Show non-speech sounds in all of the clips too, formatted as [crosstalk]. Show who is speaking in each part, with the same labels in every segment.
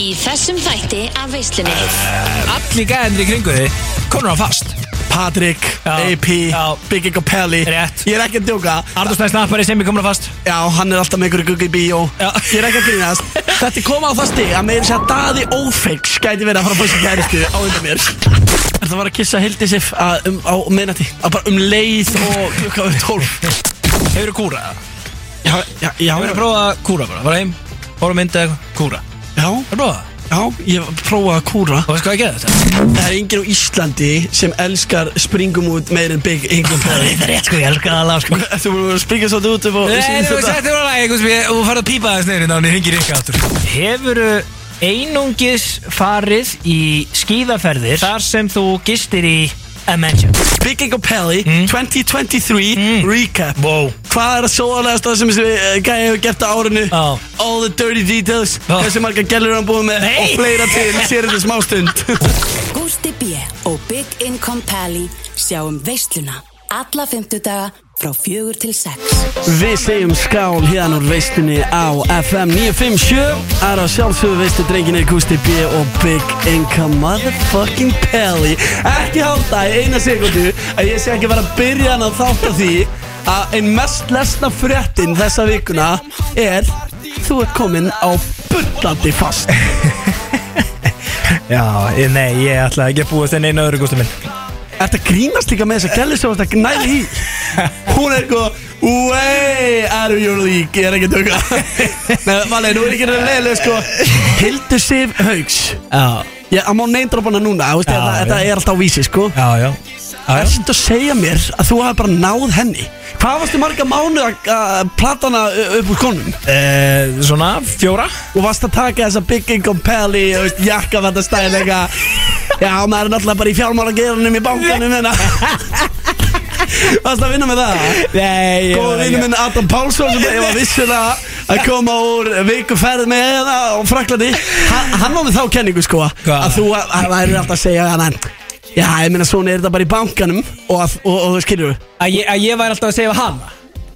Speaker 1: Í þessum þætti af veislunni
Speaker 2: Allir gæðinir í kringu þig Konur á fast
Speaker 3: Patrik,
Speaker 2: Já,
Speaker 3: AP,
Speaker 2: já.
Speaker 3: Biggie Capelli
Speaker 2: Rétt.
Speaker 3: Ég er ekki að djóka
Speaker 2: Arnur Snæði snappari sem er komin á fast
Speaker 3: Já, hann er alltaf með ykkur gugga í bíó
Speaker 2: Já.
Speaker 3: Ég er ekki
Speaker 2: [laughs]
Speaker 3: að grínast Þetta kom á það stig að meira sér að daði ófeiks Gæti verið að fara að fóra sér gæristu á undan mér Er það var að kissa Hildi Sif að, um, á meðnætti Að bara um leið og klukka um tólf
Speaker 2: Hefur þú kúrað?
Speaker 3: Já, já, já,
Speaker 2: Hefur þú
Speaker 3: já,
Speaker 2: prófað að kúra bara? Fara heim, horfa á mynd eða eitthvað Kúra Hefur
Speaker 3: já,
Speaker 2: þú prófað?
Speaker 3: já, ég prófa að kúra
Speaker 2: Þú veist hvað ég geði þetta?
Speaker 3: Það er enginn á Íslandi sem elskar springum út meir en Big Ingram Perry
Speaker 2: er rétt sko, ég elskar það alveg sko
Speaker 3: Þú voru að springa svolítið út upp og
Speaker 2: Nei, þú settir hún að lægja eitthvað sem ég og þú farið að pípa hérna þess neyri náni hringir ykkur áttur Hefur einungis farið í skíðaferðir þar sem þú gistir í a mansion
Speaker 3: Big Ego Pelli 2023
Speaker 2: Mm.
Speaker 3: Recap
Speaker 2: Wow
Speaker 3: Hvað er að sóðalega stað sem þessi eh, gæi hefur gert á árinu
Speaker 2: Já.
Speaker 3: All the dirty details
Speaker 2: Já.
Speaker 3: Hversu marga gælur hann búið með
Speaker 2: Nei.
Speaker 3: Og fleira til sér þetta
Speaker 2: [laughs]
Speaker 3: smástund
Speaker 4: Gústi B. og Big Income Pally sjá um veisluna alla fymtudaga frá fjögur til sex.
Speaker 3: Við segjum skál hérna úr veistunni á FM 957 Það er á sjálfsögðu veistu drenginir Gusti B og Big Income Motherfucking Pelli Ekki halda í eina sekundu að ég sé ekki vera að byrja hann að þátt á því að ein mest lesna fréttin þessa vikuna er Þú ert kominn á bullandi fast
Speaker 2: Já, ég, nei, ég ætla ekki að búast enn einu öðru gústu minn
Speaker 3: Þetta grínast líka með þessa gæli sem þetta næði í Hún er eitthvað Way out of your league Ég er ekki að tökka Nei, Valið, nú er ekki reyna leiðileg sko Hildur Sif Haugs
Speaker 2: Já,
Speaker 3: Ég má neindra hana núna þú veist,
Speaker 2: Já,
Speaker 3: þetta,
Speaker 2: já.
Speaker 3: þetta er alltaf á vísi sko
Speaker 2: já, já Já, já.
Speaker 3: Erstu að segja mér að þú hafi bara náð henni Hvað varstu marga mánu að- að platana upp úr konum
Speaker 2: Eh, svona, fjóra
Speaker 3: og varst að taka þessa Big Income Pelli og veist, jakka þetta stæðilega Já, maður er náttúrulega bara í fjármála geirunum í bankanum hérna Varst að vinna með það?
Speaker 2: Nei, ég
Speaker 3: Góður vinnu minn Adam Pálsson sem ég var vissulega að koma úr vikuferð með hérna og fraklandi hann, hann var með þá kenningu sko
Speaker 2: Hvað?
Speaker 3: að þú að- að væri alltaf að segja hann Já, ég meina svona er þetta bara í bankanum og, að, og, og þú skilur
Speaker 2: Að ég, að ég væri alltaf að segja hana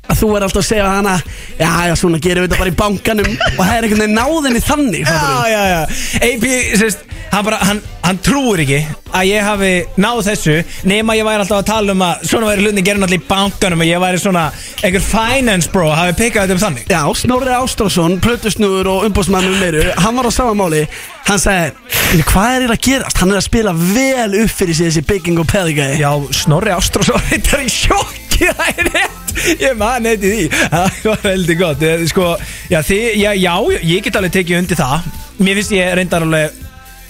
Speaker 3: að þú er alltaf að segja hana Já, já, svona gerum við þetta bara í bankanum og það er einhvern veginn náðinni þannig
Speaker 2: [laughs]
Speaker 3: fattarðu?
Speaker 2: já, já AP, sérst, hann bara, hann, hann trúir ekki að ég hafi náð þessu nema ég væri alltaf að tala um að svona væri hlutin gerin allir í bankanum og ég væri svona einhver finance bro hafi pikkað þetta um þannig
Speaker 3: Já, Snorri Ástrásson, plötusnúður og umbóðsmannum meiru, hann var á sama máli Hann sagði, "Bíddu, hvað er að gerast? Hann er að spila vel upp fyrir sig þessi bygging og peðigæði
Speaker 2: Já, Snorri Ástrásson þetta er í sjokki, það er rétt ég man eitthvað því, það var heldur gott Eh, sko, já, þið, já, já, ég get alveg tekið undir það mér finnst ég reyndar alveg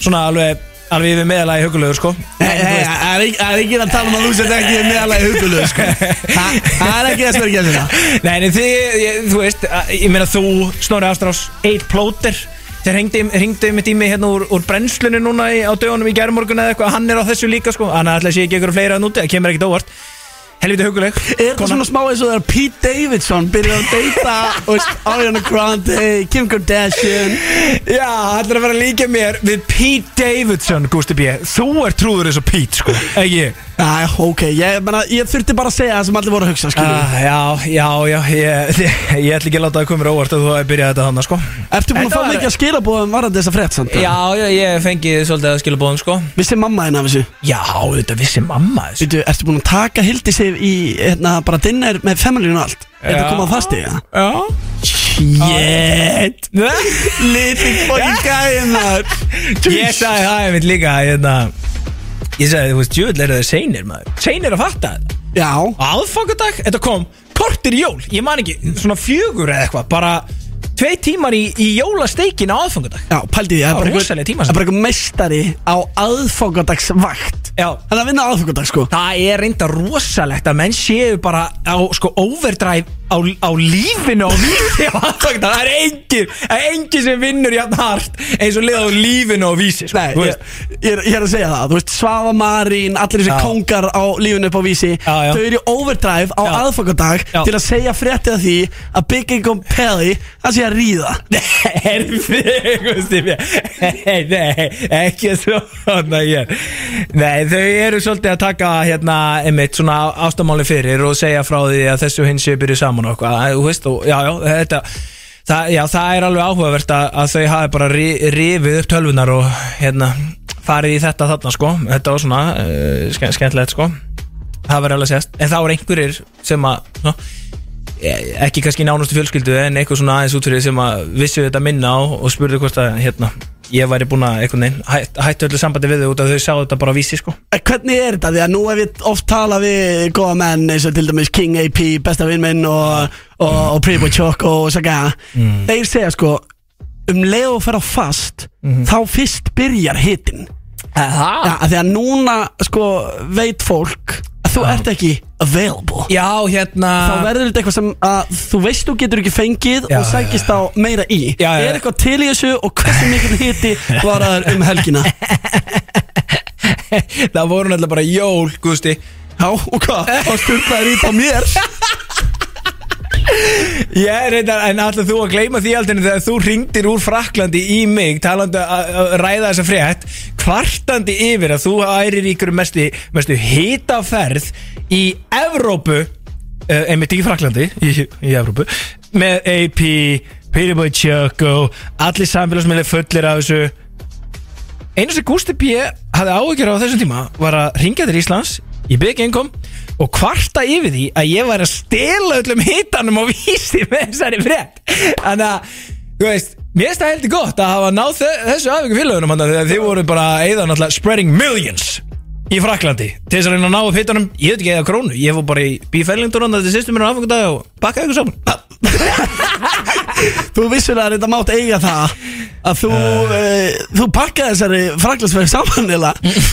Speaker 2: svona alveg, alveg yfir meðalagi hugulögur sko
Speaker 3: Nei, nei, Það er ekki- það er ekki að tala um að þú sett ekki meðalega hugulöð sko. Það það er ekki þess að vera ekki að finna
Speaker 2: Nei, nei, þið, ég, þú veist, að- ég meina þú, Snorri Ástrás, eitt plóter Þeir hringdu hringdu mitt í mig hérna úr, úr brennslunni núna í, á dögunum í gærmorgun eða eitthvað Hann er á þessu líka sko, hann ætla að sé ekki ykkur fleira en úti, það kemur ekkit óvart Helviti huguleg
Speaker 3: Er það svona smá eins og þegar Pete Davidson byrjar að deyta þú veist, Ariana Grande, Kim Kardashian
Speaker 2: Já, hann er að vera að líka mér við Pete Davidson, Gusti B Þú er trúður eins og Pete, sko, ekki ég?
Speaker 3: Æ, ok, ég, mena, ég þurfti bara að segja það sem allir voru að hugsa uh.
Speaker 2: Ah, já, já, já, ég, ég, ég ætla ekki að láta það komur óvart að þú hafi byrjað þetta þannig, sko
Speaker 3: Ertu búin
Speaker 2: Þetta
Speaker 3: að fá
Speaker 2: var-
Speaker 3: mikið að skila búin varandi þessa frétt samt?
Speaker 2: Já, já, ég fengi svolítið að skilja bóðum, sko
Speaker 3: Vissi mamma þín af þessu?
Speaker 2: Já, þetta vissi mamma þessu
Speaker 3: Býtu, ertu búin að taka Hildi sig í hérna, bara dinner með familyinu og allt? Er þetta
Speaker 2: Já.
Speaker 3: komað það stiga?
Speaker 2: Já
Speaker 3: Shit
Speaker 2: [laughs] Little
Speaker 3: Fucking gæðin þar
Speaker 2: [laughs] Ég sagði það einmitt líka hérna, Ég sagði, þú veist, djúvill eru þeir seinir maður Seinir að fatta þetta
Speaker 3: Já
Speaker 2: Aðfangadag, þetta kom kortir í jól Ég man ekki, svona fjögur eða eitthvað Bara tvei tímar í, í jólasteikin á aðfangadag
Speaker 3: Já, pældi því, það
Speaker 2: Já,
Speaker 3: er bara
Speaker 2: rosaleg tíma
Speaker 3: það er bara eitthvað meistari á aðfókadagsvakt
Speaker 2: Já
Speaker 3: Hann er að vinna aðfókadag, sko
Speaker 2: Það er reynda rosalegt að menn séu bara á sko overdrive á, á lífinu á vísi á aðfangadag Það er engin, það er engin sem vinnur jafn hart eins og liða á lífinu á vísi sko,
Speaker 3: Nei,
Speaker 2: þú
Speaker 3: ég,
Speaker 2: veist.
Speaker 3: ég, er- ég er að segja það, þú veist, Svava Marín, allir þessi
Speaker 2: Já.
Speaker 3: kongar á lífinu upp á vísi
Speaker 2: Já, já.
Speaker 3: Þau eru í overdrive á
Speaker 2: Já.
Speaker 3: aðfókadag
Speaker 2: Já.
Speaker 3: til að segja fréttið að því að Big Income Pelli, hann sé að ríða
Speaker 2: Herfi, Gusti Björn Nei, nei, ekki svona ég Nei, þau eru svolítið að taka hérna, einmitt, svona ástamáli fyrir og segja frá því að þessu hins séu byrjuð saman og eitthvað, þú veist, og já, já, þetta það, já, það er alveg áhugavert að, að þau hafi bara ri, rifið upp tölvunar og hérna, farið í þetta þarna sko Þetta var svona uh, ske, skemmtilegt sko Það verður alveg sérst En þá er einhverjir sem að hm, svona, e- ekki kannski nánustu fjölskyldu en eitthvað svona aðeins útrýði sem að vissu þetta minna á og spurði hvort að hérna, ég væri búin að einhvern veginn hætt, hættu öllu sambandi við þau út af þau sáu þetta bara á vísi sko
Speaker 3: En Eh, Hvernig er þetta? Því að nú hef ég oft talað við góða menn eins og til dæmis King AP, besta vinn minn og, og, og Primo Choco og Saga
Speaker 2: Mm.
Speaker 3: Þeir segja sko um leið og fara fast
Speaker 2: Mhm.
Speaker 3: þá fyrst byrjar hitin
Speaker 2: Aha.
Speaker 3: ja, Því að núna sko veit fólk að þú ert ekki available
Speaker 2: Já, hérna
Speaker 3: Þá verður þetta eitthvað sem að þú veist þú getur ekki fengið
Speaker 2: Já,
Speaker 3: og sækist á meira í
Speaker 2: Já, já.
Speaker 3: Er eitthvað til í þessu og hversu mikil hiti
Speaker 2: [laughs]
Speaker 3: var aður um helgina?
Speaker 2: Það voru náttúrulega bara jól, Gusti
Speaker 3: Já, og hvað? Og sturlaður ít á mér
Speaker 2: Ég reyndar, en allir þú að gleyma því aldrei þegar þú ringdir úr Fraklandi í mig talandi að að ræða þessa frétt kvartandi yfir að þú ærir í ykkur mestu, mestu hitaferð í Evrópu uh, einmitt ekki í Fraklandi í, í Evrópu með AP, Peterboy Choco allir samfélagsmiðlega fullir af þessu einu sem Gústi B. hafði áhyggjur á þessum tíma var að ringja til Íslands í byggengum og kvarta yfir því að ég væri að stela öllum hitanum á vísi með þessari frétt þannig að, þú veist, mér finnst það heldur gott að hafa náð þe- þessu afhengu félögunum þannig að þið voru bara að eyða náttúrulega spreading millions í Fraklandi til þess að reyna að ná upp hitanum, ég veit ekki eða krónu ég fór bara í bífælindur hann þetta sýstum mér á afhengundag og bakkaði ykkur saman
Speaker 3: Þú vissulega reynda mátt eiga það að þú, uh.
Speaker 2: Eh.
Speaker 3: þú pakkaði þessari fraklandsverð saman eða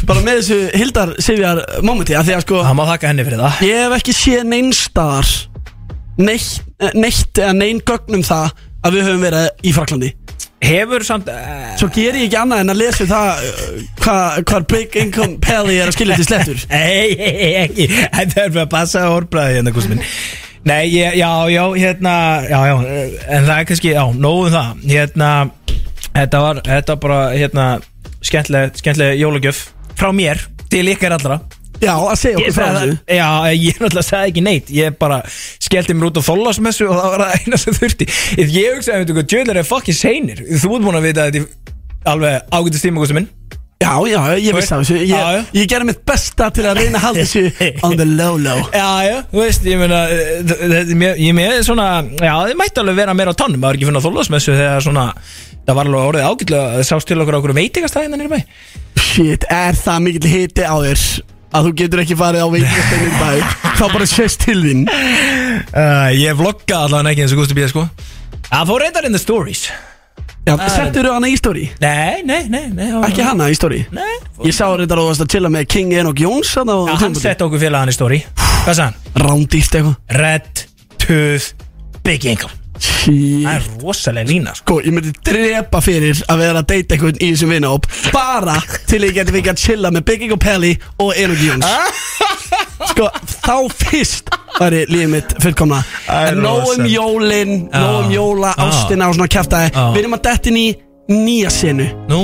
Speaker 3: bara með þessu Hildar Sifjar momenti að því að sko
Speaker 2: það má þakka henni fyrir það
Speaker 3: ég hef ekki séð neinstar neitt, eh, neitt eða neinn gögnum það að við höfum verið í Fraklandi
Speaker 2: hefur samt eh,
Speaker 3: Svo ger ég ekki annað en að lesa það eh, hvað hva Big Income Pally er að skilja til slettur
Speaker 2: Nei, [laughs] ekki Þetta er bara að passa að orðbræði hérna, Gústi minn Nei, ég, já, já, hérna Já, já, en það er kannski, já, nógu um það Hérna, þetta var Þetta var bara, hérna Skemmtileg, skemmtileg jólagjöf Frá mér, til ykkar allra
Speaker 3: Já, að
Speaker 2: Ég
Speaker 3: segja okkur frá
Speaker 2: sagði
Speaker 3: þessu
Speaker 2: það- Já, ég náttúrulega sagði ekki neitt Ég bara skellti mér út á þólasmessu og það var það eina sem þurfti Ef Ég hugsaði, um veitum hvað, djöðlar er fucking seinir Þú ert búin að vita þetta í alveg ágætist tíma, Gústi minn
Speaker 3: Já, já, ég vissi það þessu
Speaker 2: Já, já.
Speaker 3: Ég, ég gerði mitt besta til að reyna að halda þessu
Speaker 2: [laughs]
Speaker 3: on the low low
Speaker 2: Já, já, þú veist, ég meina eh, þ- þ- mér- Ég með svona Já, þið mætti alveg vera meira á tannum Það var ekki finna þólasmessu þegar svona Það var alveg orðið ágætlega Það sást til okkur á okkur veitingastæðina nýrbæ
Speaker 3: Shit, er það mikill hiti á þér að þú getur ekki farið á
Speaker 2: [laughs]
Speaker 3: veitingasteinu í dag þá bara sést til þín
Speaker 2: uh, Ég vlogga allavega ekki eins og Gusti Bíða sko Það fór reyndar in the stories
Speaker 3: Já, settur hana í stóri?
Speaker 2: Nei, nei, nei, nei það var-
Speaker 3: Ekki hana í stóri?
Speaker 2: Nei
Speaker 3: Ég sá þetta að þú varst að chilla með King Enoch Jóns þarna á
Speaker 2: Já, hann
Speaker 3: tímabili.
Speaker 2: sett okkur félagann í story Hvað sagði hann?
Speaker 3: Rándýrt eitthvað
Speaker 2: Red, Tooth, Big Income Það
Speaker 3: Shit.
Speaker 2: er rosalega lína sko
Speaker 3: Sko, ég myndi drepa fyrir að vera að deyta einhvern í þessum vinahóp bara til ég geti fengið að chilla með Big Ego Pelli og Enoch Jóns
Speaker 2: [laughs]
Speaker 3: Sko, þá fyrst væri lífið mitt fullkomna
Speaker 2: Æ,
Speaker 3: En nóg um
Speaker 2: rosa.
Speaker 3: jólin, nóg um
Speaker 2: Já.
Speaker 3: jóla,
Speaker 2: Já.
Speaker 3: ástina og svona kjæftæði
Speaker 2: Já.
Speaker 3: Við erum að detta inn í nýja senu
Speaker 2: Nú,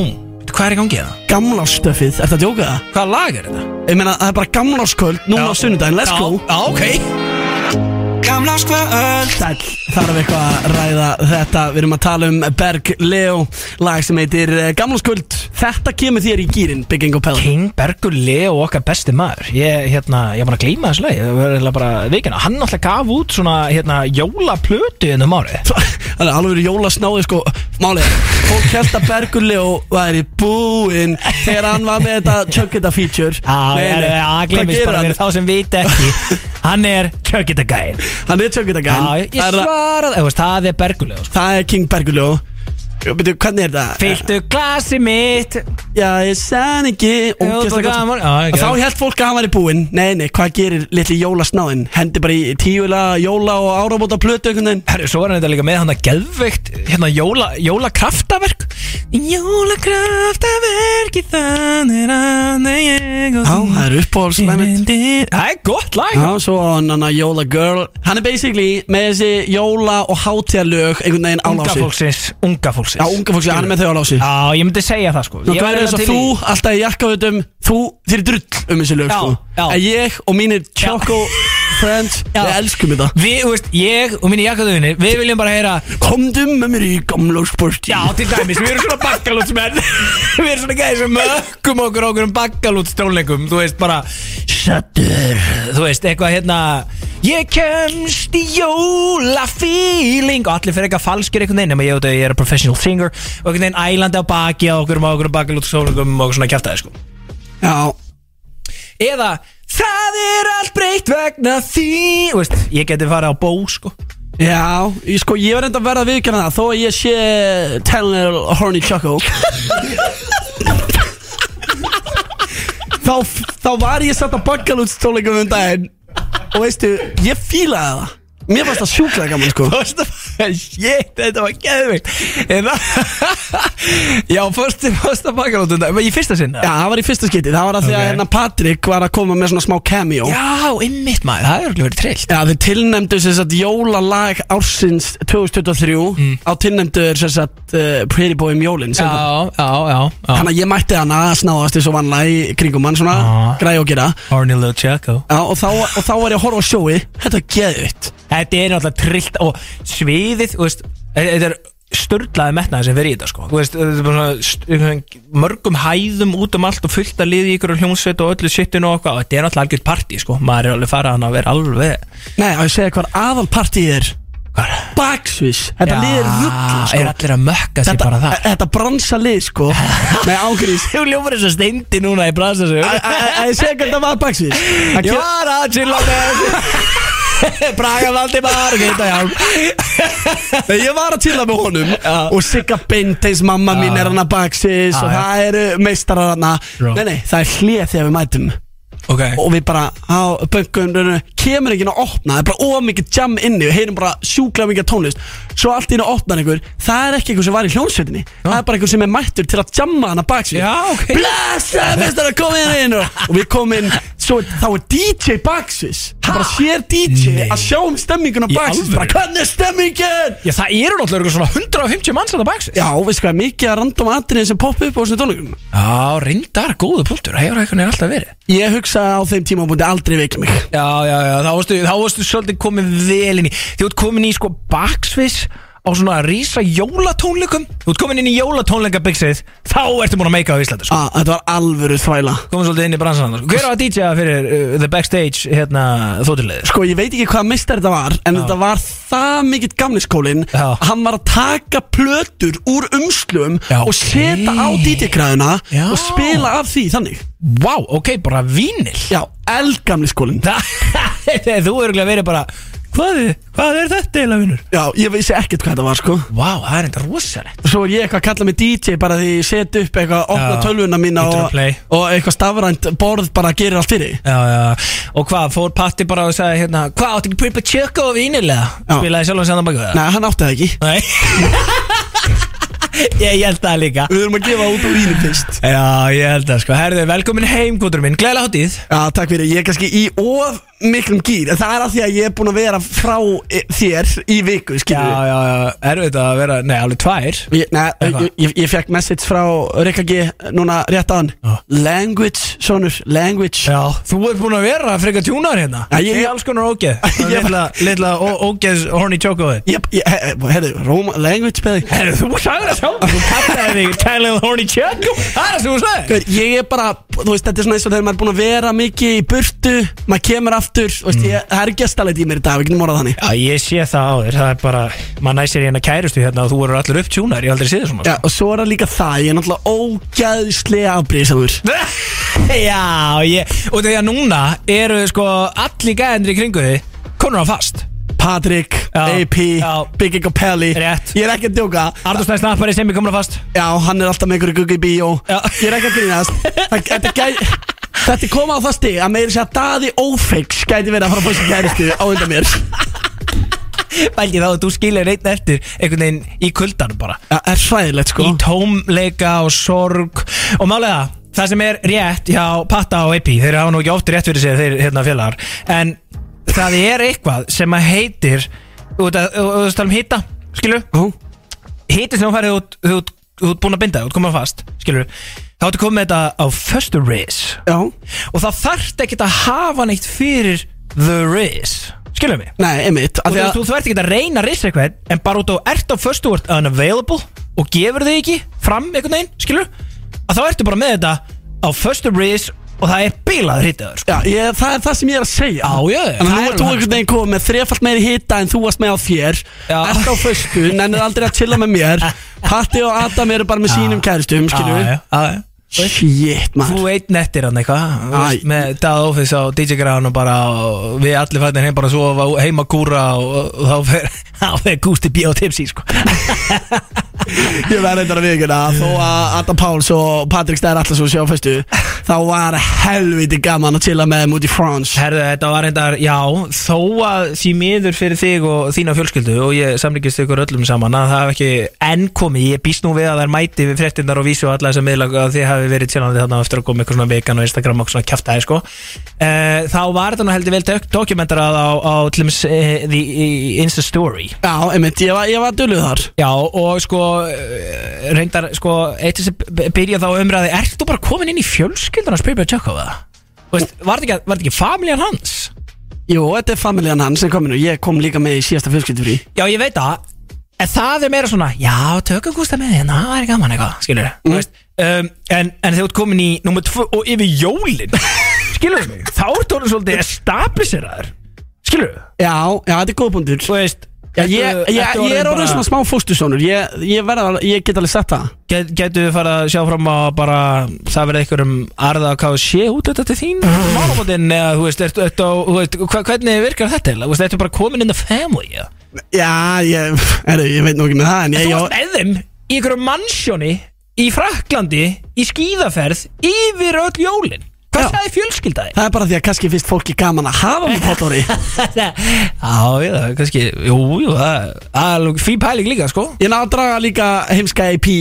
Speaker 2: hvað er í gangi það?
Speaker 3: Gamla stöfið, ertu að djóka það?
Speaker 2: Hvað lag er þetta?
Speaker 3: Ég meina, það er bara gamla sköld, núna á sunnudaginn, let's
Speaker 2: Já,
Speaker 3: go
Speaker 2: Já, ok
Speaker 3: Sæl, þarf eitthvað að ræða þetta Við erum að tala um Berg Leo Lag sem heitir eh, Gamla skuld Þetta kemur þér í gýrin, Bygging og Pell
Speaker 2: King Bergur Leo okkar besti maður Ég, hérna, ég er bara að gleyma þessu leið Það var eiginlega bara vikina Hann alltaf gaf út svona, hérna, jólaplötu inn um árið
Speaker 3: Það er alveg jólasnáði sko Máli, fólk held að Bergur Leo væri búinn Þegar hann var með þetta Chuck It A Feature
Speaker 2: Já,
Speaker 3: Nei,
Speaker 2: ég-
Speaker 3: nei,
Speaker 2: já, það
Speaker 3: Hvað
Speaker 2: gleymist
Speaker 3: gerir
Speaker 2: bara fyrir
Speaker 3: hann?
Speaker 2: þá sem vita [laughs] ekki Hann er kjökkitagæðin
Speaker 3: Hann er Chuck It A
Speaker 2: Já,
Speaker 3: Guy
Speaker 2: ég
Speaker 3: Það er-
Speaker 2: svarað þú veist, Það er Bergur Leo sko.
Speaker 3: Það er King Bergur Leo Byrju, hvernig er þetta?
Speaker 2: Fylltu glasi mitt
Speaker 3: Já, ég sann ekki ógeðslega gott.
Speaker 2: gaman. Já,
Speaker 3: Og
Speaker 2: ekki.
Speaker 3: Þá held fólk að hann væri búinn Nei, nei, hvað gerir litli jólasnáðin? Hendi bara í tíula, jóla og árabóta plötu einhvern veginn
Speaker 2: Herru, svo er hann þetta líka með hann að geðveikt hérna jóla, jólakraftaverk Jólakraftaverk í þannig að ég og
Speaker 3: Já, það er uppáhaldslæmið
Speaker 2: Það er gott lag
Speaker 3: Já, svo á hann hann að Jóla Girl Hann er basically með þessi jóla og hátíðalög einhvern veginn á
Speaker 2: Unga
Speaker 3: lási
Speaker 2: fólksins, unga fólksins
Speaker 3: Já, unga fólks, hann er með þau á lási
Speaker 2: Já, ég myndi segja það sko
Speaker 3: Nú,
Speaker 2: Ég
Speaker 3: hvað
Speaker 2: væri
Speaker 3: er þess að
Speaker 2: til
Speaker 3: þú,
Speaker 2: í-
Speaker 3: alltaf í jakkaðutum Þú, þér er drull um þessi lög
Speaker 2: Já,
Speaker 3: sko.
Speaker 2: já. [laughs]
Speaker 3: En ég og mínir tjókó friends
Speaker 2: Já.
Speaker 3: Við elskum þetta
Speaker 2: Við, þú veist, ég og minni jakkaðuðinni Við viljum bara heyra
Speaker 3: Komdu með mér í gamla sporti
Speaker 2: Já, til dæmis, við erum svona bakkalútsmenn [laughs] Við erum svona gæði sem mökkum okkur okkur um bakkalútstónleikum Þú veist, bara Sattur Þú veist, eitthvað hérna Ég kemst í jólafíling Og allir fyrir eitthvað falskir einhvern veginn Nefnum að ég, veit að ég er a professional singer Og einhvern veginn ælandi á baki á okkur um okkur um bakkalútstónleikum Og svona kjaftaði, sko
Speaker 3: Já.
Speaker 2: Eða Það er allt breytt vegna því Þú veist, ég geti farið á bó, sko
Speaker 3: Já, ég, sko, ég var enda að verða að viðkjana það Þó að ég sé Talenel Horny Choco þá, þá var ég satt að bakkalútstóleikum um daginn Og veistu, ég fílaði það Mér fannst það sjúklega gaman, sko
Speaker 2: Fyrst og fremst, shit, þetta var geðvikt En [laughs] það Já, fyrst og fremst að baka út um það Í fyrsta sinna?
Speaker 3: Já, það var í fyrsta skipti Það var að því
Speaker 2: Ok.
Speaker 3: að hérna Patrik var að koma með svona smá cameo
Speaker 2: Já, einmitt maður, það er alveg verið trillt
Speaker 3: Já, þeir tilnæmdu sem sagt jólalag ársins 2023 Á tilnæmdu er sem sagt uh, Pretty Boy um jólin sem
Speaker 2: Mm.
Speaker 3: sagt.
Speaker 2: já, já,
Speaker 3: Þannig að ég mætti hana að snáðast eins og vanlega í kringum hann svona
Speaker 2: Já.
Speaker 3: græði og gera
Speaker 2: Horny little Jacko
Speaker 3: Já, og, þá, og þá var ég að horfa á sjói Þetta er geðvitt
Speaker 2: Þetta er náttúrulega trillt og sviðið, þú veist eh, Þetta er störlaði metnaði sem verið í þetta sko Þú veist, þetta er bara svona st- einhvern veginn mörgum hæðum út um allt og fullt að liði ykkur og hljómsveit og öllu sittinu og eitthvað og þetta er náttúrulega algjörð partí sko, maður er alveg farað hann að vera alveg
Speaker 3: Nei, á ég að segja hvað aðalpartíð er
Speaker 2: Hvað?
Speaker 3: Baksvis, þetta
Speaker 2: Já,
Speaker 3: lið er rull sko.
Speaker 2: Er allir að mökka sér
Speaker 3: þetta,
Speaker 2: bara [laughs] það
Speaker 3: þetta bransa lið
Speaker 2: [laughs]
Speaker 3: sko Nei, ángurís
Speaker 2: Þú ljófur þess að steindi núna í brasa sig
Speaker 3: Að ég segja hvað þetta var baksvis Það
Speaker 2: Ég
Speaker 3: ger-
Speaker 2: var að chilla með [laughs] Braga valdi bara Geta hjálp [laughs]
Speaker 3: Nei, Ég var að tilla með honum
Speaker 2: Já.
Speaker 3: Og Sigga Bindins, mamma mín er hana baksvis
Speaker 2: Já, já.
Speaker 3: Og það eru meistarar hana
Speaker 2: Bro.
Speaker 3: Nei, nei, það er hlið þegar við mætum
Speaker 2: Ok
Speaker 3: og við bara á böngun kemur ekki inn að opna, það er bara ómikið jam inni og heyrum bara sjúklega mikið tónlist svo allt í einu opnar einhver, það er ekki einhver sem var í hljónsveitinni, það er bara einhver sem er mættur til að jamma hana baksvið
Speaker 2: Já, ok.
Speaker 3: blessa, mestar að koma inn inn og við komum inn, svo, þá er DJ baksvið, það bara sér DJ
Speaker 2: Nei.
Speaker 3: að sjá um stemminguna
Speaker 2: Í
Speaker 3: baksvið
Speaker 2: alvöru?
Speaker 3: bara hvernig er stemmingin
Speaker 2: Já það eru náttúrulega svona 150 manns að það baksis
Speaker 3: Já, veistu hvað, mikið að random atriðin sem poppa upp á þessum tónleikum
Speaker 2: Já, reyndar góðu punktur Það hefur eitthvað alltaf verið
Speaker 3: Ég hugsaði á þeim tíma aldrei veikla mig
Speaker 2: Já, já, já, þá varstu, þá varstu svolítið komin vel inn í Þú ert komin í sko baksvis á svona rísa jólatónleikum Þú ert komin inn í jólatónleikabiksið Þá ertu búin að meika á Íslandi sko.
Speaker 3: ah, Þetta var alvöru þvæla
Speaker 2: Komum svolítið inn í bransan sko. Hver á að DJ-a fyrir uh, The Backstage hérna, þóttilegðir?
Speaker 3: Sko ég veit ekki hvaða mistar þetta var En þetta var það mikill gamliskólin
Speaker 2: Já.
Speaker 3: að Hann var að taka plötur úr umslum
Speaker 2: Já,
Speaker 3: Og
Speaker 2: ok.
Speaker 3: setja á DJ-græðuna
Speaker 2: Já.
Speaker 3: Og spila af því þannig
Speaker 2: Vá, ok, bara vínil [laughs]
Speaker 3: Já, eldgamliskólin
Speaker 2: Þa, Þú örgulega verið bara Hvað, hvað er þetta eiginlega vinnur?
Speaker 3: Já, ég vissi ekkert hvað þetta var sko
Speaker 2: Vá, það er enda rosalegt
Speaker 3: Svo er ég eitthvað að kalla mig DJ bara því ég set upp eitthvað, opna
Speaker 2: Já.
Speaker 3: tölvuna mína
Speaker 2: Hittir á
Speaker 3: og,
Speaker 2: play.
Speaker 3: og eitthvað stafrænt borð bara gerir allt fyrir
Speaker 2: Já, já, og hvað, fór Patti bara og sagði hérna Hvað, áttu ekki Pippa Tjökko og vínilega?
Speaker 3: Já.
Speaker 2: Spilaði sjálf hans andan baka það?
Speaker 3: Nei, hann átti það ekki
Speaker 2: Nei [laughs] Ég held það líka
Speaker 3: Við erum að gefa út úr vínum fyrst
Speaker 2: Já, ég held það sko Herðu, velkomin heim, kvotur minn Gleðilega hátíð
Speaker 3: Já, takk fyrir, ég er kannski í of miklum gýr En það er að því að ég er búin að vera frá e, þér í viku,
Speaker 2: Já,
Speaker 3: skilur
Speaker 2: já, já, erfitt að vera, nei, alveg tvær
Speaker 3: Ég, neð,
Speaker 2: Eitthvað?
Speaker 3: ég, ég, ég fekk message frá Rikka G núna rétt á hann
Speaker 2: Já.
Speaker 3: Language, sonur, language
Speaker 2: Já, þú ert búin að vera frekar tjúnar hérna
Speaker 3: Já, ég-
Speaker 2: Í alls konar [laughs] ógeð
Speaker 3: Ég-
Speaker 2: Lilla, lilla ó- ógeðs horny chocoði
Speaker 3: Jep, ég- he- he- Herðu, Roma, language beði
Speaker 2: Herru, þú sagði það sjálf Þú kallaði þig Tyler Horny Chuck Það er það sem þú sagði
Speaker 3: Ég er bara, þú veist, þetta er svona eins og þegar maður er búin að vera mikið í burtu Maður kemur aftur, þú veist, ég, það er gestalit í mér í dag, við getum orðað þannig
Speaker 2: Mm. Já, ég sé það á þér Það er bara, maður næsir hérna kærustu hérna og þú eru allir upp tjúnar Ég hef aldrei séð þér svona
Speaker 3: Já, og svo er það líka það, ég er náttúrulega ógæðslega afbrýðisamur
Speaker 2: [laughs] Já, ég Og því að núna eru sko allir gæðinri í kringu því Konur á fast
Speaker 3: Patrik,
Speaker 2: Já,
Speaker 3: AP,
Speaker 2: já.
Speaker 3: Biggie Capelli
Speaker 2: Rétt.
Speaker 3: Ég er ekki að djóka
Speaker 2: Arnur Snæði Snappari sem er komin á fast
Speaker 3: Já, hann er alltaf með ykkur gugga í bíó
Speaker 2: Já.
Speaker 3: Ég er ekki að grínast Það- Þetta, gæ... Þetta er koma á það stig að meira sér að daði ófeiks gæti verið að fara að fá sér kæristu á undan mér
Speaker 2: Bælgi þá að þú skilir einn eftir einhvern veginn í kuldanum bara
Speaker 3: Það er sræðilegt sko
Speaker 2: í tómleika og sorg og málega það sem er rétt hjá Patta og Epi þeir hafa nú ekki ofti rétt fyrir sér þeir hérna félagar en það er eitthvað sem að heitir út að, þú veist tala um hita skilur,
Speaker 3: Ó,
Speaker 2: hiti sem þú færið út, þú ert- þú ert búin að binda, þú ert komin fast skilur, þá ertu komið með þetta á föstu ris
Speaker 3: Já,
Speaker 2: og það þarft ekkert að hafa neitt fyrir the riz Skilum mig
Speaker 3: Nei, einmitt
Speaker 2: Og
Speaker 3: að
Speaker 2: þú,
Speaker 3: að,
Speaker 2: þú þarft ekki að reyna að risa eitthvað En bara út á ert á föstu og ert unavailable Og gefur þig ekki fram einhvern veginn Skilur Að þá ertu bara með þetta á föstu ris Og það er bílað hittaður sko.
Speaker 3: já, ég, Það er það sem ég er að segja
Speaker 2: Já, já,
Speaker 3: En
Speaker 2: það er
Speaker 3: nú ert þú
Speaker 2: alveg-
Speaker 3: einhvern veginn komið með þrefalt meiri hita en þú varst með á þér
Speaker 2: Já.
Speaker 3: Ert á föstu, nennir aldrei að chilla með mér
Speaker 2: [laughs]
Speaker 3: Patti og Adam eru bara með sínum kæristum,
Speaker 2: Já,
Speaker 3: skilur við
Speaker 2: já, já.
Speaker 3: Shit, maður
Speaker 2: Þú einn eftir hann eitthvað þú veist,
Speaker 3: Æ.
Speaker 2: Með Dad Office á DJ Grán og bara og Við allir fætnir heim bara að sofa og heima að kúra og, og þá fer, [laughs] þá fer Gústi B á tipsi sko.
Speaker 3: Ég verði þetta að vikuna Þó að Adam Páls og Patrik Stær Allarsson sjá fyrstu Þá var helviti gaman að chilla með þeim út í France
Speaker 2: Herðu þetta var reyndar, já Þó að því miður fyrir þig og þína fjölskyldu Og ég samlíkist ykkur öllum saman að það hef ekki enn komið Ég býst nú við að það er mæti við fréttinnar og vísu og alla þessa miðla að þið hafi verið tjálandi þarna á eftir að koma eitthvað svona vegan og Instagram og svona kjaftaði sko Eh, Þá var þetta nú heldur vel dok- dokumentarað á, á til dæmis, eh, the eh, Insta Story
Speaker 3: Já, einmitt, ég var, ég var dulluð þar
Speaker 2: Já og sko eh, reyndar sko eitt sem byrja þá umræði Ert þú bara komin inn í fjölskyldan að spyrja að tjökka á það? Þú Veist, var þetta ekki, var þetta ekki familjan hans?
Speaker 3: Jú, þetta er familjan hans sem komin og ég kom líka með í síðasta fjölskyldufrí
Speaker 2: Já ég veit það En það er meira svona Já tökum gústa með þér, það er gaman eitthvað Skilur þú veist um, en, en þegar þú ert komin í nummer tvö og yfir jólin [laughs] Skilur þú mig? Þá ert þú orðinn svolítið establiseraður Skilur þú?
Speaker 3: Já, já, þetta er góð punktur
Speaker 2: Þú veist
Speaker 3: Já, ég,
Speaker 2: ertu-
Speaker 3: ég,
Speaker 2: ertu
Speaker 3: ég er orðin
Speaker 2: bara-
Speaker 3: svona smá fóstusónur ég, ég, verð að- ég get alveg sett það
Speaker 2: Get, getur við farið að sjá fram á bara það verið einhverjum arða að hvað sé út þetta til þín málumótin eða þú veist, ertu, ertu, á, þú veist hva, hvernig virkar þetta eiginlega? Þú veist, ertu bara komin in the family eða?
Speaker 3: Já, ég, er, ég veit nú ekki með það En ég,
Speaker 2: þú
Speaker 3: ég,
Speaker 2: varst með þeim í einhverjum mansjóni í Fraklandi í skíðaferð yfir öll jólin
Speaker 3: Já.
Speaker 2: hvað sagði fjölskyldaði?
Speaker 3: það er bara því að kannski finnst fólki gaman að hafa mig [laughs] pottóri
Speaker 2: Já, já, það er kannski jú, jú, það er alveg fín pæling líka sko
Speaker 3: Ég náðu að draga líka heimska IP í,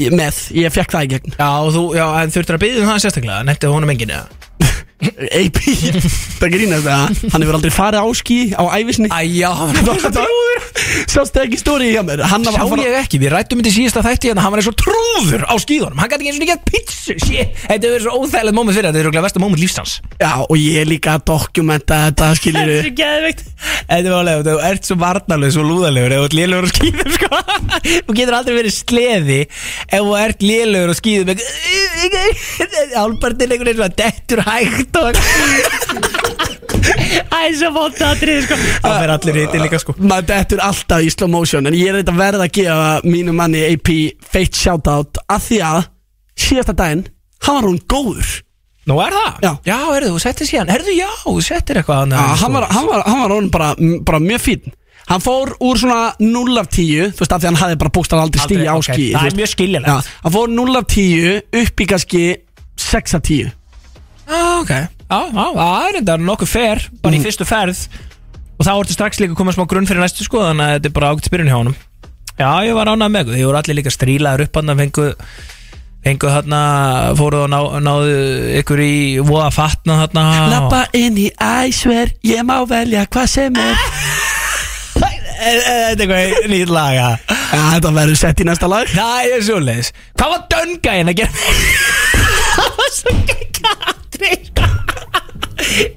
Speaker 3: í, með Ég fekk það í gegn
Speaker 2: Já, þú, já, en þurftur að byggja um það sérstaklega, nefndi honum enginn eða?
Speaker 3: AP, það grínast það Hann hefur aldrei farið áski á ævisni
Speaker 2: Æjá, hann
Speaker 3: Þetta var- Sástu ekki stóri hjá mér Hann
Speaker 2: Sá
Speaker 3: var
Speaker 2: ég ekki, við rættum þetta í síðasta þætti en hann var eins og trúður á skíðunum Hann gæti ekki eins og ekki að pizzu shit. Þetta er svo óþægilegt móment fyrir hann, þetta er okkur versta móment lífstans
Speaker 3: Já, og ég er líka að dokumenta þetta skilur
Speaker 2: er geðveikt Þetta er alveg, þú ert svo varnarlegur, svo lúðarlegur ef þú ert lélugur á skíðum sko. Þú getur aldrei verið sleði ef þú ert lélugur á skíðum Álbartin einhvern veginn svona dettur hægt og Æ, svo vótt aðrið sko. Það fer allir hitti líka sko
Speaker 3: maður dettur alltaf í slow motion en ég er þetta verð að gefa mínu manni AP feitt shoutout af því að síðasta daginn, hann var hún góður
Speaker 2: Nú er það?
Speaker 3: Já.
Speaker 2: já heyrðu, þú settir síðan Herðu, já, þú settir eitthvað annað
Speaker 3: ja, hann, var, hann, var, hann var hún bara, bara mjög fín hann fór úr svona 0 af 10 þú veist af því að hann hafði bara bústan aldrei
Speaker 2: Aldrei,
Speaker 3: stíði
Speaker 2: ok,
Speaker 3: áski
Speaker 2: það er mjög skiljanlegt.
Speaker 3: hann fór 0 af 10 upp í kannski 6 af
Speaker 2: Já,
Speaker 3: 10
Speaker 2: Ah, ok Já, já, það er enda nokkuð fer Bara í fyrstu ferð Og þá ertu strax líka að koma smá grunn fyrir næstu sko Þannig að þetta er bara ágætt spyrun hjá honum Já, ég var ánað með Ég voru allir líka strílaður upp hann Fengu, fengu þarna Fóruð og ná, náðu ykkur í Voða fatna þarna
Speaker 3: lappa inn í æsver ég má velja hvað sem er
Speaker 2: Ah. Er- er [laughs] Þetta er eitthvað nýtt laga
Speaker 3: ja, þetta verður sett í næsta lag
Speaker 2: Það er svo leis Hvað var döngæin að gera? [laughs] Það var svo gegga atrið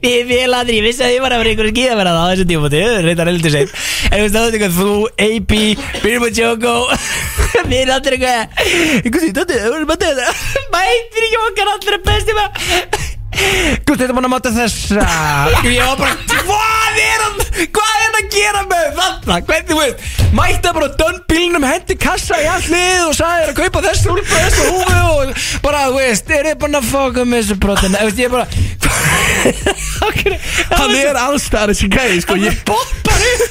Speaker 2: Ég vil aðri, ég vissi að ég var að vera einhverjum skíðaverða á þessu tíma Það er reyndar heldur seint En þú veist það er eitthvað þú, AP, Birma Joko [laughs] Við erum allir eitthvað Eitthvað sýtt, þetta er bara þetta Mætir ekki okkar allra besti Gúst, þetta mann að máta þessa Ég var bara, hvað er hann Hvað er hann að gera með þarna Hvernig þú veist, mætti bara dönn bílnum Hendi kassa í allir og sagði þér að kaupa þessu Úlpa þessu húfu og bara, þú veist Er þið búin að foka með þessu brotin Þú veist, ég bara,
Speaker 3: hann er allstæðar þessi gæði sko ég
Speaker 2: boppar upp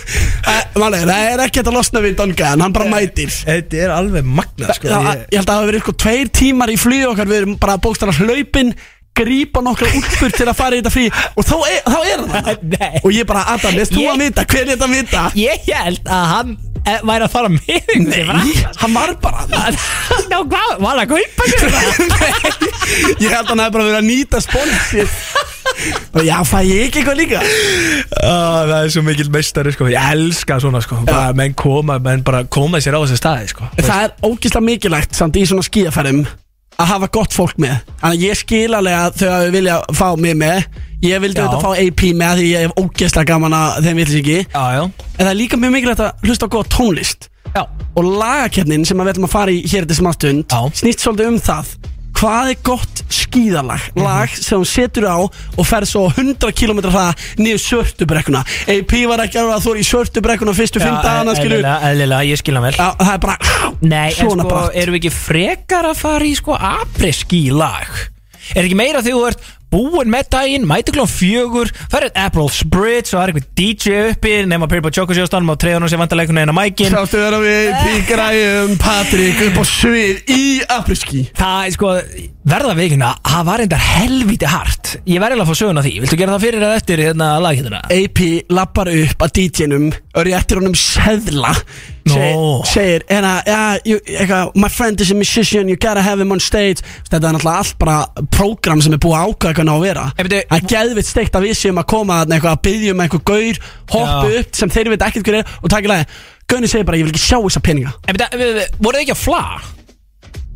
Speaker 3: Eh, Málega, það er ekki hægt að losna við Don Gahan,
Speaker 2: Eh,
Speaker 3: hann bara mætir
Speaker 2: Þetta er alveg magnað sko
Speaker 3: Já, Ég held að það hafa verið eitthvað tveir tímar í flýðu okkar Við erum bara bókstara hlaupin Grípa nokkra útfur til að fara í þetta frí Og þá er, þá er það
Speaker 2: Nei.
Speaker 3: Og ég bara, Adam, veist þú
Speaker 2: Ég-
Speaker 3: að vita, hver er þetta að vita?
Speaker 2: Ég held að hann eh, væri að fara með Nei
Speaker 3: Hann var bara þarna.
Speaker 2: Ná hvað, var það að kaupa sér það?
Speaker 3: Ég held að hann hafi bara verið að nýta sponsið Og já, fæ ég ekki eitthvað líka
Speaker 2: Ah, það er svo mikil meistari sko, ég elska svona sko bara menn koma, menn bara koma sér á þessi staði sko
Speaker 3: Það er ógislega mikilvægt samt í svona skíaferðum að hafa gott fólk með Þannig að ég skil alveg að þau hafi vilja fá mig með Ég vildi
Speaker 2: Já.
Speaker 3: auðvitað fá AP með af því ég hef ógeðslega gaman að þeim villis ekki
Speaker 2: Já, já
Speaker 3: En það er líka mjög mikilvægt að hlusta á góða tónlist
Speaker 2: Já,
Speaker 3: Og lagakernin sem að við ætlum að fara í hér til smástund
Speaker 2: Já.
Speaker 3: Snýst svolítið um það Hvað er gott skíðalag?
Speaker 2: Mhm.
Speaker 3: Lag sem hún setur á og fer svo 100 km það niður sörtubrekkuna AP var ekki alveg að þú er í sörtubrekkuna fyrstu fimm dagana
Speaker 2: e-
Speaker 3: skilur
Speaker 2: Eðlilega, eðlilega, ég skil hann vel
Speaker 3: Já, það er bara
Speaker 2: Nei, en
Speaker 3: svona
Speaker 2: sko,
Speaker 3: bratt.
Speaker 2: erum við ekki frekar að fara í sko apreski lag? Er ekki meira þegar þú ert búinn með daginn, mæti klón fjögur, það er Apple's Bridge og það er eitthvað DJ uppi, nema Pirpa Tjókusjóstanum á treyðunum sem vandarleikunum eina mækin.
Speaker 3: Sáttu vera við píkræjum Patrik upp á svið í Afriski
Speaker 2: Það er sko, verða við ekki hérna, það var reyndar helviti hart. Ég verði alveg að fá söguna því, viltu gera það fyrir eða eftir hérna laghittuna?
Speaker 3: AP lappar upp að DJ-num og réttir honum seðla
Speaker 2: Nó.
Speaker 3: segir, segir en að, ja, you, eitthvað, my friend is a musician you gotta have him on stage þetta er náttúrulega allt bara prógram sem er búið að ákvæða hvernig á að vera
Speaker 2: En byrju-
Speaker 3: það er geðvitt steikt að við séum að koma þarna eitthvað að byggja um einhver gaur hoppa
Speaker 2: Já.
Speaker 3: upp sem þeir veit ekkert hver er og taka í lagi Gaunni segir bara ég vil ekki sjá þessa peninga
Speaker 2: En byrja, við- við- voruð þið ekki að fla?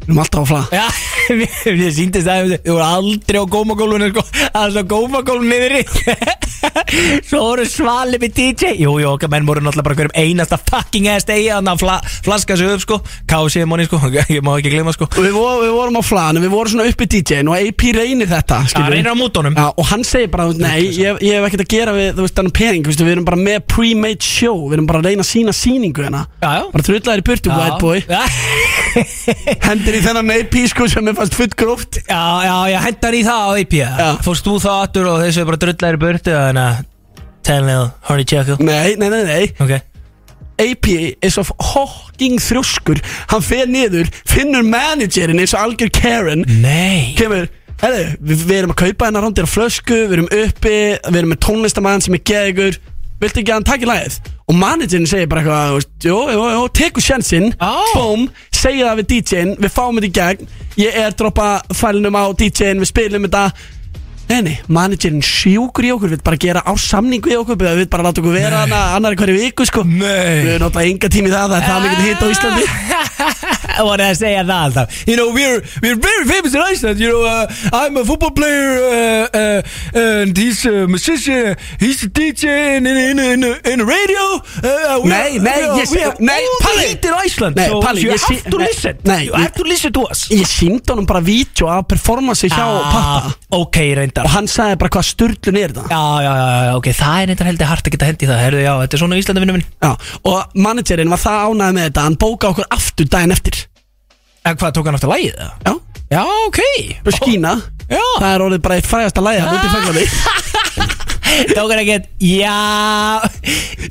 Speaker 3: við erum alltaf á flað
Speaker 2: Já, [laughs] mér, mér síndist að þau voru aldrei á gómagólunum sko, aðeins á gómagólunum niðri [laughs] Svo voru svalið með DJ Jú, jú, okkar menn voru náttúrulega bara hverjum einasta fucking ass degi að fla, flaska sig upp sko, kási í manni sko, [laughs] ég má ekki gleyma sko
Speaker 3: Og Við, vor, við vorum á flan, við vorum svona uppi DJ-in og AP reynir þetta
Speaker 2: Það
Speaker 3: skilur við.
Speaker 2: reynir á mútonum
Speaker 3: Já, og hann segir bara, þú veist, nei, ég, ég hef ekkert að gera við, þú veist, þannig pening, þú veist, við erum bara með pre-made show, við erum bara að reyna að sína síningu hérna.
Speaker 2: Já, já.
Speaker 3: Bara trullar í burtu, white boy.
Speaker 2: Já,
Speaker 3: [laughs] Hendir í þennan AP, sko, sem er fast full gróft.
Speaker 2: [laughs] já, já, já hendan í það á IP
Speaker 3: Já.
Speaker 2: Fórst þú þá aftur og þessu bara drullar í burtu Þannig að, tennið, horny tjöku
Speaker 3: Nei, nei, nei, nei.
Speaker 2: Ok
Speaker 3: AP er svo hokking þrjóskur, hann fer niður, finnur managerinn eins og algjör Karen,
Speaker 2: Nei
Speaker 3: kemur Herðu, við, við erum að kaupa hennar rándir á flösku Við erum uppi, við erum með tónlistamann sem er geðugur Viltu ekki að hann taki lagið? Og managerinn segir bara eitthvað þú veist, Jó, jó, jó, tekur sjansinn
Speaker 2: Á.
Speaker 3: Bóm, segir það við DJ-in Við fáum þetta í gegn Ég er droppa fælinum á DJ-in Við spilum þetta Nei, nei, managerinn sjúkur í okkur Við bara gera á samningu í okkur Við bara láta okkur vera hana annar í hverju viku sko Við
Speaker 2: Nei
Speaker 3: erum náttúrulega enga tími það Það er það mikið hitt á Íslandi
Speaker 2: I want to say that alltaf You know, we're, we're very famous in Iceland You know, uh, I'm a football player uh, uh, And he's a musician He's a DJ in, in, in, in, in the radio uh, we
Speaker 3: Nei,
Speaker 2: are-
Speaker 3: nei,
Speaker 2: we are-
Speaker 3: ég-
Speaker 2: we are
Speaker 3: nei,
Speaker 2: all
Speaker 3: Palli.
Speaker 2: the hit in Iceland
Speaker 3: Nei,
Speaker 2: so
Speaker 3: Palli,
Speaker 2: you
Speaker 3: ég
Speaker 2: have
Speaker 3: sé-
Speaker 2: to
Speaker 3: nei,
Speaker 2: listen
Speaker 3: nei,
Speaker 2: You
Speaker 3: ég-
Speaker 2: have to listen to us
Speaker 3: Ég síndi honum bara vídeo að performansi hjá
Speaker 2: Ah.
Speaker 3: Patta
Speaker 2: Ok, reyndar
Speaker 3: og hann sagði bara hvað sturlun er þetta
Speaker 2: Já, já, já, já, ok, það er reyndar heldur hart að geta hendi það Herðu, já, þetta er svona Íslandavinnum minn
Speaker 3: já. og managerinn var það ánægð með þetta hann bóka okkur aftur daginn eftir
Speaker 2: En hvað, tók hann aftur lagið það?
Speaker 3: já,
Speaker 2: Já, ok
Speaker 3: bara skína
Speaker 2: Já,
Speaker 3: það er orðið bara eitt frægasta lægi hann út í fæglandi
Speaker 2: tók hann ekkert Já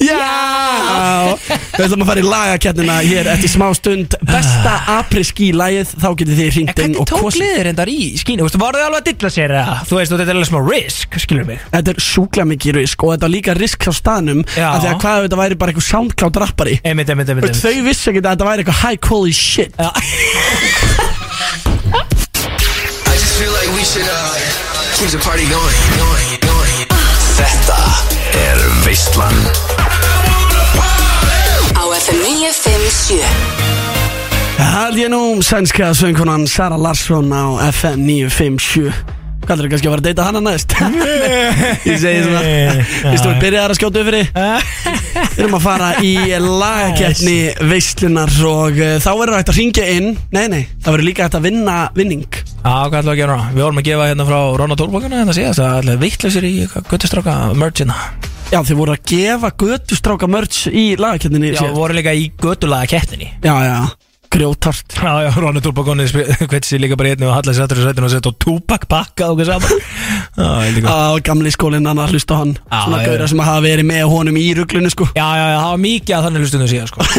Speaker 2: Ah.
Speaker 3: [laughs] já við ætlum að fara í lagakernina hér eftir smá stund besta apriski lægið þá getið þið
Speaker 2: En
Speaker 3: hringt inn
Speaker 2: hvernig
Speaker 3: og
Speaker 2: Ah. tók
Speaker 3: kosið
Speaker 2: liðið reyndar í skínu? Þú veist, voru þið alveg að dilla sér eða? Þú veist, þetta er alveg smá risk, skilur mig
Speaker 3: Þetta er sjúkla mikið risk og þetta var líka risk á staðnum
Speaker 2: Já.
Speaker 3: af því að hvað ef þetta væri bara eitthvað soundcloud rappari
Speaker 2: Einmitt, einmitt, einmitt einmitt.
Speaker 3: Þau vissi ekki að þetta væri eitthvað high quality shit
Speaker 2: Já.
Speaker 5: I just feel like we should uh, keep the party going, going, going. Þetta er Veistland
Speaker 4: Á FM 957
Speaker 3: Hald ég nú um sænska söngkonan Sara Larsson á FM 957 Hvað er kannski að fara að deyta hana næst?
Speaker 2: [laughs]
Speaker 3: ég segi svona Vistu við byrjaðar að skjóta yfir Við erum að fara í lagakeppni veislunar og uh, þá verður hægt að ringja inn Nei, nei, það verður líka hægt að vinna vinning
Speaker 2: [laughs] Já, hvað ætlum við að gera núna? Við vorum að gefa hérna frá Rona Tólbakana hérna síðast Það ætlum við vittlausir í guttustráka mergina
Speaker 3: Já, þið voru að gefa götustráka mörts í lagakeppninni
Speaker 2: Já,
Speaker 3: síðast.
Speaker 2: voru líka í guttulaga kettinni
Speaker 3: já, já, grjótart
Speaker 2: Já, já, Rona Tólbakana [laughs] hveit sér líka bara í einni og hallar sér aftur í sætinu og setja á túpak pakka og hvað saman [laughs] Já, heldur góð
Speaker 3: Á gamli skólinn hann að hlusta á hann
Speaker 2: Já,
Speaker 3: Svona
Speaker 2: já, já.
Speaker 3: gauðra sem hafa verið með honum í ruglunu sko
Speaker 2: Já, já, já, það var mikið að þannig hlustunum síðan, [laughs] sko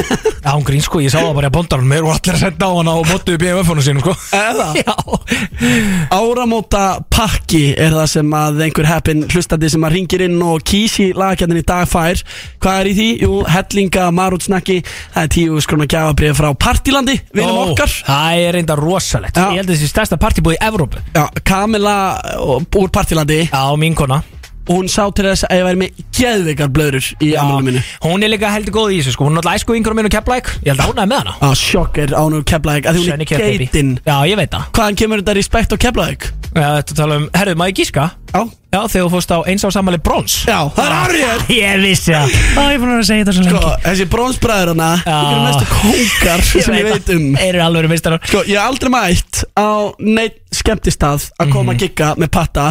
Speaker 2: Já, hún grín, sko, ég sá það bara í bóndanum Mér voru allir að senda á hana og móttu upp í MF-unum sínum, sko
Speaker 3: [laughs] Eða?
Speaker 2: Já
Speaker 3: Áramóta pakki er það sem að einhver heppin hlustandi sem að ringir inn og kísi lagakjarnin í dag fær Hvað er í því? Jú, hellinga, marútsnakki, það er tíu skrona gjafabrið frá Partilandi, vinum
Speaker 2: Ó,
Speaker 3: okkar
Speaker 2: Það er reynda rosalegt
Speaker 3: Já.
Speaker 2: Ég held að þessi stærsta partybúi í Evrópu
Speaker 3: Já, Kamila uh, úr Partilandi
Speaker 2: Já, mín kona
Speaker 3: og hún sá til þess að ég væri með geðveikar blöður í ammálum minu
Speaker 2: Hún er líka heldur góð í þessu sko Hún er alltaf æsku yngur minn og keplæk Ég held að hún er með hana
Speaker 3: að sjokk er Ah, án og keflaðið að því hún
Speaker 2: Svenni
Speaker 3: er
Speaker 2: Kjærbaby.
Speaker 3: geitinn
Speaker 2: Já, ég veit það
Speaker 3: hvaðan kemur þetta respekt á keflaðið?
Speaker 2: Já, Þetta tala um, herðu, maður gíska
Speaker 3: Já,
Speaker 2: Já, þegar þú fórst á eins á samali brons Ah,
Speaker 3: já, það er árið
Speaker 2: [laughs] Ég vissi það Já, ég er búin að vera að segja þetta svo
Speaker 3: Sko,
Speaker 2: lengi
Speaker 3: þessi brónsbræður hana Það eru mestu kókar sem [laughs] ég veit um
Speaker 2: Þeir eru alveg meistarar
Speaker 3: Sko, ég hef aldrei mætt á neitt skemmtistað að koma
Speaker 2: Mhm.
Speaker 3: að gigga með patta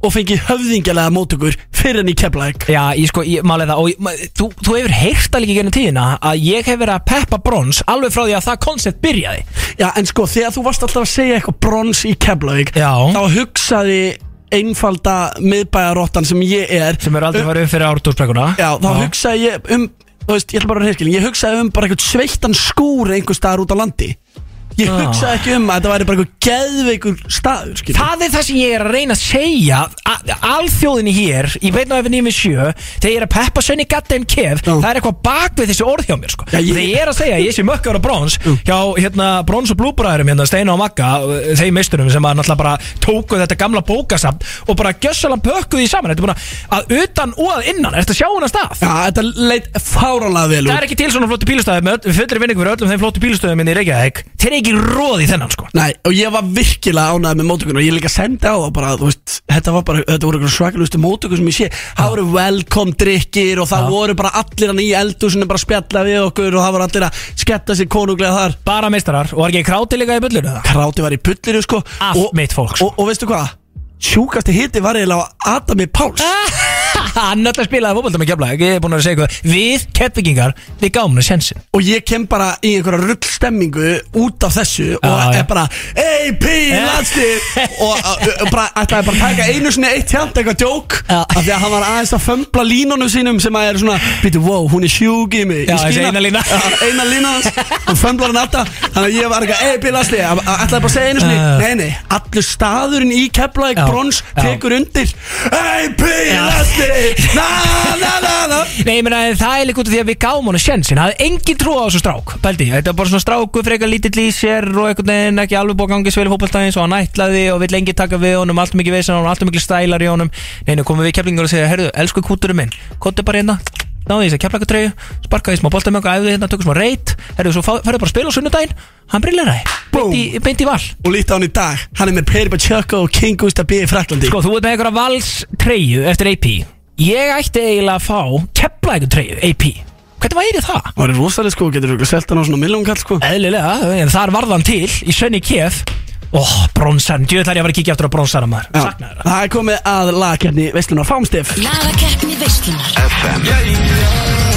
Speaker 3: og fengi höfðingjalega mótökur fyrir enn í keflæk
Speaker 2: Já, ég sko, ég máli það og ég, ma, þú, þú hefur heyrt alveg í gennum tíðina að ég hef verið að peppa brons alveg frá því að það koncept byrjaði
Speaker 3: Já, en sko, þegar þú varst alltaf að segja eitthvað brons í keflæk
Speaker 2: Já.
Speaker 3: þá hugsaði einfalda miðbæjarottan sem ég er
Speaker 2: sem eru aldrei farið um fyrir ártúrsprekuna
Speaker 3: Já, þá hugsaði ég um Þú veist, ég ætla bara að reyskilin Ég hugsaði um bara eitthvað sveittan skúr einhver staðar út á landi Ég
Speaker 2: Já.
Speaker 3: hugsaði ekki um að þetta væri bara eitthvað geðveikur staður, skilur
Speaker 2: Það er það sem ég er að reyna að segja a- Alþjóðinni hér Í veitna ef nými sjö Þegar ég er að peppa sönni gatta en kef
Speaker 3: Já.
Speaker 2: Það er eitthvað bak við þessi orð hjá mér sko.
Speaker 3: Já, ég-
Speaker 2: Þegar ég er að segja að ég sé mökkar á brons Hjá hérna, brons og blúbræðurum hérna, Steina og Magga, uh, þeim meisturum Sem að náttúrulega bara tóku þetta gamla bókasamt Og bara gjössalega pökkuð því saman Þetta er búin að- að utan og að innan Þetta sjá hún að stað
Speaker 3: Já, þetta leit fáranlega vel
Speaker 2: Það
Speaker 3: út
Speaker 2: er ekki til svona flottu bílustæði Með öll- fullri vinningu fyrir öllum þeim flottu bílustæði minni í Reykjavík Þeir eru ekki róð í þennan sko
Speaker 3: Nei, og ég var virkilega ánægð með mótökun og ég líka sendi á það bara, þú veist, þetta var bara, þetta voru eitthvað svakalustu mótökun sem ég sé, það voru velkom drikkir og það voru bara allir hann í eldúsinu bara að spjalla við okkur og það voru allir að sketta sér konunglega þar
Speaker 2: Bara meistarar, og var ekki kráti líka í bullinu það?
Speaker 3: Kráti var í pulliru sko
Speaker 2: Allt
Speaker 3: og,
Speaker 2: mitt fólk, sko.
Speaker 3: og, og veistu hvað? Sjúkasti hitti var eiginlega á Adami Páls
Speaker 2: [laughs] Hann öll að spilaði fókbalta með kefla Ég er búin að segja eitthvað Við keppvikingar, við gáum henni sjensin
Speaker 3: Og ég kem bara í einhverja rullstemmingu út af þessu Og
Speaker 2: Já, já.
Speaker 3: er bara Ey, P, landstir Og uh, uh, bara, ætlaði bara að taka einu sinni eitt hjant Eitthvað djók
Speaker 2: Já.
Speaker 3: Af því að hann var aðeins að fömbla línunum sínum Sem að er svona, býtu, wow, hún er sjúk í mig
Speaker 2: Já,
Speaker 3: Ég skil
Speaker 2: þessi
Speaker 3: það.
Speaker 2: eina lína.
Speaker 3: Já, Eina lína hans Hún fömblar hann alltaf Þannig að ég var eitthvað, ey, P, landstir Ætlaði bara að segja einu sinni
Speaker 2: Já.
Speaker 3: Nei, nei, allur staðurinn í Keflavík
Speaker 2: Já,
Speaker 3: brons
Speaker 2: já.
Speaker 3: Tekur undir Ey, P, landstir Na, na, na, na
Speaker 2: Nei, ég meina, það er líka út af því að við gáum henni sjensin Það er engin trú á þessu strák Bældi, þetta er bara svona stráku frekar lítill í sér Og einhvern veginn ekki alveg búið að gangi sveli fókbaltaðins Og hann ætlaði og vill lengi taka við honum Allt mikið vesen á honum, allt mikið stælar í honum Nei, nú komum við keflingar og segja, herðu, elsku kúturum minn Kóttu bara hérna, náðu því þess að keflakatreyju Sparkaði í smá bolta með okkur, æfðu hérna, tökum smá reyt Herðu, svo fá- ferðu bara að spila á sunnudaginn Hann brilleraði,
Speaker 3: Búm.
Speaker 2: beint í- beint í val
Speaker 3: og líti á hann í dag hann er með Peri Pacheco og King Gustaf B. í Fraklandi
Speaker 2: Sko, þú ert með einhverja valstreyju eftir AP Ég ætti eiginlega að fá keplækutreyju AP Hvernig væri það?
Speaker 3: það er rosalega sko, getur þú selta hann á svona milljónkall sko
Speaker 2: Eðlilega, en þar varðan til í sönni kef Ó, bronsan, djöðu þar ég að vera að kíkja aftur á bronsana maður
Speaker 3: Já.
Speaker 2: Saknaði það
Speaker 3: það er komið að lagkerni Vestlunar Fámstef
Speaker 4: Lagakeppni veislunar
Speaker 5: FM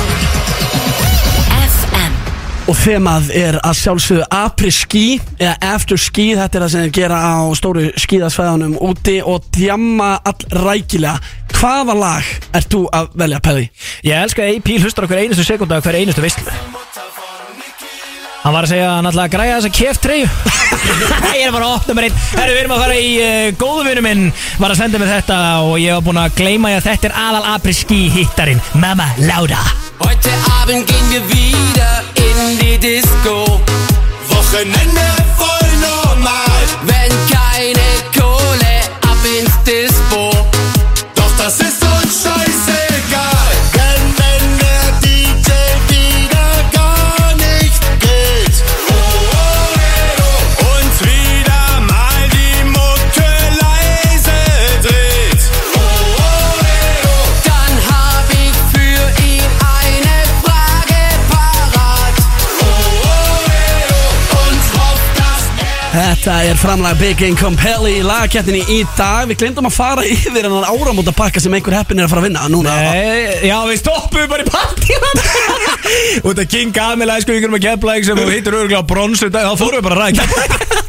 Speaker 4: FM
Speaker 3: og þemað er að sjálfsögðu apri skí eða after skí þetta er það sem þeir gera á stóru skíðasvæðanum úti og djamma all rækilega hvaða lag ert þú að velja Peri?
Speaker 2: Ég elska að AP hlustar okkur einustu sekunda hver einustu veistlu Hann var að segja að hann ætlaði að græja þessa keftreyju [laughs] Ég er bara að opna mér einn Herru, við erum að fara í uh, góðvinu minn Var að senda mér þetta og ég var búin að gleyma ég að þetta er aðal apri skí hittarinn Mamma Lauda
Speaker 6: Heute Abend gehen wir wieder in die Disco.
Speaker 7: Wochenende voll normal,
Speaker 6: Wenn keine Kohle, ab ins Dispo.
Speaker 7: doch das ist uns scheißegal. Denn wenn der DJ wieder gar nicht geht, oh, oh, oh, oh, uns wieder mal die Mucke leise dreht. Oh, oh, oh,
Speaker 6: Dann hab ich für ihn eine Frage parat.
Speaker 7: und hofft, dass er
Speaker 3: Þetta er framlag Big Income Peli í lagkerninni í dag við glemdum að fara yfir en áramóta pakka sem einhver heppin er að fara að vinna núna
Speaker 2: Nei, Eh, já við stoppum bara í [laughs] partíðan Og þetta King Gamil æsku ykkur með keflæk sem þú hittir örgulega bronsu dag þá fórum við bara að ræða keflæk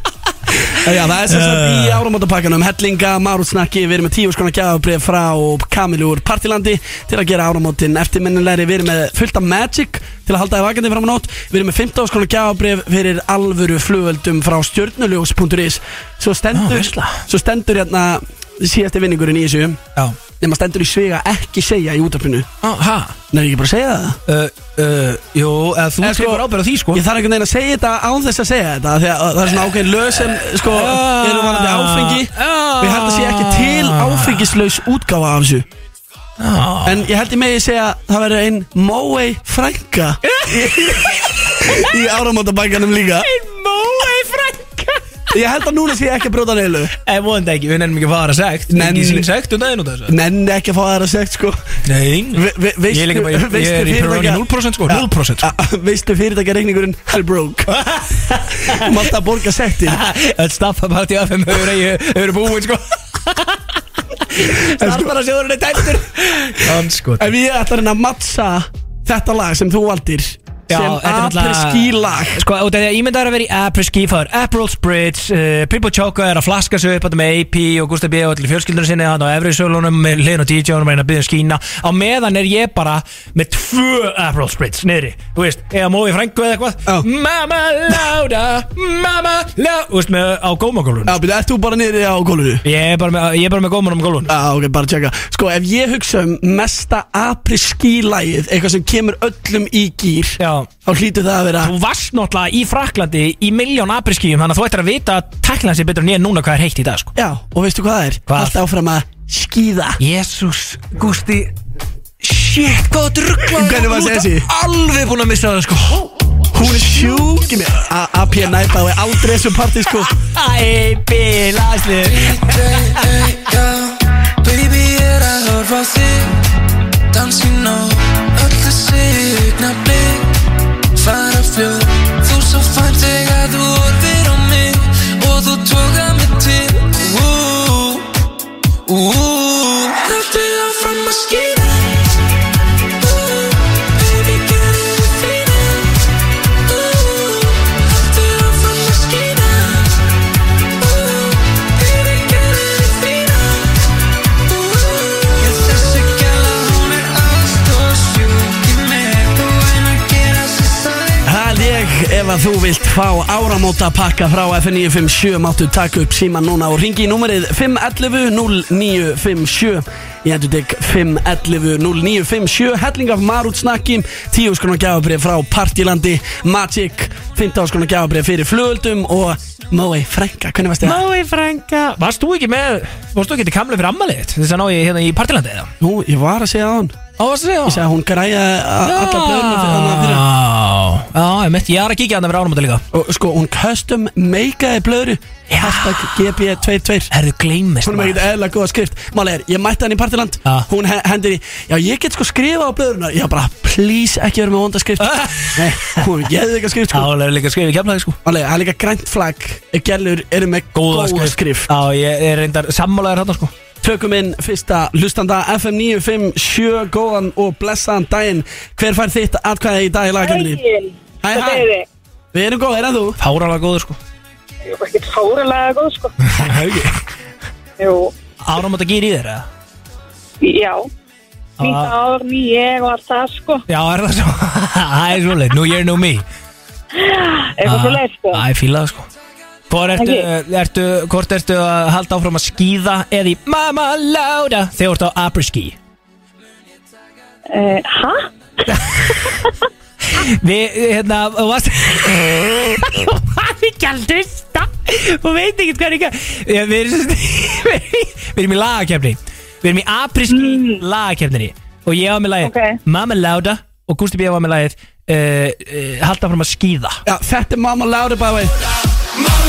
Speaker 3: Já, það er sem sagt í áramótapakkanum Hellinga, Marutsnakki, við erum með tíu skona gjafabrif frá Kamilu úr Partilandi til að gera áramótin eftirminnilegri við erum með fullt af Magic til að halda þið vakandi fram á nótt við erum með 15 skona gjafabrif fyrir alvöru flugöldum frá stjörnuljós.is svo
Speaker 2: Já,
Speaker 3: stendur,
Speaker 2: veistla.
Speaker 3: svo stendur hérna síðasti vinningurinn í þessu
Speaker 2: [laughs] Já,
Speaker 3: nema stendur í svega ekki segja í útarpinu
Speaker 2: hæ
Speaker 3: Nei, ekki bara að segja það
Speaker 2: uh, uh, Jú, eða þú
Speaker 3: Eða sko-
Speaker 2: tekur ábyrgð á því sko
Speaker 3: Ég þarf einhvern veginn að segja þetta án þess að segja þetta af Því að það er svona ákveðin lög sem sko,
Speaker 2: Ah.
Speaker 3: eru varandi áfengi
Speaker 2: Ah.
Speaker 3: Við held að sé ekki til áfengislaus útgáfa af þessu
Speaker 2: Ah.
Speaker 3: En ég held ég megi að segja að það verður ein Móei frænka
Speaker 2: [laughs]
Speaker 3: Í áramótabækanum líka
Speaker 2: Mói frænka
Speaker 3: Ég held að núna sé ég ekki að brjóta neilu
Speaker 2: En Eh, vonandi ekki, við nefnum ekki að fara sekt
Speaker 3: Nenn-
Speaker 2: Ekki sín sekt og daginn út af þessu
Speaker 3: Nenni ekki að fá aðra sekt sko
Speaker 2: Nei
Speaker 3: Ve- ve-
Speaker 2: Ég
Speaker 3: veistu-
Speaker 2: er líka bara, ég- ég
Speaker 3: veistu
Speaker 2: er í Peroni
Speaker 3: fyrirtækja-
Speaker 2: 0% sko
Speaker 3: Ja.
Speaker 2: 0% sko
Speaker 3: A- a- Veistu fyrirtækja reikningurinn Hell broke Mátt að borga sektin
Speaker 2: [laughs] Öll staffa bara til FM Þau eru- þau eru búin sko Starfara sjóðurinn er tæmtur Hanskot
Speaker 3: Ef ég ætla að reyna að mattsa þetta lag sem þú valdir
Speaker 2: Já,
Speaker 3: Sem
Speaker 2: þetta er náttúrulega-
Speaker 3: apreski lag
Speaker 2: Sko, út af því að ímyndar að vera í Apreski fór April's Bridge, uh, Pippo Choco er að flaska sig upp þetta með AP og Gustaf B og allir fjölskyldunum sinni hann á Efri Sölunum með Lin og DJ-unum að reyna að byggja skína á meðan er ég bara með tvö April's Bridge niðri, þú veist, eða mói frængu eða eitthvað
Speaker 3: Já.
Speaker 2: Mama Lauda Mama Lauda, þú veist, með á gómagólun
Speaker 3: Já, byrja, ert þú bara niður á gólfinu?
Speaker 2: Ég er bara með, ég er bara með gómanum á gólun
Speaker 3: Já, ok, bara tjekka Sko, ef ég hugsa um mesta apreski-lægið Eitthvað sem kemur öllum í gýr
Speaker 2: Já.
Speaker 3: Þá hlýtur það að vera
Speaker 2: Þú varst náttúrulega í Fraklandi í miljón apriskíum þannig að þú ættir að vita að tækla sér betur en ég núna hvað er heitt í dag sko.
Speaker 3: Já, og veistu hvað það er?
Speaker 2: Hvað?
Speaker 3: Allt áfram að skýða
Speaker 2: Jésús, Gusti Shit, hvað þú rugglaði
Speaker 3: Hvernig var þessi?
Speaker 2: Alveg búin að missa það sko
Speaker 3: Hún er sjúk í mér A- AP næpa og er aldrei þessu partí, sko
Speaker 2: Æ, bílasli
Speaker 6: Baby, ég er að horfa á þig Danskin á öll þessi augnablik Fara fljóð Þú svo fæn þegar þú orðir á mig Og þú tóka mig til Ú, ú, Haltu áfram að skýra Baby, gerðu þig fína Ú, Haltu áfram að skýra Ú, Baby, gerðu þig fína Ég þessi gæla hún er aðstóðsjúk í mig Þú einn að gera sér sæk
Speaker 3: Það er ég ef að þú vilt fá áramóta pakka frá F957 máttu taka upp síma núna og ringi í númerið 511-0957 ég endur deg 511-0957 helling af marútsnakki 10 skona gjafabrið frá Partilandi Magic 15 skona gjafabrið fyrir flugöldum og Mói Frænka, hvernig varst það?
Speaker 2: Mái frænga Varst þú ekki með, varst þú ekki til kamlega fyrir ammalið þitt? Þess að ná ég hérna í partilandi eða?
Speaker 3: Nú, ég var að segja á hann
Speaker 2: Á, varst þú
Speaker 3: Ég
Speaker 2: að segja
Speaker 3: segja að hún græja alla blöðuna fyrir hann fyrir
Speaker 2: Já, já, ég mitt, ég er að kíkja hann að vera ánumönda líka
Speaker 3: og sko, hún custom meikaði blöðru hashtag E GB22
Speaker 2: Herðu gleymist
Speaker 3: Hún er með ekkert eðla góða skrift Máli er, ég mætti hann í partiland
Speaker 2: Ja.
Speaker 3: Hún he- hendir í Já, ég get sko skrifa á blöðurna Já, bara, please, ekki vera með vonda [laughs] skrift Nei, hún geði eitthvað skrift sko
Speaker 2: Það er líka að skrifa í kemlaði sko
Speaker 3: Máli, það er líka grænt flagg Gellur eru með góða, skrift,
Speaker 2: Já, ég er reyndar sammálaður hérna sko
Speaker 3: Tökum inn fyrsta hlustanda FM 957 Góðan og blessaðan daginn Hver fær þitt atkvæði í dag í lagakemni? Hæ,
Speaker 8: Hvað
Speaker 3: hæ,
Speaker 8: segir þið?
Speaker 3: við erum góðir en þú
Speaker 2: Fáralega góður
Speaker 3: [laughs]
Speaker 2: sko
Speaker 8: Ég var ekkert fáralega góð, sko. Jú,
Speaker 2: Ánumönda gýr í þér eða?
Speaker 8: já. Nýtt
Speaker 3: Ah.
Speaker 8: ár, ný ég og allt það, sko.
Speaker 2: Já, er það svo? [laughs] Það er svolítið, new year, new me
Speaker 8: Eitthvað
Speaker 3: Ah.
Speaker 8: svo leið, sko.
Speaker 2: Það er fílað, sko Hvor ertu, ertu, hvort ertu að halda áfram að skýða eða í Mama Lauda þegar þú ert á abriski
Speaker 8: Eh, Hæ?
Speaker 2: Við, hérna, þú varst [laughs] Þú varst ekki að hlusta Þú veit ekki hvað er ekki að [laughs] Við erum sem- við erum í lagakefni Við erum í abriski mm. lagakefninni Og ég var með lagið
Speaker 8: Ok.
Speaker 2: Mama Lauda og Gusti B. var með lagið uh, uh, Halda áfram að skýða
Speaker 3: Já, þetta er Mama Laura by the way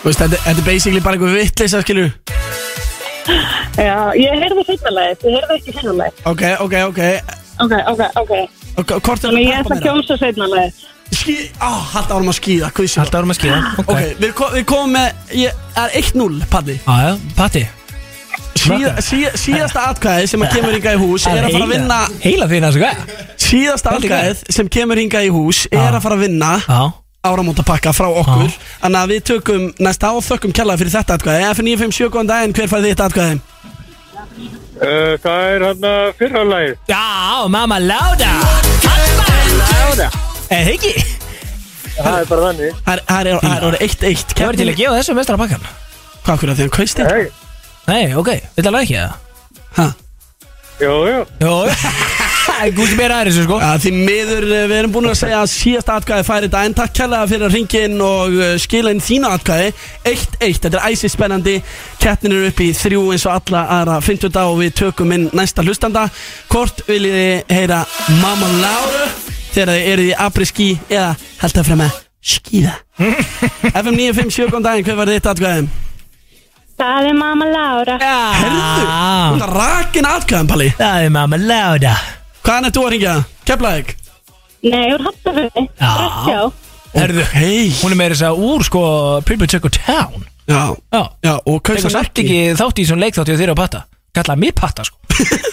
Speaker 3: Þú veist, þetta, þetta er basically bara eitthvað vittleysa, skilur
Speaker 8: Já, ég heyrði hinnalagið, ég heyrði ekki hinnalagið.
Speaker 3: Ok, ok, ok
Speaker 8: Ok, ok, ok.
Speaker 3: Og hva- hvort er
Speaker 8: Þannig ég
Speaker 3: að
Speaker 8: ætla
Speaker 3: peppa
Speaker 8: að kjósa seinnalagið.
Speaker 3: Skí, á, halda árum að skýða, hvað sé
Speaker 2: Halda áfram að skýða
Speaker 3: Ok, við, kom, við komum með, ég það er 1-0, Palli
Speaker 2: Jájá, Ah, Patti
Speaker 3: Síða, síða, Síðasta atkvæðið sem að kemur hingað í hús er að fara að vinna
Speaker 2: Heila þín að sko
Speaker 3: Síðasta
Speaker 2: Palli,
Speaker 3: atkvæðið sem kemur hingað í hús
Speaker 2: Ah.
Speaker 3: er að fara að vinna
Speaker 2: Já
Speaker 3: áramótapakka frá
Speaker 2: Ah.
Speaker 3: okkur Þannig að við tökum næsta á og þökkum kjallaði fyrir þetta atkvæði F957, góðan daginn, hver fær þitt atkvæði?
Speaker 9: Uh, það er hann að fyrra lagið.
Speaker 2: Já, mamma láta Láta Eða ekki
Speaker 9: Það er bara þannig.
Speaker 3: Það er- það er það er orðið
Speaker 2: Ég
Speaker 3: 1-1
Speaker 2: var til
Speaker 3: Kefnin-
Speaker 2: að gefa þessu mestra pakkan
Speaker 3: Hvað okkur að því hann kaust þig?
Speaker 9: Hey.
Speaker 2: Nei, ok, við talaðu ekki það
Speaker 3: Ha?
Speaker 2: [laughs]
Speaker 9: Jú, jú.
Speaker 2: Jó, gúti meira aðeins sko
Speaker 3: Já, því miður, eh, við erum búin að segja að síðast atkvæði færi þetta En takk kærlega fyrir að ringi inn og eh, skila inn þína atkvæði 1-1, þetta er æsi spennandi Kettin eru upp í þrjú eins og alla aðra 50 dag og við tökum inn næsta hlustanda Hvort viljið þið heyra Mamma Láru Þegar þið eruð í abriski eða held að fremja
Speaker 2: [laughs]
Speaker 3: skýða FM 957, góðan daginn, hver var þitt atkvæði?
Speaker 8: Það er mamma Lára.
Speaker 3: Herðu,
Speaker 2: Ah.
Speaker 3: hún er rakin atkvæðan, Palli
Speaker 2: Það er mamma láda
Speaker 3: Hvaðan ert þú að ringja? Keflaðið?
Speaker 8: Nei, úr Hafnarfjörði.
Speaker 2: Já.
Speaker 8: Rekkjá.
Speaker 2: Herðu,
Speaker 3: Hei
Speaker 2: hún er meira þess að úr sko People Check Your Town
Speaker 3: Já,
Speaker 2: Já.
Speaker 3: já og
Speaker 2: Tekur
Speaker 3: kausar
Speaker 2: samt ekki þátt í svona leikþátti og þeirra á patta Kallaði mig patta [laughs] sko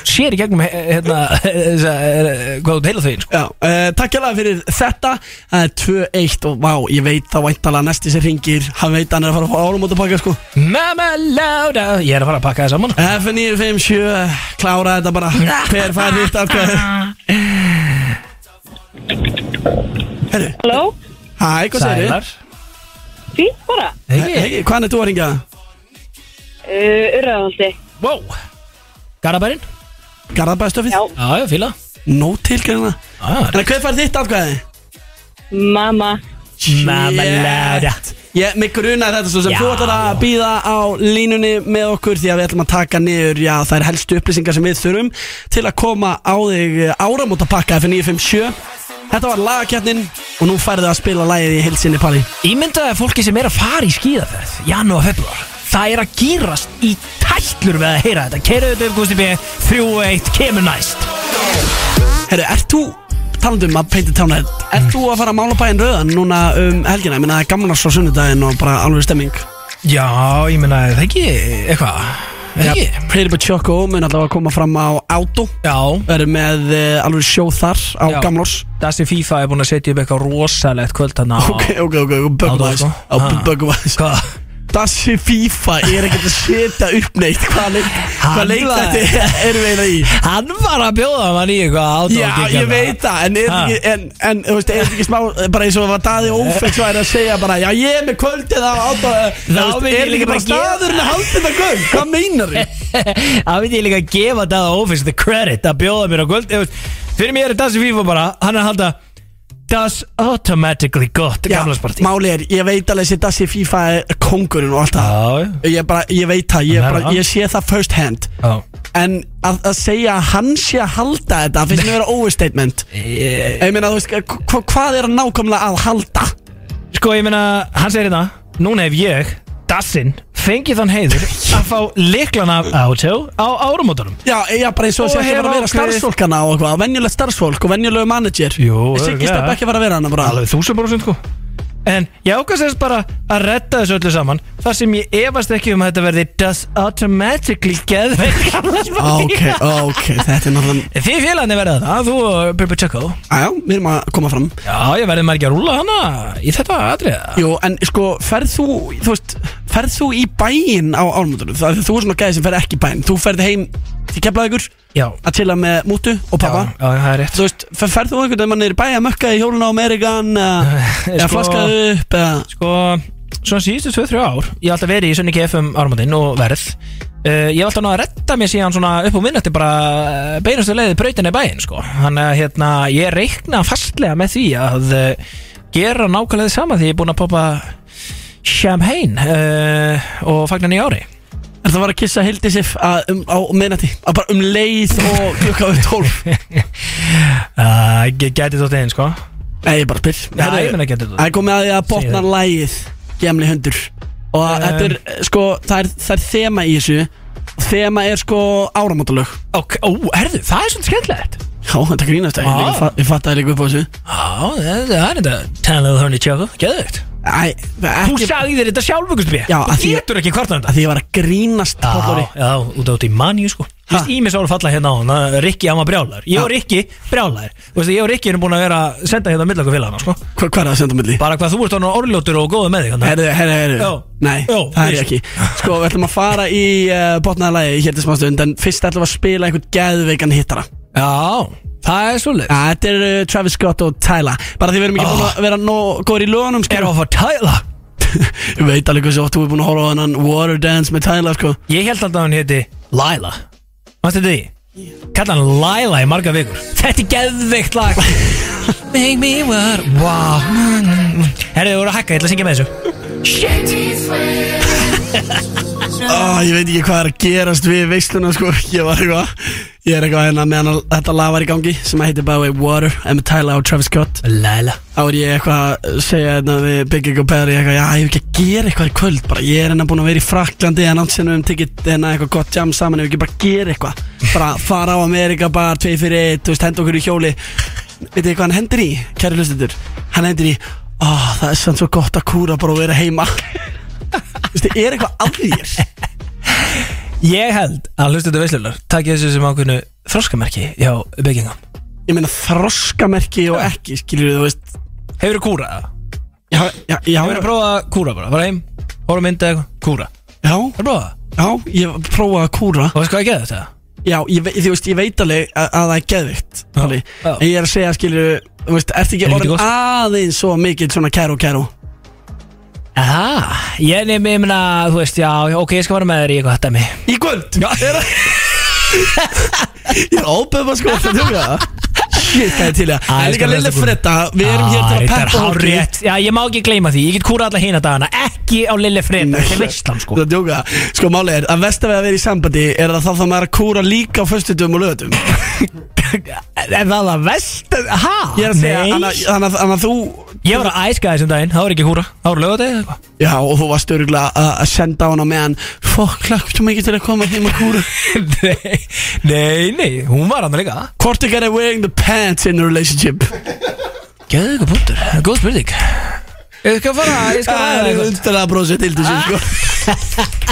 Speaker 2: Sér í gegnum he- hérna þessa, eh, Hvað þú heila þau sko
Speaker 3: Já, uh, takk hérlega fyrir þetta Það er 2-1 og vá, ég veit þá væntalega næsti sem ringir Hann veit að hann er að fara að fá árum út að pakka sko
Speaker 2: Mamma láda Ég er að fara að pakka það saman sko.
Speaker 3: F957, klára þetta bara Hver fær hitt af hvað Herru,
Speaker 8: Halló?
Speaker 3: hæ, hvað segir þið?
Speaker 2: Sælar
Speaker 8: Fýtt bara.
Speaker 2: Hei,
Speaker 3: Hey, hvaðan er þú að ringa?
Speaker 8: Uh, Urðavaldi.
Speaker 2: wow Garabærin
Speaker 3: Garðabæðstöfið?
Speaker 8: Já.
Speaker 2: Já, já, fíla
Speaker 3: Nó tilgjörna
Speaker 2: Já,
Speaker 3: En hver fær þitt af hvað?
Speaker 8: Mamma.
Speaker 2: Mamma láda
Speaker 3: Ég, mig grunar þetta svo sem
Speaker 2: Já,
Speaker 3: þú ætlar að
Speaker 2: já.
Speaker 3: býða á línunni með okkur því að við ætlum að taka niður já, þær helstu upplýsingar sem við þurfum til að koma á þig eh, áramóta pakka F957 Þetta var lagakjarnin og nú færðu að spila lagið í heilsinni Palli
Speaker 2: Ímyndaði fólki sem er að fara í skíðaferð Janu og februar Það er að gýrast í tætlur við að heyra þetta Keirðu þetta upp Gusti B 3-1 kemur næst
Speaker 3: Herru, ert þú talandum um að peinti tánæð Ert þú að fara að mála bæinn rauðan núna um helgina? Ég meina það er gaman að svo sunnudaginn og bara alveg stemming
Speaker 2: Já, ég meina, er það ekki eitthvað Er það ekki?
Speaker 3: Pretty But Choco mun alltaf að koma fram á Auto
Speaker 2: Já
Speaker 3: Verður með uh, alveg sjó þar á
Speaker 2: Já.
Speaker 3: Gamlós
Speaker 2: Dassi FIFA er búin að setja upp eitthvað rosalegt kvöld hann á
Speaker 3: [laughs] Ok, ok, ok, ok,
Speaker 2: Á
Speaker 3: böggum aðeins
Speaker 2: Dorgo.
Speaker 3: Á
Speaker 2: sko. Ha.
Speaker 3: böggum aðeins
Speaker 2: Hvað?
Speaker 3: Dassi FIFA, ég er ekkert að setja upp neitt Hvað leik,
Speaker 2: Hann
Speaker 3: hvað leik
Speaker 2: var-
Speaker 3: þetta erum við eiginlega í
Speaker 2: Hann var að bjóða mann í eitthvað átó
Speaker 3: Já, ég veit það, en, er
Speaker 2: Ha.
Speaker 3: ekki, en, en þú veist, er þetta ekki smá, bara eins og það var daði ófengt svo er að segja bara, já ég er með kvöldið á átta, þú
Speaker 2: Eh. Þá
Speaker 3: veist,
Speaker 2: veit ég líka
Speaker 3: er ekki bara
Speaker 2: bara að gera-
Speaker 3: staðurinn að halda þetta kvöld, hvað
Speaker 2: [laughs]
Speaker 3: meinar þið?
Speaker 2: Það veit ég líka að gefa Dada Office the credit að bjóða mér á kvöld Ég veist, Fyrir mér er Dassi FIFA bara Hann er að halda Das automatically got Gamlasparti
Speaker 3: máli er, ég veit alveg þessi Dassi FIFA er kongurinn og allt það,
Speaker 2: Já,
Speaker 3: ég bara, ég veit það, ég,
Speaker 2: Það er
Speaker 3: bara,
Speaker 2: það.
Speaker 3: ég sé það first hand,
Speaker 2: já
Speaker 3: En að, að segja að hann sé að halda þetta finnst mér að vera overstatement
Speaker 2: Eh,
Speaker 3: Ég meina, þú veist, hva, hvað er hann nákvæmlega að halda?
Speaker 2: Sko ég meina, hann segir þetta Núna ef ég, Dassin, fengið þann [laughs] heiður að fá liklan af átjó á árumótunum
Speaker 3: Já, já, bara eins og
Speaker 2: Og
Speaker 3: að segja ekki
Speaker 2: hef
Speaker 3: bara að vera
Speaker 2: ákveðið-
Speaker 3: starfsfólkana og eitthvað Venjulegt starfsfólk og venjulegu manager
Speaker 2: Jú,
Speaker 3: Siggi
Speaker 2: örugglega.
Speaker 3: stepp ekki að vera að vera hann bara
Speaker 2: Alveg þúsund brúsin sko En ég ákast þess bara að redda þessu öllu saman Þar sem ég efast ekki um að þetta verði Does automatically get
Speaker 3: [laughs] Ok, ok, þetta er náttúrulega
Speaker 2: Þið félagni verða það, þú og Bubba Choco
Speaker 3: Æjá, við erum að koma fram
Speaker 2: Já, ég verði maður ekki að rúla hana í þetta atriða
Speaker 3: Jú, en sko, ferð þú, þú veist, ferð þú í bæinn á álmundunum? Það er þú er svona gæði sem ferð ekki í bæinn Þú ferð heim til keflaðugur
Speaker 2: Já,
Speaker 3: að chilla með mútu og pappa
Speaker 2: já, já, það er rétt
Speaker 3: Þú veist, fer- ferð þú einhvern veginn mann er í bæ að mökka í hjóluna á Amerikan [laughs] eða eða
Speaker 2: Sko-
Speaker 3: flaskaðu upp eða
Speaker 2: Sko, svona síðustu 2-3 ár Ég hef alltaf verið í Sunni KFM áramótin og verð uh, Ég hef alltaf náð að redda mér síðan svona upp á minnætti bara uh, beinustu leiði brautin í bæinn sko Þannig að hérna, ég reikna fastlega með því að uh, gera nákvæmlega sama því ég er búinn að poppa champagne uh, og fagna nýja ári
Speaker 3: Er það var að kissa Hildi Sif að, um, á minnati að bara um leið og klukka við tólf [laughs]
Speaker 2: uh, Gæti þótt einn sko
Speaker 3: Nei, ég bara spyr
Speaker 2: Já,
Speaker 3: Herru,
Speaker 2: ég meina getur þú.
Speaker 3: Það er komið að því að botna
Speaker 2: Segðu.
Speaker 3: lægið Gemli hundur Og þetta er, sko, það er, það er þema í þessu Þema er sko áramótalög
Speaker 2: Ok, ó, herðu, það er svona skemmtilegt
Speaker 3: Já, þetta grínast ekki
Speaker 2: Vá.
Speaker 3: Ég, fa ég fatt að það líka upp á þessu
Speaker 2: Já, það það er þetta Tænlega þannig tjóku, geðvögt
Speaker 3: Æ,
Speaker 2: Þú
Speaker 3: ekki
Speaker 2: sagði þér þetta sjálf, Gustaf B.
Speaker 3: Já,
Speaker 2: Þú
Speaker 3: að því-
Speaker 2: getur ekki hvort um þetta
Speaker 3: að því ég var að grínast Pálfóri.
Speaker 2: Já, já, út átt í manju sko Þú veist,
Speaker 3: Ha?
Speaker 2: Ímis ára falla hérna á hann að Rikki, hann var brjálæður Ég og
Speaker 3: Já.
Speaker 2: Rikki, brjálæður Þú veist, ég og Rikki erum búin að vera að senda hérna millega félagana sko
Speaker 3: Hva- Hvað er það að senda á milli?
Speaker 2: Bara hvað þú ert hann orðljótur og góður með þig hérna. hann
Speaker 3: Herðu, herðu, herðu
Speaker 2: Já.
Speaker 3: Nei,
Speaker 2: Já,
Speaker 3: það er ég
Speaker 2: víst.
Speaker 3: ekki Sko, við ætlum að fara í uh, botnaðalagi hér til smá stund En fyrst ætlum við að spila einhvern geðveikan hittara
Speaker 2: Já, það er svolítið
Speaker 3: ja, Þetta er uh, Travis Scott og Tyla Bara því við erum ekki búin að vera nóg góður í lögunum
Speaker 2: Ah. Er
Speaker 3: skilur.
Speaker 2: of a Tyla
Speaker 3: Ég veit alveg hversu oft þú er búin að horfa á hennan Water Dance með Tyla, sko
Speaker 2: Ég held alltaf að hann héti Laila Manstu þetta því? Kalla hann Laila í marga vikur [laughs] Þetta er geðveikt lag [laughs] Make me what Wow Herðu, þú voru að hakka, ég ætla að syngja með þessu
Speaker 3: Ó, Ah, ég veit ekki hvað er að gerast við veisluna sko Ég var eitthvað Ég er eitthvað hérna meðan að þetta lag var í gangi sem að heitir by the way Water Emma Tyler og Travis Scott
Speaker 2: Laila
Speaker 3: Þá er ég eitthvað að segja hérna við Big Ego Perry eitthvað Já, ég hef ekki að gera eitthvað í kvöld bara Ég er hérna búin að vera í Fraklandi en átt sem við um tiggit hérna eitthvað gott jam saman Ef ekki bara gera eitthvað Bara fara á Amerika bara, tvei fyrir eitt, þú veist, henda okkur í hjóli Veit þið hvað hann hendur í, kæri hlustendur Hann hendur í, ó, það er sann svo gott að kúra bara og vera heima Þú veist, er eitthvað að þér?
Speaker 2: Ég held að hlustu þetta veislunar Takk þessu sem ákveðnu þroskamerki hjá Byggingam
Speaker 3: ég meina þroskamerki og ekki skilur þú veist
Speaker 2: Hefurðu kúrað það?
Speaker 3: já, já, já,
Speaker 2: Hefurðu prófað að kúra bara Fara heim, horfa myndið eitthvað Kúra
Speaker 3: já,
Speaker 2: Hefurðu prófað það?
Speaker 3: já, ég prófaði að kúra
Speaker 2: Og veist hvað ég geði þetta?
Speaker 3: já, ég, vei- þú veist, ég veit alveg að, að það er geðvikt
Speaker 2: Já,
Speaker 3: Palli.
Speaker 2: já.
Speaker 3: en ég er að segja skilur þú veist, ertu
Speaker 2: Er
Speaker 3: ekki
Speaker 2: ekki
Speaker 3: orðin
Speaker 2: gott?
Speaker 3: aðeins svo mikið svona kæru kæru
Speaker 2: Aha, ég nefnir, ég meina, þú veist, já, já, ok, ég skal vara með þér í eitthvað dæmi
Speaker 3: í kvöld já,
Speaker 2: [laughs]
Speaker 3: er að Ég er ábæðum að sko að tjóka það Shit, hvað er til í það
Speaker 2: Æ,
Speaker 3: En líka
Speaker 2: sko,
Speaker 3: Lille
Speaker 2: næsta
Speaker 3: Fredda, við erum hér til
Speaker 2: Ah,
Speaker 3: að
Speaker 2: Þetta er
Speaker 3: peppa
Speaker 2: hár
Speaker 3: fólki.
Speaker 2: rétt Já, ég má ekki gleyma því Ég get kúra alla hina dagana Ekki á Lille Fred Þetta er veistlam sko
Speaker 3: Það er djóka Sko máli er að vest að við að vera í sambandi Er að þá þá maður að kúra líka á föstudum og lögatum
Speaker 2: En það var vest Hæ?
Speaker 3: Ég er að segja
Speaker 2: Nei.
Speaker 3: Þannig að- þannig að- þannig að þú
Speaker 2: Ég var að æska þessum um daginn Það var ekki kúra Það var lögadegi eða eitthvað [laughs]
Speaker 3: Já og þú varst öruglega að að senda hana með hann Fokk, klakkt um ekki til að koma heim að kúra
Speaker 2: Nei, nei, nei Hún var hann líka
Speaker 3: Hvort ykkar er wearing the pants in a relationship
Speaker 2: Gæðu ykkur punktur Góð spurning Ég skal fara Ég skal
Speaker 3: Það
Speaker 2: fara
Speaker 3: er
Speaker 2: eitthvað
Speaker 3: undraða brósið til þessu sko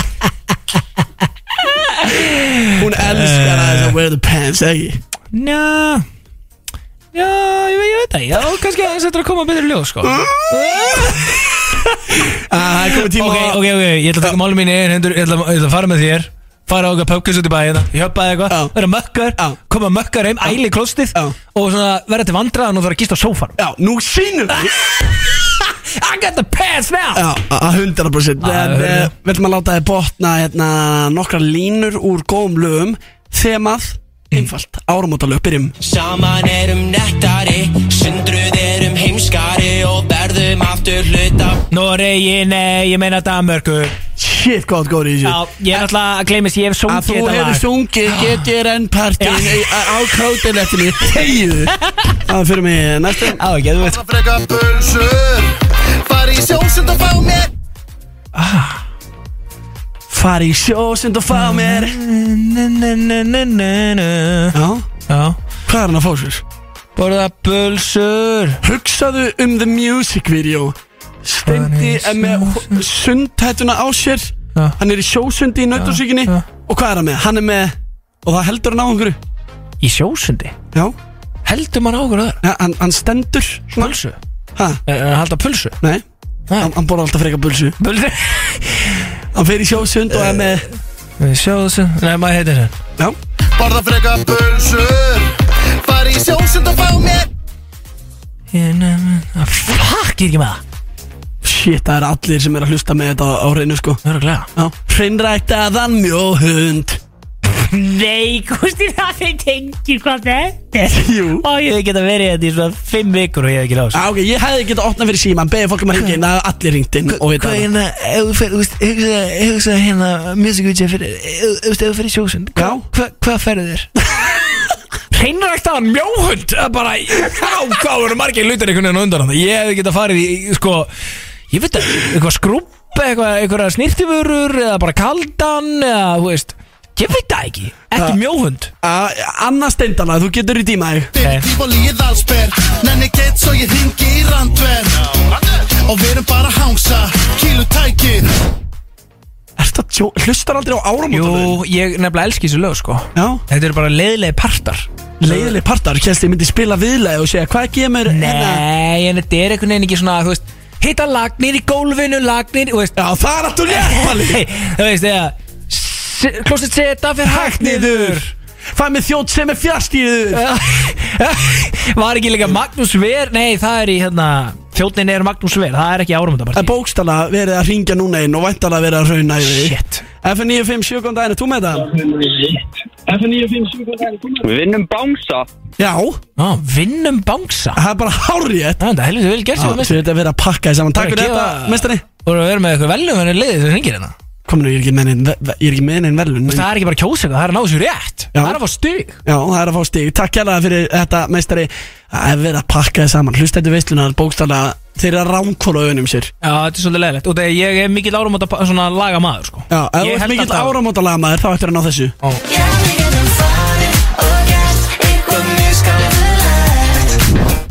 Speaker 3: Hún elskar að þess að wear the pants, ekki?
Speaker 2: Njá Já, ég, ég veit það Já, kannski að þetta er að koma betur í ljós sko
Speaker 3: Ah, Það er komið tíma
Speaker 2: Ok,
Speaker 3: á-
Speaker 2: ok, ok, ég ætla að taka málum mín í einn hendur Ég ætla, ég ætla að fara með þér Fara á okkar pöpkins út í bæina Hjöpaði
Speaker 3: Já.
Speaker 2: eitthvað, vera mökkar
Speaker 3: Já.
Speaker 2: Koma mökkar heim, æli í klóstið
Speaker 3: Já.
Speaker 2: Og svona vera til vandraðan og þú þarf að gista á sófanum
Speaker 3: Já, nú sýnum við
Speaker 2: I got the pants now
Speaker 3: Já, að 100%
Speaker 2: Já,
Speaker 3: En
Speaker 2: já, já.
Speaker 3: eh, vill maður láta þið botna hérna, nokkra línur úr góðum lögum Þemað, einfalt, áramótalög, byrjum
Speaker 10: Saman erum nettari, sundruð erum heimskari og verðum aftur hluta
Speaker 2: Noregi, nei, ég meina Danmörku
Speaker 3: Shit, gott góður í
Speaker 2: Já,
Speaker 3: þessu
Speaker 2: ég er alltaf að gleymis, ég hef
Speaker 3: Að
Speaker 2: sungið
Speaker 3: þú
Speaker 2: þetta
Speaker 3: hefur
Speaker 2: lag
Speaker 3: sungið get ég rennpartin
Speaker 2: Já.
Speaker 3: á krátilettinu Þegiðu Það fyrir mig næstu
Speaker 2: Á, ekki, þú veit
Speaker 7: Það freka pulsur Far í sjósund og fá mér
Speaker 3: Fari í sjósund og
Speaker 2: Mm.
Speaker 3: fá mér
Speaker 2: Já,
Speaker 3: Já, hvað er hann að fá sér?
Speaker 2: borða bulsur
Speaker 3: Hugsaðu um the music video Steindi
Speaker 2: Fara í
Speaker 3: er með hó- sundhættuna á sér
Speaker 2: Já.
Speaker 3: Hann er í sjósundi í nautasíkinni
Speaker 2: Já, já.
Speaker 3: Og hvað er hann með? Hann er með Og það heldur hann á einhverju
Speaker 2: Í sjósundi,
Speaker 3: Já,
Speaker 2: heldur maður á okkur öðru
Speaker 3: ja, hann, hann stendur svona.
Speaker 2: Pulsu,
Speaker 3: Ha,
Speaker 2: er er að halda pulsu
Speaker 3: nei
Speaker 2: Nei.
Speaker 3: Hann, hann borða alltaf freka bulsu
Speaker 2: Bulsu
Speaker 3: Hann fer í sjósund og er
Speaker 2: Eh.
Speaker 3: með
Speaker 2: Sjóðsson, nei maður heitir hérna. hann
Speaker 3: Já,
Speaker 7: Borða freka pulsur Far í sjósund og fá mér
Speaker 2: Ég nefnir það Fuck, ég er ekki með það
Speaker 3: shit, það er allir sem er að hlusta með þetta á, á reynu sko
Speaker 2: Það er að glæða
Speaker 3: Já, hreinræktaðan mjóhund
Speaker 2: Nei, Gusti, það er tengið hvað þetta er Ah,
Speaker 3: Jú
Speaker 2: Og ég hef ekki að verið þetta í svona fimm vikur og ég hef ekki lást
Speaker 3: Já, Ah, ok, ég hefði getað opnað fyrir síman, beðið fólk um að hringja inn, það er allir ringt inn og veit
Speaker 2: Hvað
Speaker 3: það.
Speaker 2: hérna, ef þú fer, þú veist, hugsa, hugsa hérna Music Video fyrir, ef þú veist, ef þú fer í sjósund hva,
Speaker 3: Já.
Speaker 2: hva, Hvað ferðu þér? Hreinrækt af hann mjóhund Það er bara, já, hvað voru margir lutar einhvern veginn á undan hann Ég hef ekki að farið í, í, sko Ég veit að, eitthvað skrúpp eitthvað, eitthvað snirtifurur eða bara kaldan eða, þú veist Ég veit það ekki, ekki mjóhund
Speaker 3: Já, Ah, Anna Steindala, þú getur í tíma þig.
Speaker 2: Ok.
Speaker 7: Fyrir tífólíið allsber Nenni gett svo ég hringi í randver Og við erum bara að hangsa Kílu tækir
Speaker 3: Ertu að tjó, hlustar aldrei á áramótalögin?
Speaker 2: Jú, ég nefnilega elski þessu lög, sko
Speaker 3: Já,
Speaker 2: Þetta eru bara leiðilegi partar
Speaker 3: leiðileg partar, kjæst ég myndi spila viðlega og segja, hvað gemur hérna?
Speaker 2: Nei, en þetta er einhvern veginn ekki svona, þú veist Hitta lagnir í gólfinu, lagnir, þú veist
Speaker 3: Já, það er alltaf létt, Palli.
Speaker 2: Nei, Þú veist, þegar Klósett seta fyrir hægt niður
Speaker 3: Fæ mig þjótt sem er fjast í
Speaker 2: Eh.
Speaker 3: þur.
Speaker 2: Var ekki líka Magnús Ver Nei, það er í hérna Þjóttin er Magnús Ver, það er ekki
Speaker 3: Það er
Speaker 2: árumöndabartí
Speaker 3: bókstala verið að ringja núna inn og væntala verið að rauna yfir.
Speaker 2: Shit.
Speaker 3: FN95 sjökvæm daginn, er þú með þetta? FN95 sjökvæm daginn, er þú með þetta?
Speaker 11: Við vinnum bánsa
Speaker 3: Já
Speaker 2: Já, vinnum bangsa
Speaker 3: Það er bara hárið
Speaker 2: Það er helviti vel gert
Speaker 3: Já,
Speaker 2: mestari.
Speaker 3: Þú veit að vera að pakka því saman Takk fyrir þetta, mestari
Speaker 2: Þú voru að vera með eitthvað velum en liðið sem hringir hérna
Speaker 3: Kominu, ég er ekki með neinn ve- ve- ég er ekki með neinn verðlun
Speaker 2: Þú veist, Það er ekki bara að kjósa eitthvað, það er að ná þessu rétt
Speaker 3: Já.
Speaker 2: Það er að fá stig
Speaker 3: Já, það er að fá stig Takk kærlega fyrir þetta, meistari Það er verið að pakka þið saman Hlustættu veistlunar, bókstallega Þeir eru að ránkóla önum sér
Speaker 2: Já, þetta er svolítið leðilegt Og þegar ég er mikill árum að svona laga maður sko.
Speaker 3: Já, ef
Speaker 2: Ég
Speaker 3: þú ert
Speaker 2: held
Speaker 3: mikill
Speaker 2: alltaf-
Speaker 3: áramótalaga maður Þá ættir að ná þessu
Speaker 2: Ó.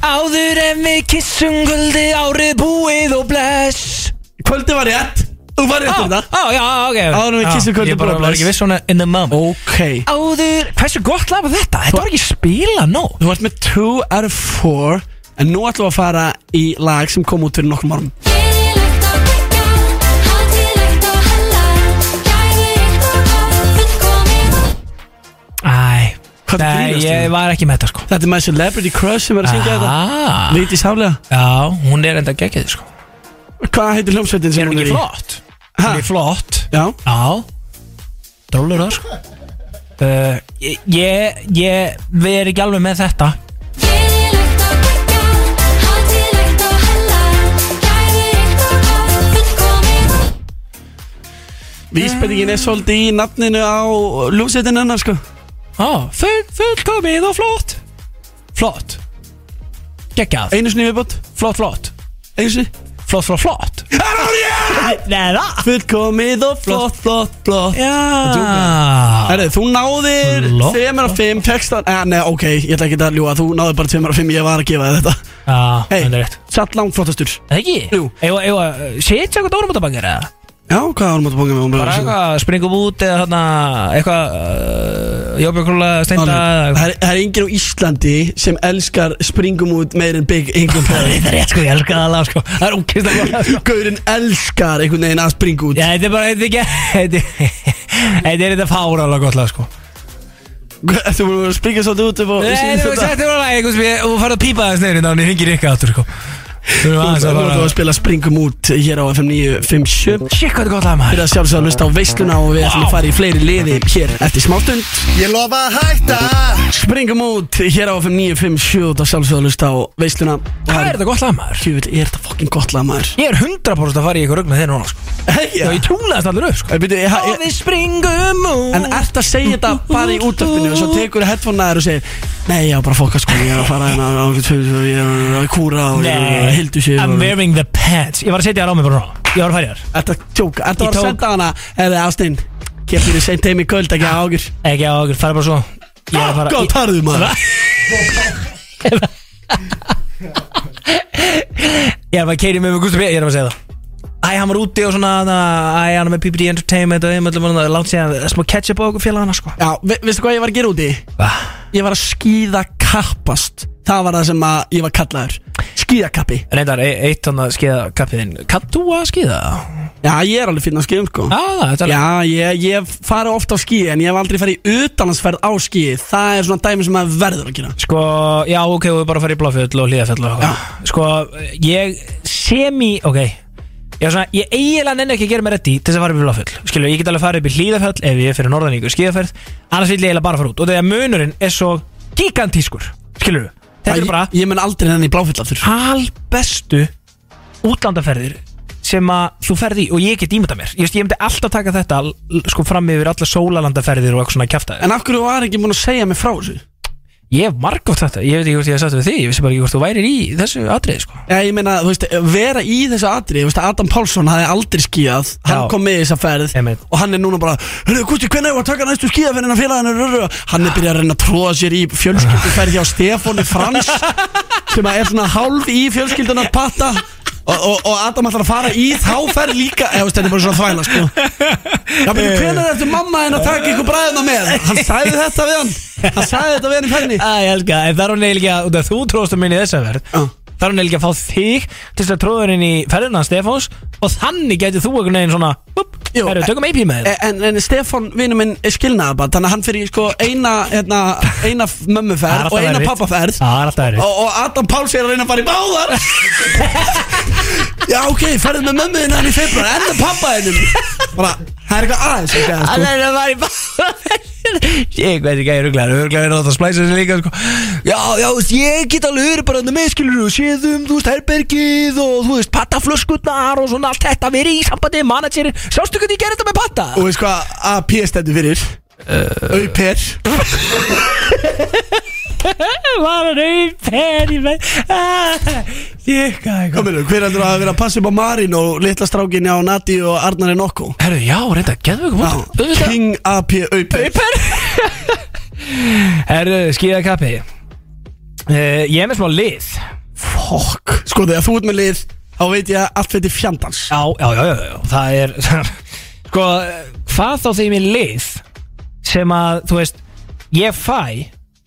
Speaker 2: Áður en við kissum guldi árið búið og bless
Speaker 3: Kvöldi var rétt Þú var rétt um
Speaker 2: Á,
Speaker 3: það
Speaker 2: á, já, ok
Speaker 3: Áður en við
Speaker 2: Já,
Speaker 3: kyssum kvöldi
Speaker 2: Ég bara
Speaker 3: búið og
Speaker 2: var
Speaker 3: bless.
Speaker 2: ekki viss svona in the mum
Speaker 3: Ok
Speaker 2: Áður, hversu gott lag var þetta? Þetta var ekki spila nóg
Speaker 3: Þú ert með 2 out of 4 En nú ætlum við að fara í lag sem kom út fyrir nokkrum árum
Speaker 2: Æ,
Speaker 3: Hvað er
Speaker 2: nei,
Speaker 3: grínast
Speaker 2: ég
Speaker 3: þú?
Speaker 2: var ekki með þetta sko
Speaker 3: Þetta er með Celebrity Crush sem er að syngja þetta
Speaker 2: Ah,
Speaker 3: Veit í sálega
Speaker 2: Já, hún er enda geggið sko
Speaker 3: Hvað heitir hljómsveitin sem
Speaker 2: Er hún
Speaker 3: hún er
Speaker 2: ekki
Speaker 3: í?
Speaker 2: flott?
Speaker 3: Ha?
Speaker 2: Hún er flott
Speaker 3: Já,
Speaker 2: Já Drólur það sko uh, ég, ég, ég, við erum ekki alveg með þetta
Speaker 3: vísbendingin er svolítið í nafninu á hljómsveitin hennar sko
Speaker 2: Já, full, fullkomið og flott Flott Geggjað
Speaker 3: Einu sinni í viðbót,
Speaker 2: Flott, flott
Speaker 3: einu sinni
Speaker 2: Flott, flott, flott [laughs] Nei, það
Speaker 3: Fullkomið og flott, flott, flott
Speaker 2: Já
Speaker 3: Herri, þú náðir
Speaker 2: Flott.
Speaker 3: 3 af 5 textan eh, Nei, ok, ég ætla ekki að ljúa Þú náðir bara 2 af 5, ég var að gefa þér þetta
Speaker 2: Já,
Speaker 3: Hei,
Speaker 2: það er rétt
Speaker 3: satt langt flottastur
Speaker 2: Það ekki?
Speaker 3: Jú.
Speaker 2: Eða, eða, eh, setja eitthvað dórumótabangir eða?
Speaker 3: Já, hvað varum að bóka með
Speaker 2: Bara eitthvað, springum út eða hérna Eitthvað, uh, jóbjörgrúla, steinda
Speaker 3: Það
Speaker 2: eða-
Speaker 3: er, það er enginn á Íslandi sem elskar springum út meir en Big England
Speaker 2: Það er [laughs]
Speaker 3: Perry
Speaker 2: það er rétt sko, ég elska það alveg sko Það er ókist að góða sko
Speaker 3: Gaurinn elskar einhvern veginn að springa út
Speaker 2: Já, þetta er bara, þetta er ekki [laughs] þetta- Þetta er þetta fárálega gott lag sko
Speaker 3: Þú voru að springa svolítið út upp á
Speaker 2: Nei, þetta er þetta bara lag, eitthvað sem ég Og farið að pípa þess neyri, þannig hengir ykkur aftur sko Þú erum aðeins
Speaker 3: Þú
Speaker 2: að
Speaker 3: voru að
Speaker 2: fara
Speaker 3: spila springum út hér á FM 957
Speaker 2: Shit, hvað þetta er gott lag
Speaker 3: Fyrir
Speaker 2: maður
Speaker 3: að sjálfsögða að hlusta á veisluna og við ætlum að fara í fleiri liði hér eftir smástund
Speaker 7: Ég lofa að hætta
Speaker 3: Springum út hér á FM 957 og sjálfsögða að hlusta á veisluna
Speaker 2: Hvað er þetta gott lag maður?
Speaker 3: Tjúvill, er þetta fokkin gott lag maður
Speaker 2: Ég er 100% að fara í ykkur rögn með þeir núna sko Já, ég trúlaðast allir upp sko um
Speaker 3: Ég byrju, ég, ha-
Speaker 2: Og
Speaker 3: ég,
Speaker 2: við springum út
Speaker 3: En ert að segja þetta bara í útdöppinu og svo tekur headphone-aður og segir Nei, já, bara fokka sko, ég er að fara hérna á- á- ég er að kúra og ég er að hildu sér
Speaker 2: I'm
Speaker 3: og-
Speaker 2: wearing the pants Ég var að setja þér á mig bara núna Ég var að fara í þér
Speaker 3: Ertu að tjóka,
Speaker 2: Ég
Speaker 3: ertu að
Speaker 2: tók-
Speaker 3: vera að senda hana Eða Ástein, hér fyrir seint heim í kvöld ekki ágjur
Speaker 2: Ekki á okkur, fara bara svo Ég er að fara
Speaker 3: Góð tarðu maður
Speaker 2: Ég er bara að keiri mig með Gustav B Ég er bara að segja það Æ, hann var úti og svona na, Æ, hann er með PPD Entertainment og þeim öllum og það er Látt síðan, það er smá ketchup á okkur félagana sko
Speaker 3: Já, ve veistu hvað ég var að gera úti?
Speaker 2: Hva?
Speaker 3: Ég var að skýða kappast Það var það sem að ég var kallaður Skýðakappi
Speaker 2: Reyndar, e eitt hann að skeiða kappiðinn Kann þú að skeiða?
Speaker 3: Já, ég er alveg fyrir að skýðum sko
Speaker 2: Já, þetta er
Speaker 3: Já, ég, ég fara ofta á skýði En ég hef aldrei farið í utanansferð á skýði Það er svona dæmi sem að verður að gera
Speaker 2: Sko, já, ok, við bara að fara í bláfjöld og hlýðafjöld og eitthvað Sko, ég semi, ok Ég, er svona, ég eiginlega nenni ekki að gera mér reddi til þess að fara upp í bláfjöld Skilju, ég get alveg að fara upp í hlýðafjöld ef ég er fyrir norðan í ykkur skíðaferð Annars vil ég eiginlega bara fara út Og þegar munurinn er svo gigantískur Skilju, þetta
Speaker 3: Æ,
Speaker 2: er bara
Speaker 3: Ég, ég mun aldrei henni í bláfell aftur
Speaker 2: albestu útlandaferðir sem að þú ferði í og ég get ímynda mér ég, veist, ég myndi alltaf taka þetta l- sko fram yfir alla sólalandaferðir og eitthvað svona kjafta
Speaker 3: En af hverju var ekki múin að segja mig frá þessu?
Speaker 2: ég hef margótt þetta, ég veit ekki hvort ég hef sagt við þig ég vissi bara ekki hvort þú værir í þessu atriði sko.
Speaker 3: Já, ég meina, þú veist, vera í þessu atri Þú veist, Adam Pálsson hafði aldrei skíðað Hann
Speaker 2: Já.
Speaker 3: kom með í þessa ferð
Speaker 2: Einmitt.
Speaker 3: Og hann er núna bara, hörru, Gusti, hvernig hefur að taka næstu skíðaferðina félaginu rörru Hann er byrjað að reyna að tróða sér í fjölskylduferð hjá Stefáni
Speaker 2: [laughs]
Speaker 3: Frans Sem að er svona hálf í fjölskyldunar patta Og, og, og Adam ætlar að fara í þá ferð líka Eða, þú veist, þetta er bara svona þvæla, sko Já, byrju, hvernig ertu mamma henn að taka ykkur bræðina með? Hann sagði þetta við hann Hann sagði þetta við hann í ferðinni
Speaker 2: að ég elska, það. en það er hún eiginlega út af þú tróðst um að minni þessa ferð
Speaker 3: Já.
Speaker 2: það er hún eiginlega að fá þig til þess að tróða henni í ferðina hans Stefáns og þannig gæti þú einhvern veginn svona upp,
Speaker 3: Jú,
Speaker 2: herru, tökum AP með þér
Speaker 3: En, en Stefán, vinnu minn, er skilnaðar bara Þannig að hann fyrir sko eina, hérna, eina
Speaker 2: Það er
Speaker 3: mömmuferð
Speaker 2: alltaf
Speaker 3: og eina
Speaker 2: erfitt.
Speaker 3: pappaferð
Speaker 2: það er alltaf erfitt.
Speaker 3: og, og Adam Páls er að reyna að fara í báðar Já, ok, ferðu með mömmuðina hann í februar En með pappaðinum Bara,
Speaker 2: Það er eitthvað aðeins að gæða, sko.
Speaker 12: Hann er að fara í bað Ég veit ekki að ég rugglar Rugglar
Speaker 2: hérna
Speaker 12: er að splæsa þessi líka sko.
Speaker 2: Já, já, þú veist, ég get alveg verið bara með skilur og séðum, þú veist, herbergið og þú veist, pattaflöskurnar og svona allt þetta verið í sambandi, managerin Sjástu hvernig ég gerði þetta með patta?
Speaker 3: Og veist hvað AP stendur fyrir
Speaker 2: Eh.
Speaker 3: Auper
Speaker 2: Var hann auper í með Ég gæði
Speaker 3: Komiðu, hver heldur að vera að passa upp á Marín og litla strákinni á Nati og Arnar en okko
Speaker 2: Herru, já, reynda, geðum við
Speaker 3: ekki King AP Auper
Speaker 2: Auper Herru, skýða kappi uh, Ég er með smá lið
Speaker 3: Fokk Sko þegar þú ert með lið, þá veit ég að allt þetta er fjandans
Speaker 2: Já, já, já, já, já. það er [laughs] Sko, hvað þá þegar ég er með lið sem að, þú veist ég fæ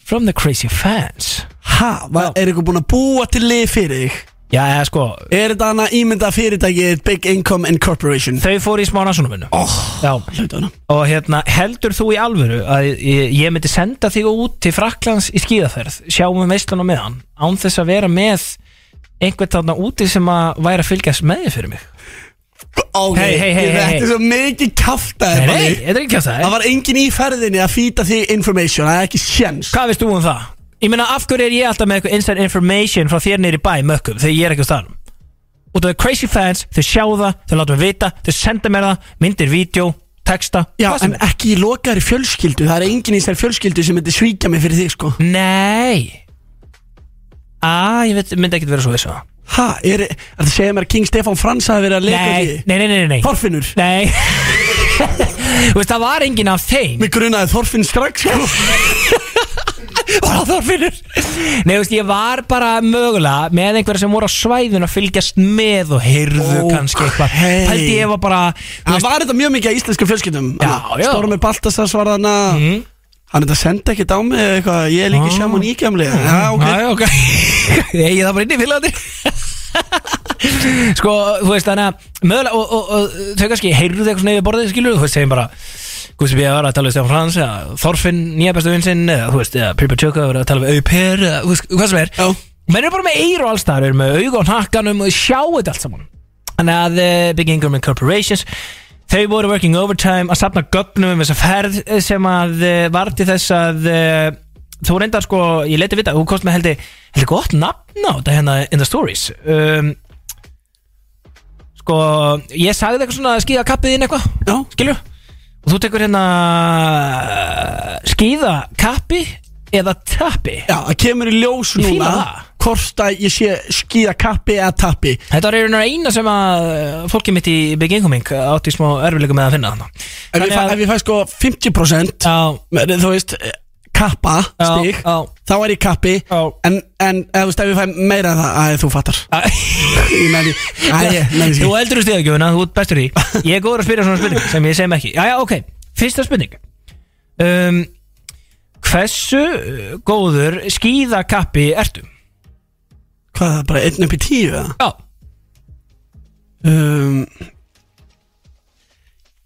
Speaker 2: from the crazy fans
Speaker 3: Ha, va, er eitthvað búin að búa til lið fyrir þig?
Speaker 2: Já, eða sko,
Speaker 3: Er þetta hana ímynda fyrirtækið Big Income Incorporation?
Speaker 2: þau fóru í smá násunum minnu
Speaker 3: Oh,
Speaker 2: Já,
Speaker 3: hlutu hana
Speaker 2: og hérna, heldur þú í alvöru að ég, ég myndi senda þig út til Fraklands í skíðaferð, sjáum við veistlun á meðan, án þess að vera með einhvern þarna úti sem að væri að fylgjast með þig fyrir mig
Speaker 3: Sko, Ok,
Speaker 2: Hey, hey, hey, hey,
Speaker 3: þetta
Speaker 2: hey.
Speaker 3: er svo mikið kaftaði
Speaker 2: Nei, nei, þetta er ekki kjátt
Speaker 3: Það
Speaker 2: það
Speaker 3: var enginn í ferðinni að fýta þig information, það er ekki sjens
Speaker 2: Hvað veist þú um það? Ég meina, af hverju er ég alltaf með eitthvað inside information frá þér niður í bæ mökkum þegar ég er ekki á staðnum? Út af það crazy fans, þau sjá það, þau láta mig vita, þau senda mér það, myndir, vídeo, texta,
Speaker 3: Já,
Speaker 2: hvað sem
Speaker 3: en
Speaker 2: er.
Speaker 3: ekki í lokaðri fjölskyldu Það er enginn í þessari fjölskyldu sem myndi svíkja mig fyrir þig, sko
Speaker 2: Nei! Æ, ég veit, myndi ekkert vera svo þessu það.
Speaker 3: Ha, er, er það að segja mér að King Stefan Frans hafi verið að leika
Speaker 2: Nei,
Speaker 3: því?
Speaker 2: nei, nei, nei, nei.
Speaker 3: Þorfinnur
Speaker 2: Nei. [laughs] Þú veist, það var enginn af þeim.
Speaker 3: Mér grunaði Þorfinn strax, sko
Speaker 2: Bara Þorfinnur Nei, þú veist, ég var bara mögulega með einhverja sem voru á svæðun að fylgjast með og heyrðu
Speaker 3: Ókei.
Speaker 2: kannski eitthvað Pældi ég var bara þú
Speaker 3: Það
Speaker 2: veist,
Speaker 3: var þetta mjög mikið að íslensku fjölskyldum
Speaker 2: Já, já.
Speaker 3: Stormur Baltasars var þarna
Speaker 2: Mhm.
Speaker 3: Hann þetta sendi ekkert á mig eða eitthvað Ég er líka
Speaker 2: Ah.
Speaker 3: sjá mún íkjæmlega Já, ok
Speaker 2: Æ, ok [laughs] Nei, Ég það bara inn í fylgjandi Sko, þú veist, þannig að mögulega, og, og, og þau kannski heyrðu eitthvað svona yfir borðið, skilur, þú veist, segjum bara Guðs við var að tala við Stefán Frans eða Þorfinn, nýja bestu vinsinn, eða, þú veist, eða Pippa Tjóka var að tala við Auper, eða, þú veist, hvað sem er
Speaker 3: Já.
Speaker 2: menn eru bara með eir og alls þar, eru með auga og nakkanum og sjá þetta allt saman þannig að eh, Big Ingram and Corporations þau voru working overtime að safna gögnum um þessa ferð eh, sem að eh, var til þess að eh, þú reyndar sko, ég leti vita, þú kost með heldig heldig gott nafn á þetta hérna in the stories um, sko, ég sagði eitthvað svona skýða kappið inn eitthvað,
Speaker 3: Já.
Speaker 2: skilju og þú tekur hérna skýða kappi eða tappi
Speaker 3: Já, það kemur í ljós
Speaker 2: Ég fíla
Speaker 3: núna
Speaker 2: það.
Speaker 3: Hvort að ég sé skýða kappi eða tappi
Speaker 2: Þetta var einhvern veginn eina sem að uh, fólkið mitt í Big Incoming átti í smá erfileikum með að finna þarna
Speaker 3: Ef ég fæ, ef ég fæ sko 50%
Speaker 2: Já,
Speaker 3: með, þú veist, kappa
Speaker 2: Já,
Speaker 3: stig,
Speaker 2: já.
Speaker 3: þá er ég kappi
Speaker 2: Já.
Speaker 3: en, en eða, þú veist, ef ég fæ meira en það, að þú fattar Ég
Speaker 2: [laughs]
Speaker 3: nenni- Æ, ég nenni
Speaker 2: þú
Speaker 3: því.
Speaker 2: eldur úr stegjöfuna, þú ert bestur í Ég er góður að spyrja svona spurning sem ég sem ekki Jæja, ok, fyrsta spurning um, Hversu uh, góður skíðakappi ertu?
Speaker 3: Hvað, það er bara 1 upp í 10 eða?
Speaker 2: Já,
Speaker 3: um,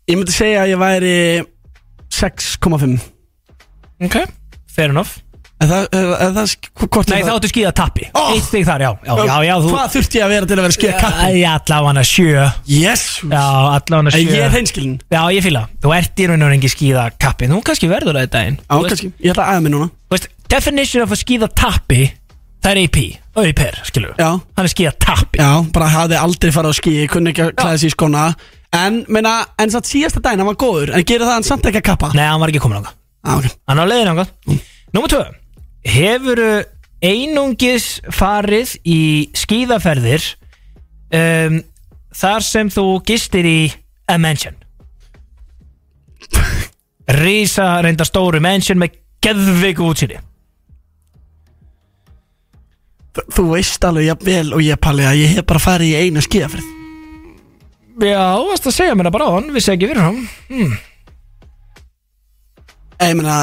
Speaker 3: Ég myndi segja að ég væri 6,5
Speaker 2: ok, fair enough
Speaker 3: En það, eða, eða, það sk- hvort er
Speaker 2: Nei, þá
Speaker 3: það
Speaker 2: áttu skíðatappi,
Speaker 3: Ó!
Speaker 2: eitt stig þar, já Já, já, já, þú
Speaker 3: Hvað þurfti ég að vera til að vera skýða kappi?
Speaker 2: Æ, allavega sjö
Speaker 3: Yes
Speaker 2: Já, allavega sjö
Speaker 3: Ég er hreinskilin
Speaker 2: Já, ég fýla, þú ert í raun og reyngi skíða kappi Þú kannski verður það í daginn
Speaker 3: Já, kannski Ég ætla að æða mig núna
Speaker 2: Þú veist, definition of að skíða tappi Það er AP, auper, skilur
Speaker 3: Já.
Speaker 2: Hann er skíða tappi
Speaker 3: Já, bara hafði aldrei farið á skí Ég kunni ekki að klæða sér í skóna En, meina, en satt síðasta daginn, hann var góður En gerir það hann samt ekki að kappa
Speaker 2: Nei, hann var ekki komin ánga
Speaker 3: ah, okay.
Speaker 2: Hann á leiðin ánga Númer tvö Hefur einungis farið í skíðaferðir um, Þar sem þú gistir í a [laughs] mansion Rísa reynda stóru mansion með geðveiku útsýri
Speaker 3: Þ- Þú veist alveg jafn vel og ég palli að ég hef bara farið í eina skíðafrið
Speaker 2: Já, varst að segja mér það bara á hann, vissi ekki fyrir hann
Speaker 3: Ég meina,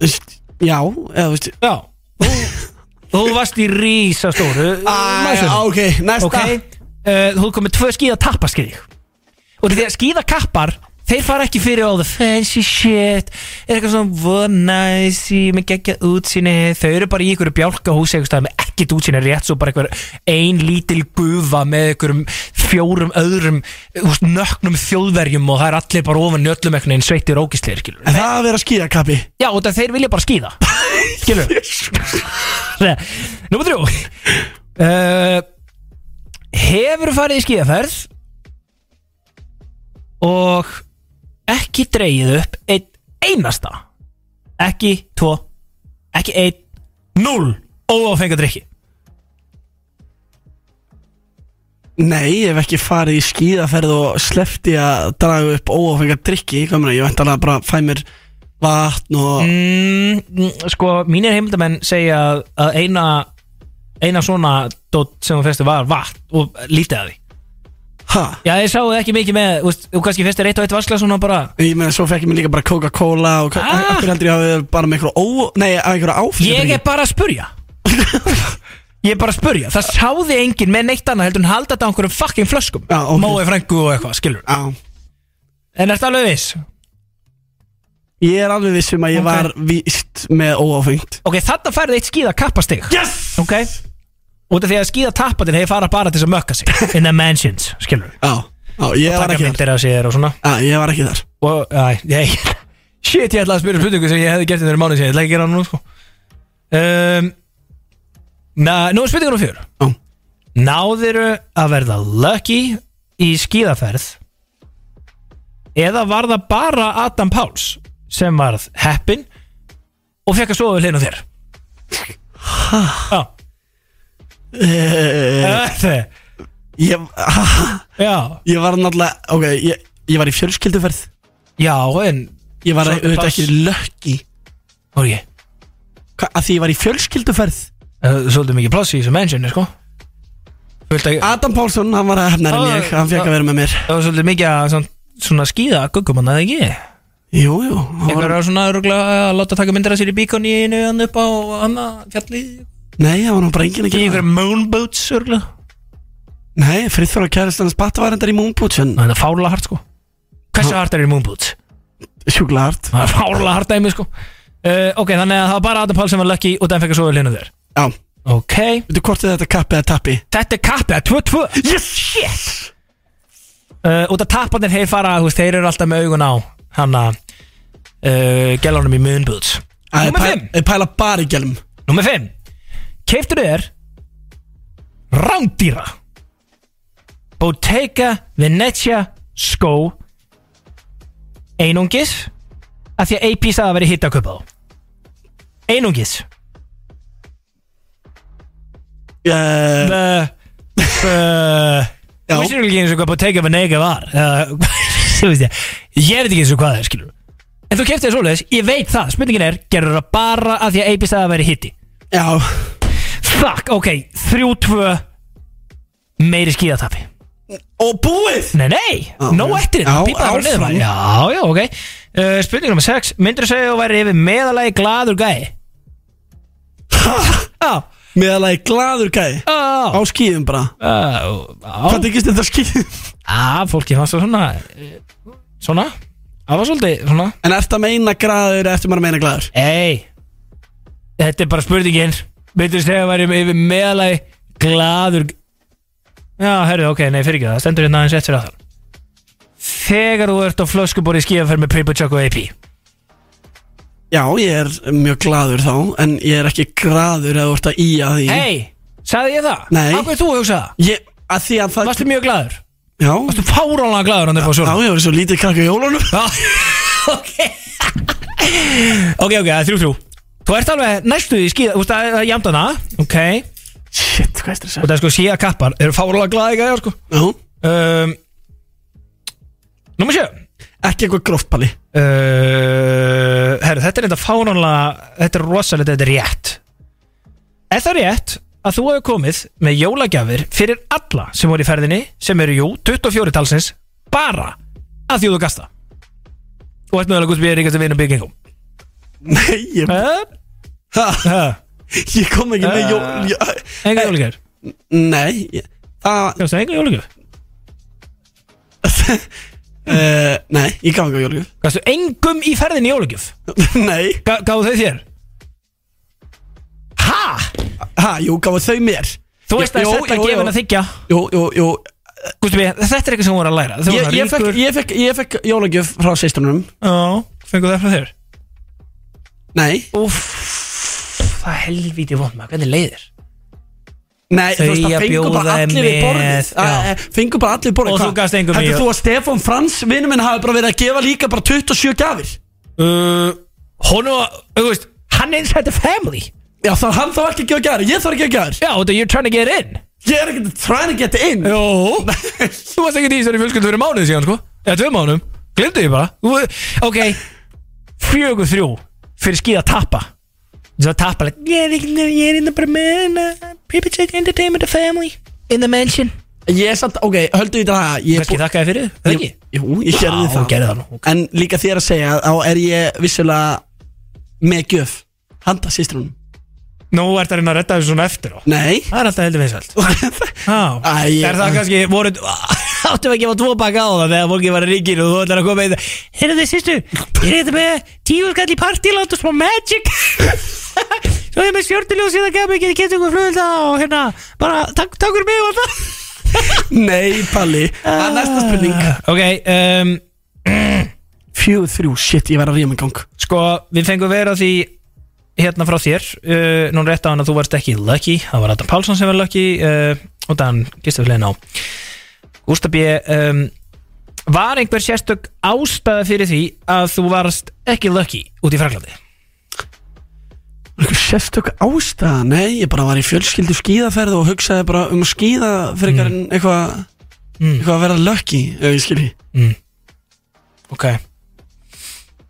Speaker 3: þú veist, já, eða þú veist
Speaker 2: Já Þú, þú varst í rísa stóru
Speaker 3: Æ, ok, næsta
Speaker 2: Eh, Ok uh, Þú komið tvö skíða tappa skilji Og því að skíða kappar Þeir fara ekki fyrir all the fancy shit Er eitthvað svona vona næsi Með geggja útsinni Þau eru bara í einhverju bjálkahúsi einhvers staðar Með ekkert útsinni rétt Svo bara einhver ein lítil gufa Með einhverjum fjórum öðrum úst, Nöknum þjóðverjum Og það er allir bara ofan nöllum einhvern veginn Sveitir ógisleir skilur
Speaker 3: En það að vera að skýja kappi
Speaker 2: Já, og það þeir vilja bara skýða Skilur Númer þrjú uh, Hefur farið í skíðaferð Og ekki dreigið upp einn einasta Ekki tvo Ekki einn Núll Óáfenga drikki
Speaker 3: Nei, ég hef ekki farið í skíðaferð og sleppti að draga upp óáfengar drikki Ég meina, ég veit alveg að bara fæ mér vatn og
Speaker 2: mm, mm, Sko, mínir heimildamenn segja að- að eina Eina svona dót sem hún fyrstu var vatn Og lítið að því
Speaker 3: Ha?
Speaker 2: Já, ég sáu ekki mikið með, þú veist, þú kannski fyrstu reitt og eitt vaskla svona bara
Speaker 3: Ég meina, svo fekk ég mér líka bara Coca-Cola og ah. Akkur heldur ég að við bara með einhverju ó... Nei, að einhverju áfengar
Speaker 2: Ég er bara að spurja [laughs] Ég er bara að spurja Það sáði enginn með neitt annað heldur en halda þetta á einhverjum fucking flöskum Já, okay. Mói frængu og eitthvað, skilur
Speaker 3: Já.
Speaker 2: En ertu alveg viss?
Speaker 3: Ég er alveg vissum að ég var víst með óáfengt
Speaker 2: Ok, þarna færði eitt skíða kappastig
Speaker 3: Yes!
Speaker 2: Ok Út af því að skíða tappatin hefur farað bara til þess að mökka sig In the mansions, skilur
Speaker 3: Já, já ég
Speaker 2: þar Og
Speaker 3: var ekki
Speaker 2: taka myndir af sér og svona
Speaker 3: Já, ég var ekki þar
Speaker 2: Og, æ, ég Shit, ég ætlaði að spyrja um spurningu sem ég hefði gert þetta mánuð sér Ég ætla ekki að gera hann nú, sko um, Na, nú er spurningunum fjör
Speaker 3: Já.
Speaker 2: Náðiru að verða lucky í skíðaferð Eða var það bara Adam Páls sem varð heppin og fekk að sofa við hliðin á þér Já Þetta
Speaker 3: Ég,
Speaker 2: Já
Speaker 3: ég var náttúrulega Ok, ég, ég var í fjölskylduferð
Speaker 2: Já, en
Speaker 3: Ég var
Speaker 2: Svo-
Speaker 3: auðvitað
Speaker 2: bara-
Speaker 3: ekki löggi
Speaker 2: Var ég?
Speaker 3: Hva, að því ég var í fjölskylduferð
Speaker 2: Eh, Svolítið mikið pláss í þessu mansioni, sko Fullt að
Speaker 3: Adam Pálsson, hann var hefnari en
Speaker 2: Já,
Speaker 3: ég Hann fekk að vera með mér
Speaker 2: Það var svolítið mikið að svona, svona skýða guggum hann, eða ekki?
Speaker 3: Jú, jú hann
Speaker 2: Einhver
Speaker 3: var,
Speaker 2: var svona rúgla að láta taka myndir af sér í bíkoni einu hann upp á hann fjallið
Speaker 3: Nei, það var nú bara enginn að
Speaker 2: Í
Speaker 3: gera
Speaker 2: einhverja moonboats örgla
Speaker 3: það Nei, Friðþór og kærastan hans batta var endar í Moonboots En
Speaker 2: Það er fárlega hart sko Hversu hart er í moonboats?
Speaker 3: sjúkla hart
Speaker 2: Það er fárlega hart dæmi sko uh, Ok, þannig að það var bara Adam Pál sem var lucky og den fekk að sofa linu þér
Speaker 3: Já,
Speaker 2: Ok
Speaker 3: veitu hvort er þetta kappi eða tappi
Speaker 2: Þetta er kappið, það er 2-2
Speaker 3: Yes!
Speaker 2: Yes! Uh, út af tapparnir þeir fara, þú veist, þeir eru alltaf með augun á hann að uh, gælunum í moonboats
Speaker 3: Að
Speaker 2: Númer
Speaker 3: pæ-
Speaker 2: 5
Speaker 3: að Pæla bara í gelm
Speaker 2: Númer 5 Keiftur þér Rándýra Bottega Venezia skó Einungis Af því að AP sagði að veri hitt að kaupa þá Einungis
Speaker 3: uh,
Speaker 2: Bæ
Speaker 3: Já.
Speaker 2: uh, Þú veist ekki eins og hvað Bottega Venega var uh, [laughs] Þú veist ég Ég veit ekki eins og hvað það er skilur En þú keiftir þér svoleiðis, ég veit það Spurningin er, gerur það bara af því að AP sagði að veri hitti
Speaker 3: Já,
Speaker 2: Fuck, ok, 3-2 Meiri skíðatapi
Speaker 3: og búið
Speaker 2: Nei, nei,
Speaker 3: Já,
Speaker 2: nóg
Speaker 3: já.
Speaker 2: eftir
Speaker 3: Já,
Speaker 2: þetta Pípaði bara niður
Speaker 3: áfram.
Speaker 2: maður. Já, já, ok uh, Spurning nr. 6 Myndur þú segja að þú væri yfir meðalagi gladur gæi? Já,
Speaker 3: Meðalagi gladur gæði
Speaker 2: já,
Speaker 3: Á skíðum bara
Speaker 2: já
Speaker 3: Hvað
Speaker 2: Já,
Speaker 3: þykist þetta skíðum?
Speaker 2: Já, fólki fannst það svona eh, Svona Það var svolítið svona
Speaker 3: En ertu að meina graður eða ertu maður að meina glaður?
Speaker 2: Ei, þetta er bara spurningin Myndur þú segja að þú væri yfir meðalagi gladur Já, herru, ok, nei, fyrir ekki það Stendur hérna aðeins eftir að það Þegar þú ert á flöskubóri í skíðanferð með Paper Chuck og AP
Speaker 3: Já, ég er mjög glaður þá En ég er ekki graður eða þú ert að ía því
Speaker 2: Hei, sagði ég það?
Speaker 3: Nei.
Speaker 2: Af hverju þú hugsa það?
Speaker 3: Ég, að því að það
Speaker 2: Varstu mjög glaður?
Speaker 3: Já,
Speaker 2: Varstu fáránlega glaður hann upp á
Speaker 3: já,
Speaker 2: sjónum?
Speaker 3: ég var svo lítið krakka í jólunum
Speaker 2: Já, [laughs] ok Ok, ok, það er þrjú þrjú Þú ert alveg næstu í skíða, þú veist að það er jæmdana Ok,
Speaker 3: Shit, hvað er
Speaker 2: og
Speaker 3: stressað?
Speaker 2: það er sko síða kappar Eru fáránlega glaði gæja, sko
Speaker 3: Já,
Speaker 2: um, Númer sjö
Speaker 3: ekki eitthvað gróftpalli
Speaker 2: uh, Herru, þetta er þetta fáránlega Þetta er rosalega, þetta er rétt Er það rétt að þú hefur komið með jólagjafir fyrir alla sem voru í ferðinni sem eru, jú, 24 talsins bara að því þú gasta og ert mögulega gúst við ríkast að vinna byggingum
Speaker 3: Nei, ég,
Speaker 2: uh,
Speaker 3: ha,
Speaker 2: uh,
Speaker 3: ég kom ekki með jól
Speaker 2: Eh,
Speaker 3: já,
Speaker 2: Enga jólagjafir
Speaker 3: Nei, ég, það
Speaker 2: Gafstu enga jólagjafir?
Speaker 3: Uh, nei, ég gaf enga jólugjöf
Speaker 2: Gafstu engum í ferðinni jólugjöf?
Speaker 3: [laughs] Nei
Speaker 2: Ga Gáðu þau þér?
Speaker 3: Ha? Ha, jú, gáðu þau mér
Speaker 2: Þú veist að
Speaker 3: Jú,
Speaker 2: þetta
Speaker 3: jú,
Speaker 2: gefin
Speaker 3: jú.
Speaker 2: að þykja
Speaker 3: Jú, jú, jú
Speaker 2: Gústu mig, þetta er eitthvað sem hún var að læra Þú
Speaker 3: Ég,
Speaker 2: var
Speaker 3: ég, fekk,
Speaker 2: ríkur.
Speaker 3: ég, fekk, ég fekk jólugjöf frá sýstunum
Speaker 2: Já, fengu það frá þér
Speaker 3: Nei
Speaker 2: Úff, það er helvíti vond maður, hvernig leiðir?
Speaker 3: Nei, þú veist,
Speaker 2: Þau að
Speaker 3: það fengur bara
Speaker 2: bjóða
Speaker 3: allir í
Speaker 2: með,
Speaker 3: borðið
Speaker 2: já.
Speaker 3: Eh, Fengur bara allir í borðið
Speaker 2: Og
Speaker 3: hvað?
Speaker 2: þú gafst engum í-
Speaker 3: Heldur þú að Stefan Frans, vinnu minn, hafi bara verið að gefa líka bara 27 gafir?
Speaker 2: Uh, hún og, þú veist, hann inside the family
Speaker 3: Já, þá hann þá ekki að gefa gafir, ég þarf ekki að gefa gafir
Speaker 2: Já, þetta you're trying to get in
Speaker 3: Ég er ekki trying to get in
Speaker 2: Jó [laughs] Þú varst ekki dýsar í fjölskyldu fyrir mánuði síðan, sko Eða tvö mánuðum, glemdu ég bara Þú- Ok, fjögur þrjú Fyrir skýða tappa Svo tappa leik Ég er ekki, ég er innan bara með People take uh, entertainment the family In the mansion
Speaker 3: Ég er samt, ok, höldu í það Ég er
Speaker 2: Kannski
Speaker 3: bú-
Speaker 2: þakkaði fyrir, það ekki?
Speaker 3: Jú, ég gerði
Speaker 2: Já,
Speaker 3: það,
Speaker 2: gerði það nú, ok.
Speaker 3: En líka þér að segja, þá er ég vissulega með gjöf Handa sýstrunum
Speaker 2: Nú ert að reyna að redda þessu svona eftir á
Speaker 3: Nei
Speaker 2: Það er alltaf heldur vinsvælt Já,
Speaker 3: Æ, ég-
Speaker 2: er það kannski voru [laughs] Áttum ekki að fá tvo baka á það Þegar fólki var ríkir og þú ætlar að koma í það Heyrðu þið sýstu, ég er þetta með Tíu skall í partíland og smá magic [laughs] Svo ég er með stjórnuljós Síðan gaf mig ekki að geta ykkur flugilda Og hérna, bara takk, takk fyrir mig og allt það.
Speaker 3: Nei, Palli, það er næsta spurning
Speaker 2: Ok, um,
Speaker 3: Fjögur þrjú, shit, ég verð að ríða mig í gang
Speaker 2: sko Við fengum vera því hérna frá þér uh, Nún rétt á hann að þú varst ekki lucky Það var Adam Pálsson sem var lucky uh, Og Dan Gistaflegin á Gústa B um, Var einhver sérstök ástæða fyrir því að þú varst ekki lucky út í Fraklandi?
Speaker 3: Einhver sérstök ástæða? Nei, ég bara var í fjölskyldu skíðaferð og hugsaði bara um að skíða frekar mm. en eitthvað
Speaker 2: Mm.
Speaker 3: eitthvað að vera lucky, ef ég skilji Ég
Speaker 2: Ok
Speaker 3: var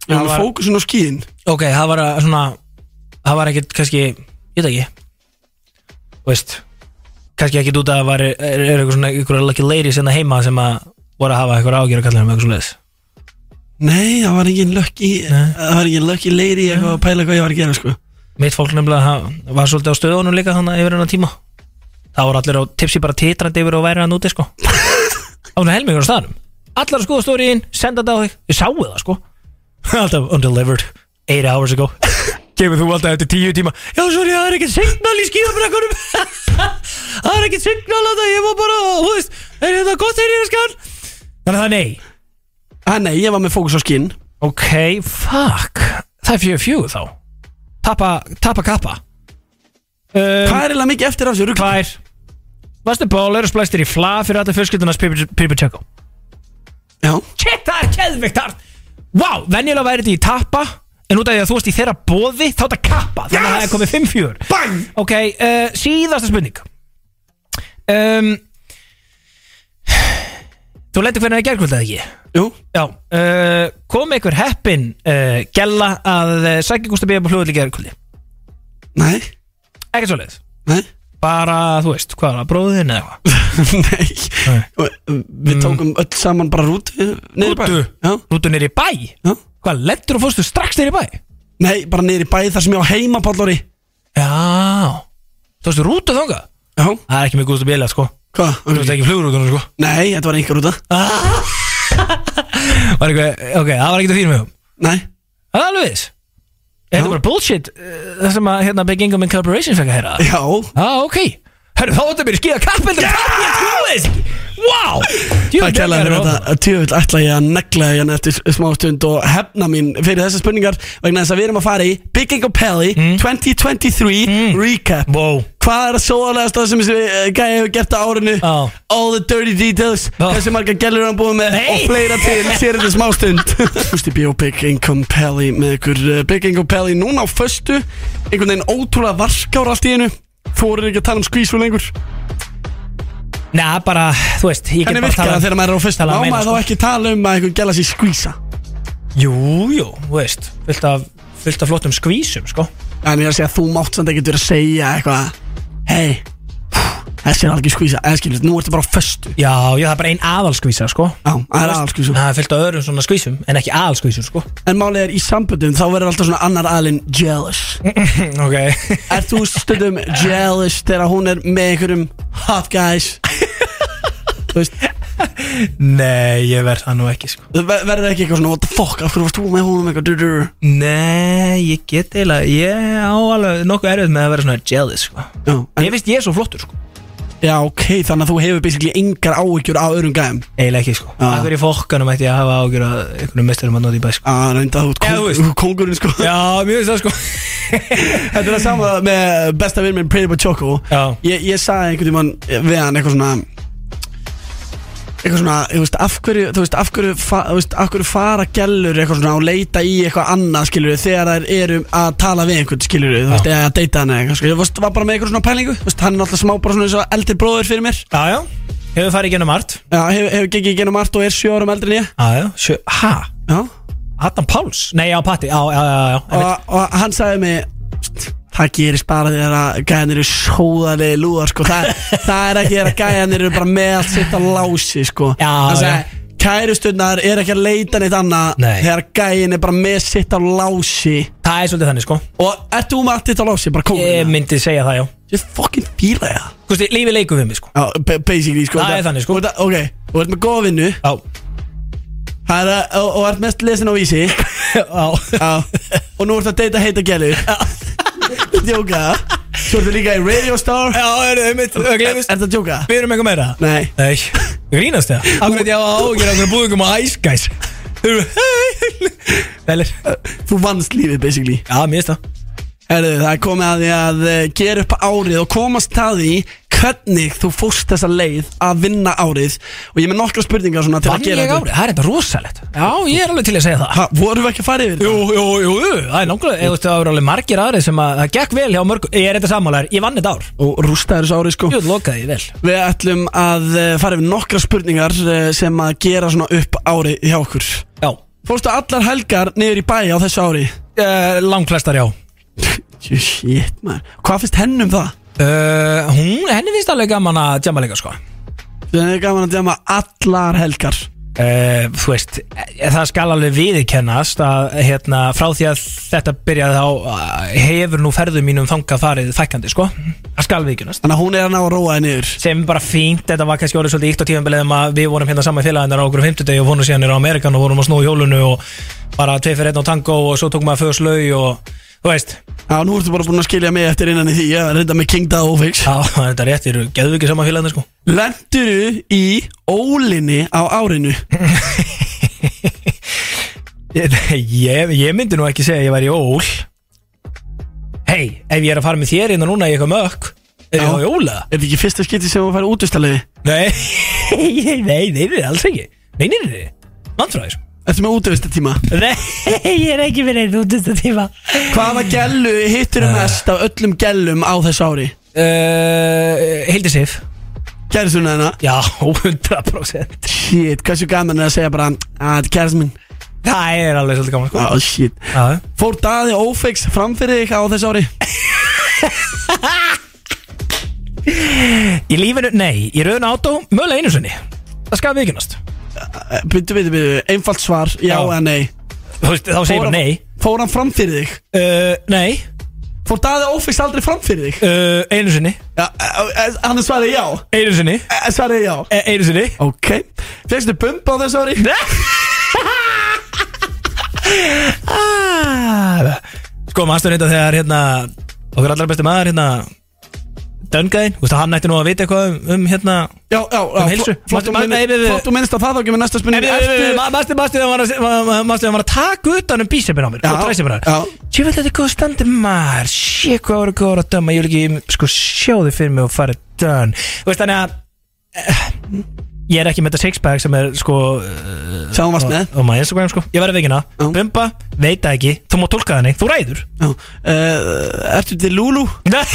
Speaker 2: var-
Speaker 3: með fókusun á skíðin
Speaker 2: Ok, það var að svona Það var ekkert kannski, ég veit ekki Þú veist Kannski ekkert út að það var er, er eitthvað svona einhverja lucky lady sem það heima sem að voru að hafa eitthvað ágjör að kalla um eitthvað svo leðis
Speaker 3: Nei, það var engin lucky það var engin lucky lady eitthvað að pæla hvað ég var að gera sko.
Speaker 2: Mitt fólk nefnilega það var svolítið á stöðunum líka þannig yfir hennar tíma Það voru allir á tipsi bara titrandi yfir og væri hann úti sko Það var helmingur á staðnum Allar að skoða stóriðin, senda þetta á þig Ég sáu það sko [laughs] Alltaf undelivered, 8 hours ago Kemur þú alltaf eftir 10 tíma Já, sorry, það er ekkert signal í skíðabrekkunum [laughs] Það er ekkert signal að það Ég var bara, þú veist, er þetta gott þegar ég er skan Þannig að það er nei
Speaker 3: Ah, nei, ég var með fókus á skíðin
Speaker 2: Ok, fuck Það er fjögur fjögur þá Tappa, tappa kappa um,
Speaker 3: Hvað er eiginlega mikið eftir af þessu rugg?
Speaker 2: Tvær Vastu ból, eru splæstir í fla fyrir alla fjölskyldunas Pipitjekko
Speaker 3: Já,
Speaker 2: Shit, það er keðvikt hart Vá, venjulega væri þetta í tappa En út af því að þú varst í þeirra bóði Þá er þetta kappa, þannig að
Speaker 3: Yes!
Speaker 2: það er komið 5-4
Speaker 3: bang!
Speaker 2: Ok, uh, síðasta spurning um, Þú lendir hvernig að gerkvölda ekki?
Speaker 3: Jú,
Speaker 2: Já, uh, kom einhver heppin uh, Gella að uh, sækja Gústa Bíða på hlúðalík gerkvöldi
Speaker 3: nei,
Speaker 2: Ekkert svoleiðis
Speaker 3: nei [laughs]
Speaker 2: Bara, þú veist, hvað var það, bróðin eða eitthvað
Speaker 3: Nei,
Speaker 2: Nei. Mm.
Speaker 3: Og, um, við tókum öll saman bara rútu niður í bæ.
Speaker 2: Rútu?
Speaker 3: Já,
Speaker 2: Rútu niður í bæ?
Speaker 3: já
Speaker 2: Hvað, lendur og fórstu strax niður í bæ?
Speaker 3: Nei, bara niður í bæ þar sem ég á heima, Pállóri
Speaker 2: Já Tókstu rútu þangað?
Speaker 3: Já,
Speaker 2: Það er ekki með gústu bíla, sko
Speaker 3: hvað?
Speaker 2: Þú veist ekki flugrútunum, sko
Speaker 3: Nei, þetta var einhver rúta
Speaker 2: Var eitthvað, ok, það var ekkert að fyrir mig um
Speaker 3: Nei,
Speaker 2: Það er alveg viss Er
Speaker 3: Já.
Speaker 2: þetta bara bullshit eh, Það sem að, hérna, Big Income Incorporation fekk að heyra það?
Speaker 3: já
Speaker 2: Já, ok Herru, þá vantar mér að skýða kappeldur Ég trúi þess ekki Wow Djú,
Speaker 3: Það kælaði fyrir þetta Tjöfull ætla ég að negla þig hérna eftir smá stund og hefna mín fyrir þessar spurningar vegna þess að við erum að fara í Bigging og Pelly
Speaker 2: Hmm.
Speaker 3: 2023 Recap
Speaker 2: Wow
Speaker 3: Hvað er að sóðalegast það sem þessi eh, gæi hefur gert á árinu
Speaker 2: Já.
Speaker 3: All the dirty details
Speaker 2: Já.
Speaker 3: Þessi marga gælur hann búið með
Speaker 2: Nei.
Speaker 3: Og fleira
Speaker 2: [laughs]
Speaker 3: til sér þetta smá stund Gústi B.O. Big Income Pelly Með ykkur eh, Big Income Pelly Núna á föstu Einhvern veginn ótrúlega varkár allt í einu Þú voru ekki að tala um skvísu lengur
Speaker 2: Næ, bara, þú veist Ég get
Speaker 3: Hvernig
Speaker 2: bara
Speaker 3: virkar það þegar maður er á fyrsta
Speaker 2: talað um
Speaker 3: Má
Speaker 2: meina,
Speaker 3: maður þá
Speaker 2: sko.
Speaker 3: ekki tala um að einhver gæla sér skvísa
Speaker 2: Jú, jú, þú veist Fyllt af, fyllt af flottum skvísum, sko
Speaker 3: En ég er að segja að þú mátt samt ekkert verið að segja eitthvað Hei, þessi er alveg skvísa Eða skilur, nú ertu bara á föstu
Speaker 2: Já, já, það er bara ein aðalskvísa, sko
Speaker 3: Já, það er aðal skvísa
Speaker 2: Það er fyllt af öðrum svona skvísum En ekki aðalskvísum, sko
Speaker 3: En málið er í samböndum, þá verður alltaf svona annar aðalinn jealous
Speaker 2: Ok
Speaker 3: Er þú stundum jealous þegar hún er með einhverjum hot guys? Þú veist,
Speaker 2: [laughs] Nei, ég verð það nú ekki sko.
Speaker 3: Ver, Verður ekki eitthvað svona What the fuck, af hverju varst þú með honum eitthvað du, du, du.
Speaker 2: Nei, ég get eiginlega Ég á alveg nokkuð erfið með að vera svona jealous sko. Ég veist ég er svo flottur sko.
Speaker 3: Já, ok, þannig að þú hefur basically engar áhyggjur á öðrum gæðum
Speaker 2: Eiginlega ekki, sko Af hverju í fokkanum ætti ég að hafa ágjur að einhvernum misturum að nota í bæ
Speaker 3: [laughs]
Speaker 2: sko.
Speaker 3: Já, reynda þú
Speaker 2: Já, þú
Speaker 3: ert kóng-
Speaker 2: veist.
Speaker 3: þú ert kóngurinn sko
Speaker 2: Já, mjög veist það sko
Speaker 3: Þetta er það sama með besta vinn minn Pretty Boy Choco
Speaker 2: Já.
Speaker 3: Ég, ég sagði einhvern tímann við hann eitthvað svona Eitthvað svona, þú veist, af hverju, þú veist, af hverju, fa, þú veist, af hverju fara gellur eitthvað svona og leita í eitthvað annað, skilur þegar þær eru að tala við einhvern, skilur þú veist, eða að deyta hann eða eitthvað, skilur þú veist, var bara með eitthvað svona pælingu, þú veist, hann er alltaf smá bara svona eins og eldri bróður fyrir mér.
Speaker 2: Já, já, hefur farið genum art
Speaker 3: Já, hefur hef gengið genum margt og er sjö árum eldri en ég.
Speaker 2: Já, já, sjö, ha?
Speaker 3: Já.
Speaker 2: Adam Páls? Ah. Nei, já, Patti, já, já, já, já einmitt.
Speaker 3: og, og hann sagði mig "Pst, það gerist bara þegar að gæðanir eru sóðalegi lúðar sko.
Speaker 2: [laughs]
Speaker 3: það, það er ekki þegar að gæðanir eru bara með allt sitt á lási sko. já, hann sagði kærustunar er ekki að leita neitt annað
Speaker 2: Nei.
Speaker 3: þegar gæðin er bara með sitt á lási
Speaker 2: Það er svolítið þannig sko
Speaker 3: og ert þú með allt sitt á lási bara kóngurinn
Speaker 2: Ég
Speaker 3: eða?
Speaker 2: myndi segja það, já
Speaker 3: ég fucking fíla ég það
Speaker 2: Kosti, lífið leikur við mig sko
Speaker 3: Já, ba- basically sko
Speaker 2: Það er þannig, sko.
Speaker 3: og, þetta- Ok, þú ert með góða vinnu
Speaker 2: Já
Speaker 3: Það er að, og, og ert mest lesin á vísi
Speaker 2: Já
Speaker 3: Já Og nú ert að deyta heita gælir Já Djóka Svo ertu líka í Radio Star
Speaker 2: [laughs] Já, er það mitt, það glemist
Speaker 3: Ert að djóka?
Speaker 2: Við erum eitthvað meira
Speaker 3: Nei
Speaker 2: Nei, grínast það Akkur að ég hafa ágjur okkur búðingum á Ice Guys Þau eru, hei Velir
Speaker 3: Þú vannst lífið basically
Speaker 2: Já, mér finnst það
Speaker 3: Herðu, það er komið að því að eh, gera upp árið og komast að því hvernig þú fórst þessa leið að vinna árið og ég er með nokkra spurningar svona til
Speaker 2: Vann
Speaker 3: að gera
Speaker 2: ég árið, það er þetta rosalegt Já, ég er alveg til að segja það
Speaker 3: Ha, vorum við ekki að fara yfir
Speaker 2: Jú, jú, jú, jú, það er nákvæmlega Eða það voru alveg margir árið sem að það gekk vel hjá mörgum Ég er þetta sammálaður, ég vann þetta ár
Speaker 3: Og rústaði þessu árið sko
Speaker 2: Jú, lokaði ég vel
Speaker 3: Við ætlum að eh, fara yfir nokkra spurningar eh, sem að gera svona upp árið hjá okkur
Speaker 2: Já,
Speaker 3: Fórstu allar helgar niður í bæ á þessu ári?
Speaker 2: uh, langflestar já
Speaker 3: Jú, Shit maður, hvað finnst henn um það?
Speaker 2: Uh, hún, henni finnst alveg gaman að djama líka sko
Speaker 3: Það er gaman að djama allar helgar
Speaker 2: uh, Þú veist, eh, það skal alveg viðurkennast að hérna, frá því að þetta byrjaði þá eh, hefur nú ferðum mínum þangað farið fækandi sko Það skal viðurkennast
Speaker 3: Þannig að hún er að ná að róa þið niður
Speaker 2: sem er bara fínt, þetta var kannski orðið svolítið ítt á tíðanbeleðum að við vorum hérna saman félaginnar á okkur fimmtudegi og fórum síðan er á Amerikan og vorum að snúa hjólunu og bara tvei fyrir einn á tango og svo tók maður fyrst lau og þú veist,
Speaker 3: Já, nú ertu bara búin að skilja mig eftir innan í því Ég er reynda með King Dao Ofix
Speaker 2: á, [laughs] þetta er rétt, við erum geðvikið saman félaginnar sko
Speaker 3: Lenduru í ólinni á árinu
Speaker 2: Ég, ég, ég myndi nú ekki segja að ég væri í ól Hei, ef ég er að fara með þér innan núna í eitthvað mökk Er ég á
Speaker 3: Já.
Speaker 2: jóla?
Speaker 3: Er þetta ekki fyrsta skipti sem þú færi útvistarlegi?
Speaker 2: Nei, [laughs] nei, nei, nei, nei, alls ekki Nei, nei, nei, nei, landfræðis
Speaker 3: Ertu með útvistartíma?
Speaker 2: Nei, ég er ekki fyrir einn útist að tíma
Speaker 3: Hvaða gellu hittur þú mest af öllum gellum á þessu ári?
Speaker 2: uh, Hildi Sif
Speaker 3: Kæristu hún hennar?
Speaker 2: Já, 100%
Speaker 3: Shit, hversu gaman er að segja bara "Ah, Þetta er kærist minn
Speaker 2: Það er alveg svolítið gaman sko
Speaker 3: Oh shit
Speaker 2: Já,
Speaker 3: Fór daði Ofix framfyrir þig á þessu ári?
Speaker 2: Í lífinu, nei, í rauðinu átó, mögulega einu sinni Það skal viðkynast
Speaker 3: Byttu, byttu, byttu Einfalt svar, já,
Speaker 2: Já.
Speaker 3: eða nei
Speaker 2: Þú veist, þá segir
Speaker 3: Fór
Speaker 2: maður
Speaker 3: hann-
Speaker 2: nei
Speaker 3: Fór hann fram fyrir þig?
Speaker 2: uh, Nei,
Speaker 3: Fór Daði Ófix aldrei fram fyrir þig?
Speaker 2: uh, einu sinni
Speaker 3: Ja, e- e- hann svarði já
Speaker 2: Einu sinni,
Speaker 3: E- Svarði já
Speaker 2: e- einu sinni
Speaker 3: Ok Fegstu bumba á þessu ári?
Speaker 2: Ah, Sko, maður reynda þegar hérna Okkur allra besti maður hérna Döngæðin, þú veist að hann ætti nú að vita eitthvað um, um hérna
Speaker 3: Já, já, já
Speaker 2: Um heilsu.
Speaker 3: fl- Flott
Speaker 2: Manstu- manstu- nei, við- við-
Speaker 3: þú minnst að það þá ekki með næsta spurning
Speaker 2: Mastu, mastu, þegar hann var að- var- var- mastu, þegar hann var að taka utan um bísepin á mér
Speaker 3: Já,
Speaker 2: og træsepin á mér
Speaker 3: já.
Speaker 2: Sjöfell, þetta er góð standi maður Sjö, hvað voru hvað voru að döma Ég vil ekki, sko, sjá þið fyrir mig og fara dön Þú veist, þannig að eh, Ég er ekki með þetta sixpack sem er, sko
Speaker 3: Sá hann varst með
Speaker 2: Og maður Instagram, sko Ég verði veginna
Speaker 3: Já.
Speaker 2: Bumba, veit það ekki Þú má tólka þannig, þú ræður
Speaker 3: Já uh, Ertu til Lulu?
Speaker 2: Nei,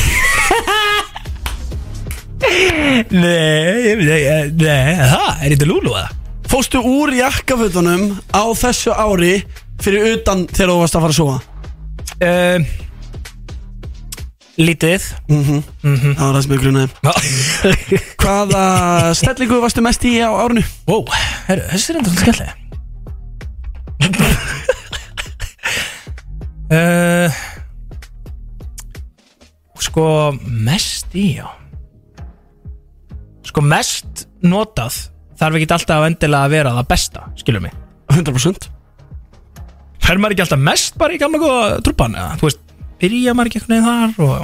Speaker 2: nei, nei, það er þetta lúlu að
Speaker 3: Fóstu úr jakkafötunum á þessu ári Fyrir utan þegar þú varst að fara að sofa
Speaker 2: það um, Lítið
Speaker 3: Mhm.
Speaker 2: Mhm.
Speaker 3: Það var það sem ég grunaði Hvaða
Speaker 2: [laughs]
Speaker 3: stellingu varstu mest í á árinu?
Speaker 2: Ó, herru, þessi er enda svolítið skemmtilega uh, Sko, mest í, já Sko, mest notað Það þarf ekki alltaf endilega að vera það besta skilur mig
Speaker 3: 100%
Speaker 2: fer maður ekki alltaf mest bara í gamla góða trúpan eða, þú veist, byrja maður ekki eitthvað þar og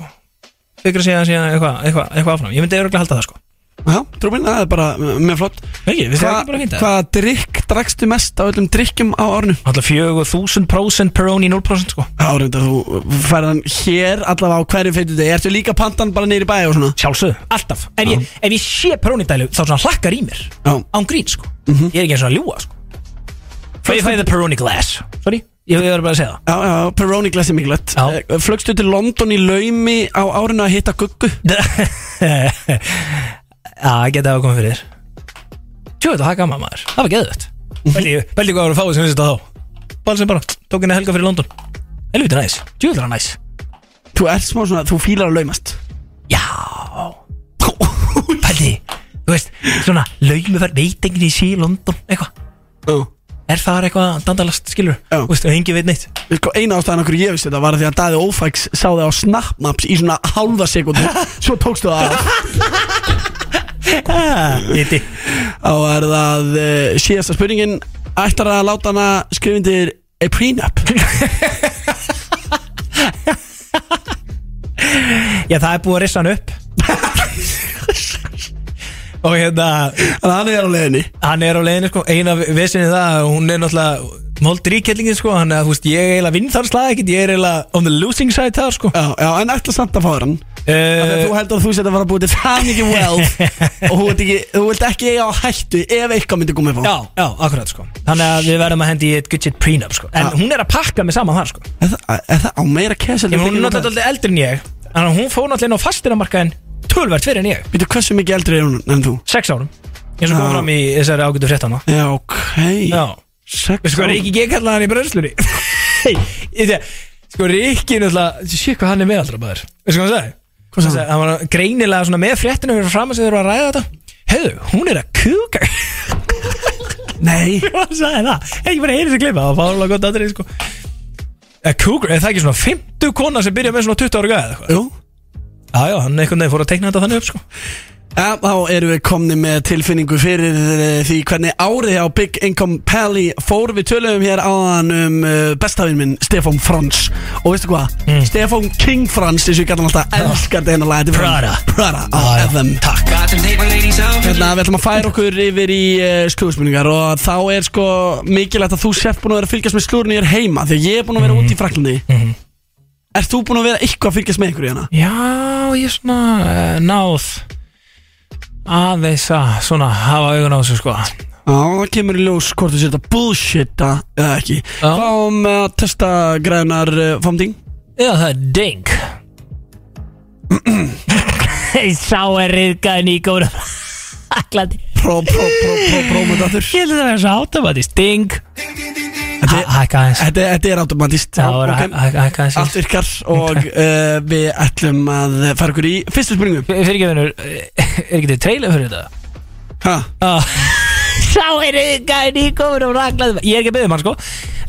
Speaker 2: byggra síðan síðan eitthvað eitthva, eitthva áfram, ég myndi öruglega halda það sko
Speaker 3: Já, trúminn, það er bara með flott
Speaker 2: Ekki, finnst þér
Speaker 3: Hva-
Speaker 2: ekki bara fínt, eða?
Speaker 3: Hvaða drikk drakstu mest á öllum drikkjum á árnu?
Speaker 2: Alltaf 4000% Peroni 0% sko
Speaker 3: Já, reynda, þú færði hann hér allavega á hverju feitu degi Ertu líka pantan bara neyri bæ og svona?
Speaker 2: Sjálfsögðu, alltaf En ég, ef ég sé perónidælu þá svona hlakkar í mér
Speaker 3: Já.
Speaker 2: Án grín sko
Speaker 3: Mhm.
Speaker 2: Ég er ekki eins og að ljúa sko Fæ ég fæði the Peroni glass Sorry, ég ég verður bara að segja það
Speaker 3: Já, já, Peroni glasi mikilvægt Eh, Flögstu til London í laumi á árinu að hitta guggu?
Speaker 2: Já, það geta að koma fyrir þér. Tjóðu þetta, það er gaman maður Það var geðvögt Veldi hvað voru fáið sem vissi þetta þá Balsum bara, tók henni helga fyrir London Helviti næs, tjóðu þetta næs
Speaker 3: Þú ert smá svona, þú fílar að laumast
Speaker 2: Pældi, þú veist, svona laumuferð veitingin í sí London, eitthvað
Speaker 3: uh.
Speaker 2: Er það eitthvað dandalast, skilur
Speaker 3: Já.
Speaker 2: Þú veist, hengi veit neitt
Speaker 3: Sko, eina ástæðan okkur ég vissi þetta var því að Daði Ófæks sá það á snapmaps í svona halva sekundu Svo tókstu það af
Speaker 2: Íti
Speaker 3: Þá er það uh, síðasta spurningin Ættar að láta hana skrifindir a prenup
Speaker 2: Já, það er búið að rissa hann upp Og hérna
Speaker 3: Hann er á leiðinni
Speaker 2: Hann er á leiðinni, sko Eina vesinni það, að hún er náttúrulega Móldur íkellingin, sko Hann er, þú veist, ég er eiginlega vinn þar slag ekkert Ég er eiginlega on the losing side þar, sko
Speaker 3: Já, já en ætla samt að fá þér hann Af
Speaker 2: Eh,
Speaker 3: því að Þú heldur að þú setja að fara að búið til það mikið wealth Og þú vilt ekki, þú vilt ekki eiga á hættu ef eitthvað myndi komið fá
Speaker 2: Eh, Já, já, akkurat, sko Þannig að við verðum að hendi í eitt good shit prenup, sko
Speaker 3: Ah.
Speaker 2: En hún er að pakka mig saman þar, sko
Speaker 3: Er það, er það á meira cash
Speaker 2: Ég, Hún er náttúrulega dálítið eldri en ég Þannig að hún fór náttúrulega inn á fastinamarkaðin Tölvert fyrir en ég
Speaker 3: Býtu hversu mikið eldri er hún en þú?
Speaker 2: Sex árum Eins og kom
Speaker 3: Já.
Speaker 2: fram í þessari ágætu fréttana
Speaker 3: Já, ok
Speaker 2: Já
Speaker 3: Sex
Speaker 2: Veistu hvað Ríkki G kallaði hann í [laughs] brennslunni Hey, ég þegar Sko Ríkki náttúrulega Sér hvað hann er meðaldra maður Veistu hvað hann sagði? Hvað sagði? hann? Hann var greinilega svona með fréttina Fyrir fram að sem þeir eru að ræða þetta Heiðu, hún er að kúka [laughs]
Speaker 3: Nei
Speaker 2: Hvað sagði það? Hey, ég bara heyri þessi klipa Það var fárlega gott aðrið sko Að kúka, er það ekki svona 50 kona sem byrja með svona 20 ára gæði
Speaker 3: Jú
Speaker 2: Já, já, hann einhvern veginn fór að teikna þetta þannig upp sko
Speaker 3: Já, þá erum við komni með tilfinningu fyrir eh, því hvernig árið á Big Income Pally fór við tölum hér áðan um eh, bestafinn minn Stefán Frans og veistu hvað?
Speaker 2: Mm.
Speaker 3: Stefán King Frans, eins og ég gæti hann alltaf elskar þetta hérna lagið
Speaker 2: Prada.
Speaker 3: Prada á FM Takk Hérna, við ætlum að færa okkur yfir í uh, slúðsmyndingar og þá er sko mikilvægt að þú sért búin að vera að fylgjast með slúðurinn hér heima því að ég er búin að vera úti í Fraklandi
Speaker 2: Mhm.
Speaker 3: Ert þú búin að vera eitthvað að fylgjast með einhverju hérna?
Speaker 2: Já, ég svona uh, náð aðeins að svona hafa augun á þessu sko
Speaker 3: Já, það kemur í ljós hvort þú sér þetta bullshit eða ekki Fáum að testa grænar eh, fám ding
Speaker 2: Já, það er ding Sá er riðgæðin í góra Aklandi
Speaker 3: Pró, pró, pró, pró, pró með þetta
Speaker 2: Ég held að það er svo automatist Ding Hækka aðeins
Speaker 3: Þetta þetta er automatist
Speaker 2: Já, það er hæ- hæ- hækka aðeins
Speaker 3: Allt virkar
Speaker 2: [laughs]
Speaker 3: og uh, við ætlum að fara ykkur í fyrstu spurningu
Speaker 2: Fyrir ekki vinnur, er ekki til trailer fyrir þetta?
Speaker 3: Ha,
Speaker 2: Ah. Sá er riðgæðin í góra Aklandi Ég er ekki að byggja mann sko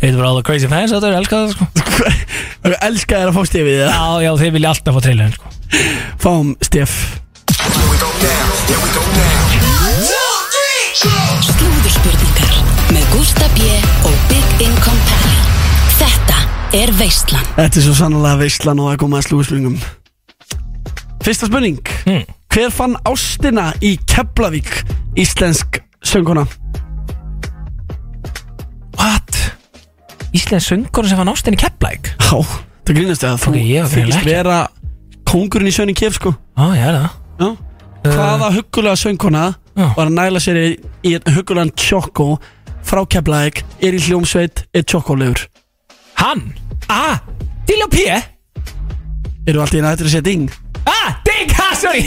Speaker 2: Þetta var all the crazy fans Þetta er elskað það sko
Speaker 3: ok, [laughs] elska þér að fá stefið það
Speaker 2: Já, já, þeir vilja alltaf fá trailerin sko
Speaker 3: Fáum stef
Speaker 4: Slúðurspurningar með Gústa B. og Big Income Pally. Þetta er Veistland.
Speaker 3: Þetta er svo sannlega veistlan og að koma að slúðspurningum Fyrsta spurning
Speaker 2: Hmm.
Speaker 3: Hver fann ástina í Keflavík íslensk sönguna?
Speaker 2: What? Íslensk söngkona sem fann ástinni kepplæk?
Speaker 3: Já, það grínast eða þú
Speaker 2: Ok, ég var greinilega
Speaker 3: þykist
Speaker 2: ekki.
Speaker 3: vera kóngurinn í sögning kef sko
Speaker 2: Á, ég er það
Speaker 3: Já. Hvaða huggulega söngkona
Speaker 2: Eh. Já.
Speaker 3: var að næla sér í í einn huggulegan tjókó frá Keflavík, er í hljómsveit, er tjókólegur
Speaker 2: Hann? A. Dilljó P.
Speaker 3: Eru allt í einu hættur að setja ing?
Speaker 2: A. Dig, ha, sorry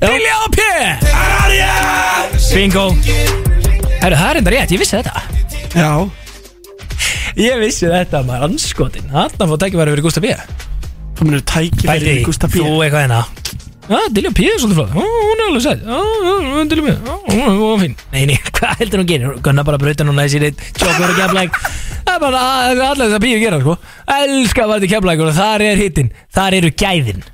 Speaker 2: Dilljó P. Bingo Herru, það er enda rétt, ég vissi þetta
Speaker 3: Já,
Speaker 2: Ég vissi þetta, maður anskotin Þarna fór tækifæri fyrir Gustaf B
Speaker 3: þú munir tækifæri í Gústa B
Speaker 2: þú eitthvað hérna Já, Dilljó P er svolítið flott Ó, Hún er alveg sætt Já, já, Dilljó P Já, Hún er hún er fín Nei, nei, [laughs] hvað heldur hún gerir? Hún Gunnar bara brauta núna í sér eitt Tjókur og keflæk Það er bara það er allir þess að píu gera, sko Elskar að vera til keflæk og þar er hittin Þar eru gæðin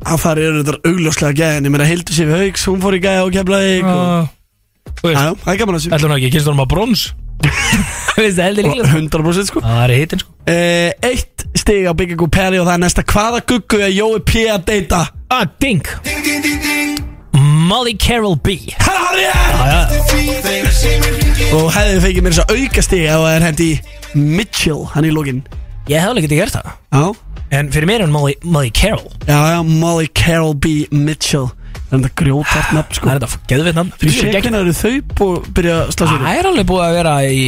Speaker 3: Það þar eru þetta augljóslega gæðin Ég meina Hildur Sif Hauks, hún fór í gæði á Keflavík og...
Speaker 2: Já. Jájá,
Speaker 3: það er gaman að þessu
Speaker 2: Ætlum ekki, kynst honum að [laughs] brons Veist það heldur líklega
Speaker 3: 100% sko
Speaker 2: Það er hitinn sko
Speaker 3: Eh, Eitt stig á Big Ego Perry og það er næsta Hvaða guggu er Jói P að deyta?
Speaker 2: Ah, Dink Molly Carol B
Speaker 3: Hæra hann
Speaker 2: Ah,
Speaker 3: ég Og hefði fengið mér þess að auka stig ef það er hendi Mitchell, hann í lókin
Speaker 2: Ég hef alveg getið gert það
Speaker 3: Já,
Speaker 2: En fyrir mér er hann Molly, Molly Carol
Speaker 3: já, já, Molly Carol B. Mitchell Það er þetta grjótart nafn sko
Speaker 2: Það er þetta geðveit nafn
Speaker 3: Fyrir sér ekki eru þau búið að byrja að slá sér
Speaker 2: Það er alveg búið að vera í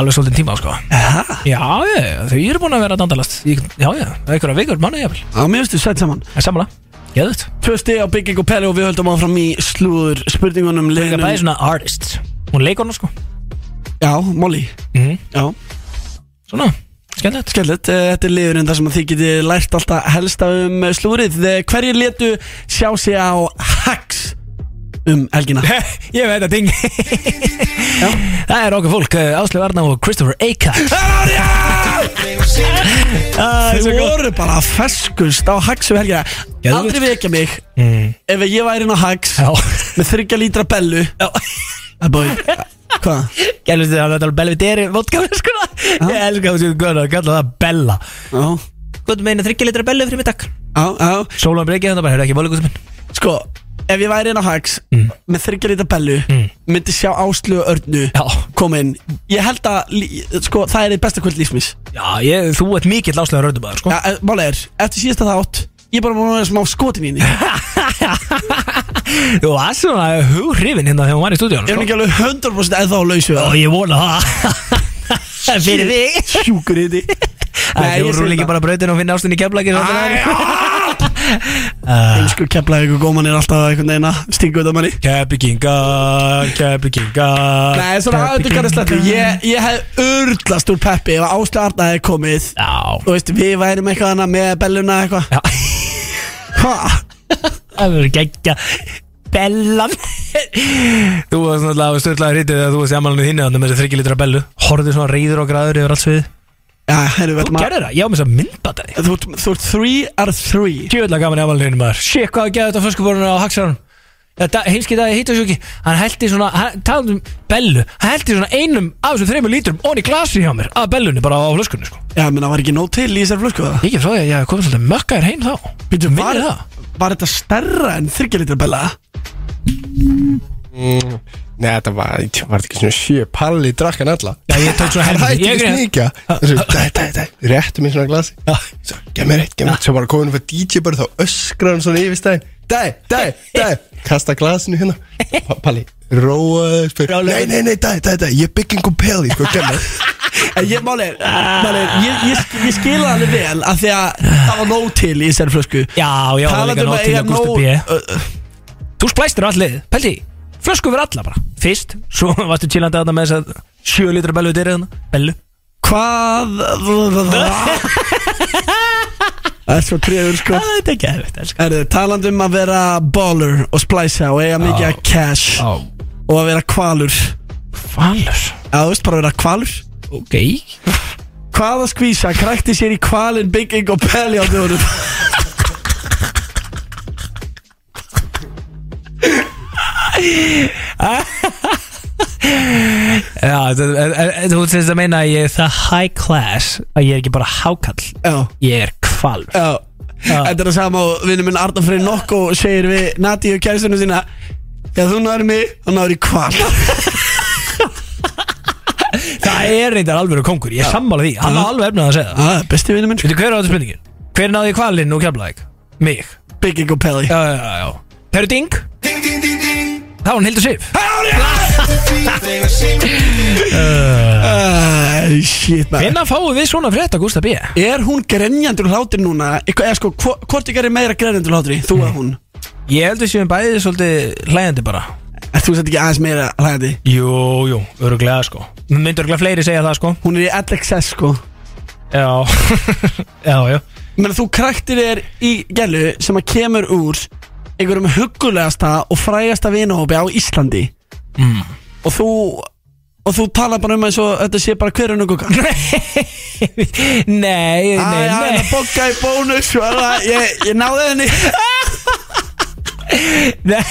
Speaker 2: alveg svolítið tíma sko. Já, ég, þau eru búin að vera að dandalast Í- Já, já, einhverja vikur, manna ég
Speaker 3: Já, mér veistu, sætt saman
Speaker 2: vel Samanlega, geðut
Speaker 3: Tvö stig á Big Ego Perry og við höldum áfram í slúður spurningunum
Speaker 2: Það er
Speaker 3: liðnum
Speaker 2: bæði svona artist Hún leikur hann sko
Speaker 3: Já, Molly
Speaker 2: Mhm.
Speaker 3: Já
Speaker 2: Svona, skemmtilegt
Speaker 3: Skellet, eh, þetta er liðurinn þar sem að þið getið lært alltaf helsta um eh, slúrið Eh, Hverjir letu sjá sig á Hax um
Speaker 2: [laughs]
Speaker 3: helgina?
Speaker 2: Ég veit að ding Það er okkur fólk, Ásleif Arna og Christopher Eikart
Speaker 3: Þau
Speaker 2: svo gott.
Speaker 3: voru bara ferskust á Hax um helgina
Speaker 2: Geðveikt.
Speaker 3: Aldrei vekja mig
Speaker 2: Mm.
Speaker 3: ef ég væri inn á Hax
Speaker 2: Já.
Speaker 3: með þryggja lítra bellu Það búið Hvað?
Speaker 2: Gælu þetta að þetta er belvederi vodka sko. Ég elska þessu gönn að kalla það Bella
Speaker 3: Já,
Speaker 2: Hvað meina þryggja litra Bellu fyrir mig takk
Speaker 3: já, já
Speaker 2: Sólan breykið þannig bara, hefur ekki máli gútið minn
Speaker 3: Sko, ef ég væri inn á Hax
Speaker 2: Mm.
Speaker 3: með þryggja lítra bellu myndi sjá Áslu og Örnu
Speaker 2: Já,
Speaker 3: koma inn Ég held að, lí- sko, það er eitt besta kvöld lífsmís
Speaker 2: já ég, þú ert mikill Ásleif Röndumæður sko.
Speaker 3: Já, en Málið er, eftir síðasta þátt Ég er bara múin að vera smá skotin [laughs] í henni Er
Speaker 2: Þú var svona hughrifin hérna þegar hún var í stúdíónu
Speaker 3: hún
Speaker 2: sko.
Speaker 3: ekki alveg 100% eða á lausu
Speaker 2: Og ég vona það [laughs] Fyrir þig
Speaker 3: Sjúkur í því
Speaker 2: Það er
Speaker 3: Nei, ég segi
Speaker 2: rúlingi
Speaker 3: það.
Speaker 2: bara brautin og finna ástinni keflagi [laughs]
Speaker 3: Elsku kepla ykkur góman er alltaf einhvern veginn að stinga út af manni
Speaker 2: Kepikinga, kepikinga
Speaker 3: Nei, svona aðeins kannast slættu Ég, ég hef urðlast úr Peppi Ef Ásla Arna hefði komið
Speaker 2: Já,
Speaker 3: Þú veist, við værum eitthvað annað með belluna eitthvað
Speaker 2: Já.
Speaker 3: Hva?
Speaker 2: það verður geggja Bellan Þú varst náttúrulega stöðlaði hrítið þegar þú varst í amalinu þínu þannig með þessi þryggjilitra bellu Horfið svona reyður og græður yfir allt svið
Speaker 3: Já, herru,
Speaker 2: Þú
Speaker 3: veitum að
Speaker 2: gerðir það, ég á með þess að mynda þetta
Speaker 3: Þú ert- þú ert 3 are 3
Speaker 2: Tjóðlega gaman í amalinu þínu maður Sér hvað að geða þetta á föskuborunum á Haxaranum Þetta heimski dagi hittasjóki Hann hælti svona, hann talaði um bellu Hann hælti svona einum af þessum þreimur lítrum Onni glasi hjá mér, að bellunni bara á flöskunni sko.
Speaker 3: Já, menn það var ekki nóg til í þessar flösku
Speaker 2: Ég
Speaker 3: það
Speaker 2: ekki frá því að ég hef komið svolítið mökkaðir heim þá Býtum
Speaker 3: var, var þetta stærra en 3 litra bella?
Speaker 6: Nei, þetta var, þetta var ekki svona sjö palli drakkan alla
Speaker 2: Já, ég tók [laughs] svona
Speaker 6: Það
Speaker 2: helmingi
Speaker 6: hætti
Speaker 2: Ég
Speaker 6: ekki
Speaker 2: greið
Speaker 6: sníkja Þessu, dæ, dæ, dæ, réttu mér svona glasi
Speaker 2: Já.
Speaker 6: Svo, gef mér eitt, gef mér eitt Svo bara komin fyrir DJ bara þá öskrar hann svona yfir stæðin Dæ, dæ, dæ Kasta glasinu hérna Pa- Palli, róa spyr, Nei, nei, nei, dæ, dæ, dæ Ég bygging um peli, sko, gef mér
Speaker 3: En ég, málir, málir, ég, ég, sk- ég skila það alveg vel af því að það var nóg til í þessari flösku
Speaker 2: Já, já, það var
Speaker 3: Talandi
Speaker 2: líka nótt til
Speaker 3: um að eiga
Speaker 2: að Gusti
Speaker 3: nóg-
Speaker 2: B
Speaker 3: ö- ö-
Speaker 2: Þú splæstir á all liðið, pældi í Flösku fyrir alla bara, fyrst Svo varstu chillandi aðna með þess að Sjö lítra bellu dyrir þarna, bellu
Speaker 3: Hvað Það er svo trefur sko
Speaker 2: Það er ekki aðeins, elskan
Speaker 3: Erðu, talandum að vera baller og splæsa og eiga mikið að cash
Speaker 2: Á,
Speaker 3: og að vera kvalur
Speaker 2: falur
Speaker 3: Já, þú veist bara að vera kvalur
Speaker 2: Ok
Speaker 3: Hvaða skvísa krækti sér í kvalin bygging og peli á döðunum
Speaker 2: Já, þú- e- e- e- þú finnst að meina að ég er það high class Að ég er ekki bara hákall
Speaker 3: Já
Speaker 2: Ég er kvalur
Speaker 3: Já Þetta er það sama og vinnum minn Arnar Frey Nokko segir við Nati og kæristunum sína Já þú náður mig og náður í kval
Speaker 2: Það er reyndar alveg kongur, ég er sammála því Hann var alveg efnað að segja það
Speaker 3: ah, Besti vinnum minn
Speaker 2: Veitu, hver er þetta spurningin? Hver náði kvalinn og keflaðið? Mig
Speaker 3: Bygging og Pelli
Speaker 2: Já, já, já, já Þeir eru ding Það var hún Hildur Sif
Speaker 3: Æ, Shit maður
Speaker 2: Hvenna fáum við svona frétt að Gústa B?
Speaker 3: Er hún grenjandi úr hlátri núna? Eitthvað, eða sko, hvo- hvort ykkar er meira grenjandi úr hlátri? Þú að hún
Speaker 2: Ég heldur séum bæðið svolítið hlægjandi bara
Speaker 3: Er þú sett ekki aðeins meira hlæði?
Speaker 2: Jú, jú, öruglega sko Mér myndi öruglega fleiri segja það sko
Speaker 3: Hún er í LXS sko
Speaker 2: Já, [laughs] já, já
Speaker 3: Menn þú kræktir þér í gælu sem að kemur úr einhverjum hugulegasta og frægasta vinahópi á Íslandi mm. og þú og þú tala bara um eins og þetta sé bara hverjum
Speaker 2: [laughs]
Speaker 3: og gugga
Speaker 2: Nei, nei, nei
Speaker 3: Æ, sko, hann að bokka í bónus og það- ég, ég náði henni
Speaker 2: Nei,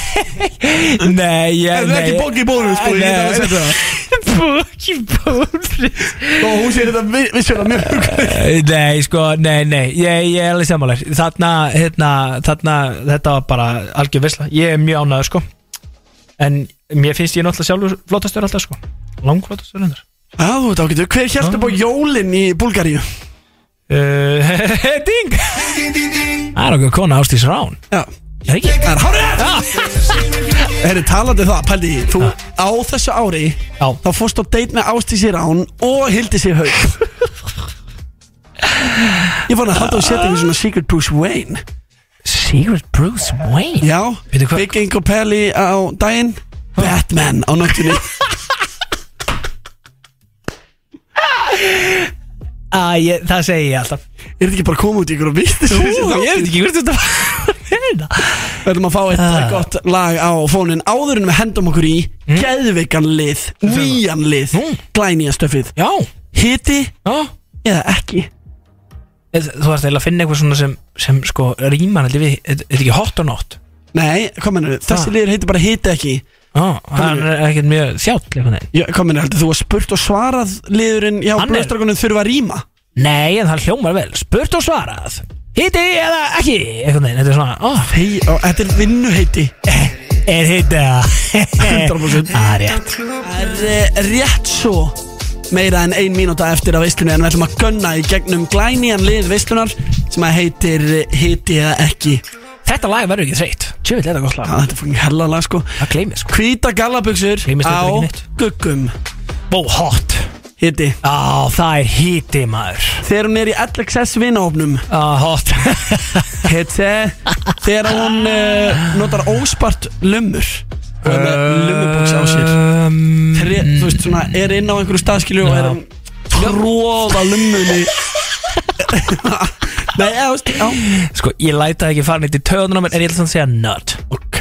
Speaker 2: nei, ég
Speaker 13: Þetta er ekki Boggy Bónus, sko, ég get alveg sagt það.
Speaker 2: Bóki bónus
Speaker 13: Og hún sér þetta vi- vissulega mjög
Speaker 2: Nei, sko, nei, nei Ég, ég er alveg samanlega Þarna, hérna, þarna Þetta var bara algjör visla Ég er mjög ánæður, sko En mér finnst ég náttúrulega sjálfur flottastur alltaf, sko Langflottastur hendur
Speaker 3: Já, þú veit ágættu Hver hjælt
Speaker 2: Ah.
Speaker 3: upp á jólin í Búlgaríu?
Speaker 2: uh, [laughs] Ding Það er okkur kona Ástís Rán
Speaker 3: Já
Speaker 2: Það er ekki
Speaker 3: Það er
Speaker 2: Ah.
Speaker 3: hárið Það er talandi um það, pældi í, Þú á þessu ári
Speaker 2: Já.
Speaker 3: Þá fórst á date með Ástísi Rán Og hildi sér haug Ég fann að halda og setja því svona Secret Bruce Wayne
Speaker 2: Secret Bruce Wayne?
Speaker 3: Já, Big Ingo Pelli á daginn Batman á nóttinni
Speaker 2: Æ, ég, það segi ég alltaf
Speaker 3: Er þetta ekki bara að koma út í ykkur og vitt
Speaker 2: Ú, ég veit ekki hvert þetta var
Speaker 3: Við ætlum að fá eitt
Speaker 2: Ah.
Speaker 3: gott lag á fónin áður en við hendum okkur í mm. Geðveikan lið, nýjan lið mm. Glænýja stöfið
Speaker 2: Já.
Speaker 3: Hiti
Speaker 2: Já.
Speaker 3: eða ekki
Speaker 2: Þú ert eiginlega að finna eitthvað svona sem, sem sko, rýman allir við, þetta er ekki hot or not
Speaker 3: Nei, hvað mennur við? Þessi liður heitir bara hiti ekki
Speaker 2: Já, hann er ekkert mjög þjátt
Speaker 3: Já, hvað mennur, heldur þú að spurt og svarað liðurinn Já,
Speaker 2: Hann er-
Speaker 3: blöðstrakunum þurfa að rýma
Speaker 2: Nei, en það hljómar vel Spurt og svarað Hitti eða ekki Eitthvað neina, þetta er svona ó,
Speaker 3: Hei, ó, Þetta er vinnuheiti
Speaker 2: Er hitti eða
Speaker 3: 100%
Speaker 2: Það er rétt
Speaker 3: Það er eh, rétt svo meira en ein mínúta eftir af veislunni en við ætlum að gunna í gegnum glænían lið veislunar sem að heitir eh, Hiti eða ekki
Speaker 2: Þetta lag verður ekki þreytt Tjöfell, þetta er gott lag
Speaker 3: Já, þetta er fokkin hella lag sko
Speaker 2: Það gleymið sko
Speaker 3: Hvíta gallabuxur
Speaker 2: Gleymist
Speaker 3: á
Speaker 2: þetta ekki neitt.
Speaker 3: guggum
Speaker 2: Bó, hot
Speaker 3: Hiti
Speaker 2: Á, það er hitti maður
Speaker 3: Þegar hún er í LXS vinahofnum
Speaker 2: Á, hot
Speaker 3: Hiti Þegar hún uh, notar óspart lömmur og er með
Speaker 2: Eh,
Speaker 3: lummubuxi á sér
Speaker 2: um,
Speaker 3: Tre, Þú veist svona, er inn á einhverju staðskilju og er um að tróða [laughs] lummunni Nei, eða, þú veist, já
Speaker 2: Sko, ég læta ekki fara neitt í töðunum En ég ætla samt að segja nerd
Speaker 3: Ok,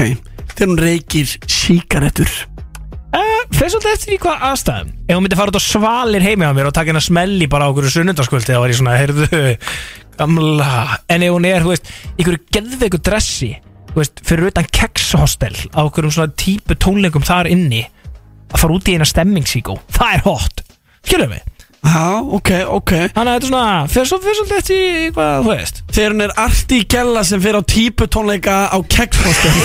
Speaker 3: þegar hún reykir síkaretur
Speaker 2: uh, Fyrir svolítið eftir í hvað aðstæðum Ef hún myndi fara út á svalir heimi á mér Og taka henn að smelli bara á okkur sunnundaskvöldi Þá var ég svona, heyrðu Gamla En ef hún er, þú veist, í hverju geðveiku dressi Þú veist, fyrir utan kekshostel Á okkur um svona típu tónleikum þar inni Að fara út í eina stemmingsíkó Það er hot, skilum við
Speaker 3: Já, ok, ok
Speaker 2: Þannig að þetta er svona, fyrir svo- fyrir svolítið eftir í hvað, þú veist
Speaker 3: Þegar hún er arti í gælla sem fyrir á típu tónleika á keksfóstum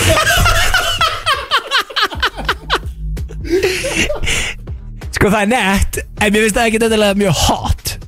Speaker 2: Sko það er nett, en mér finnst það ekki þetta mjög hot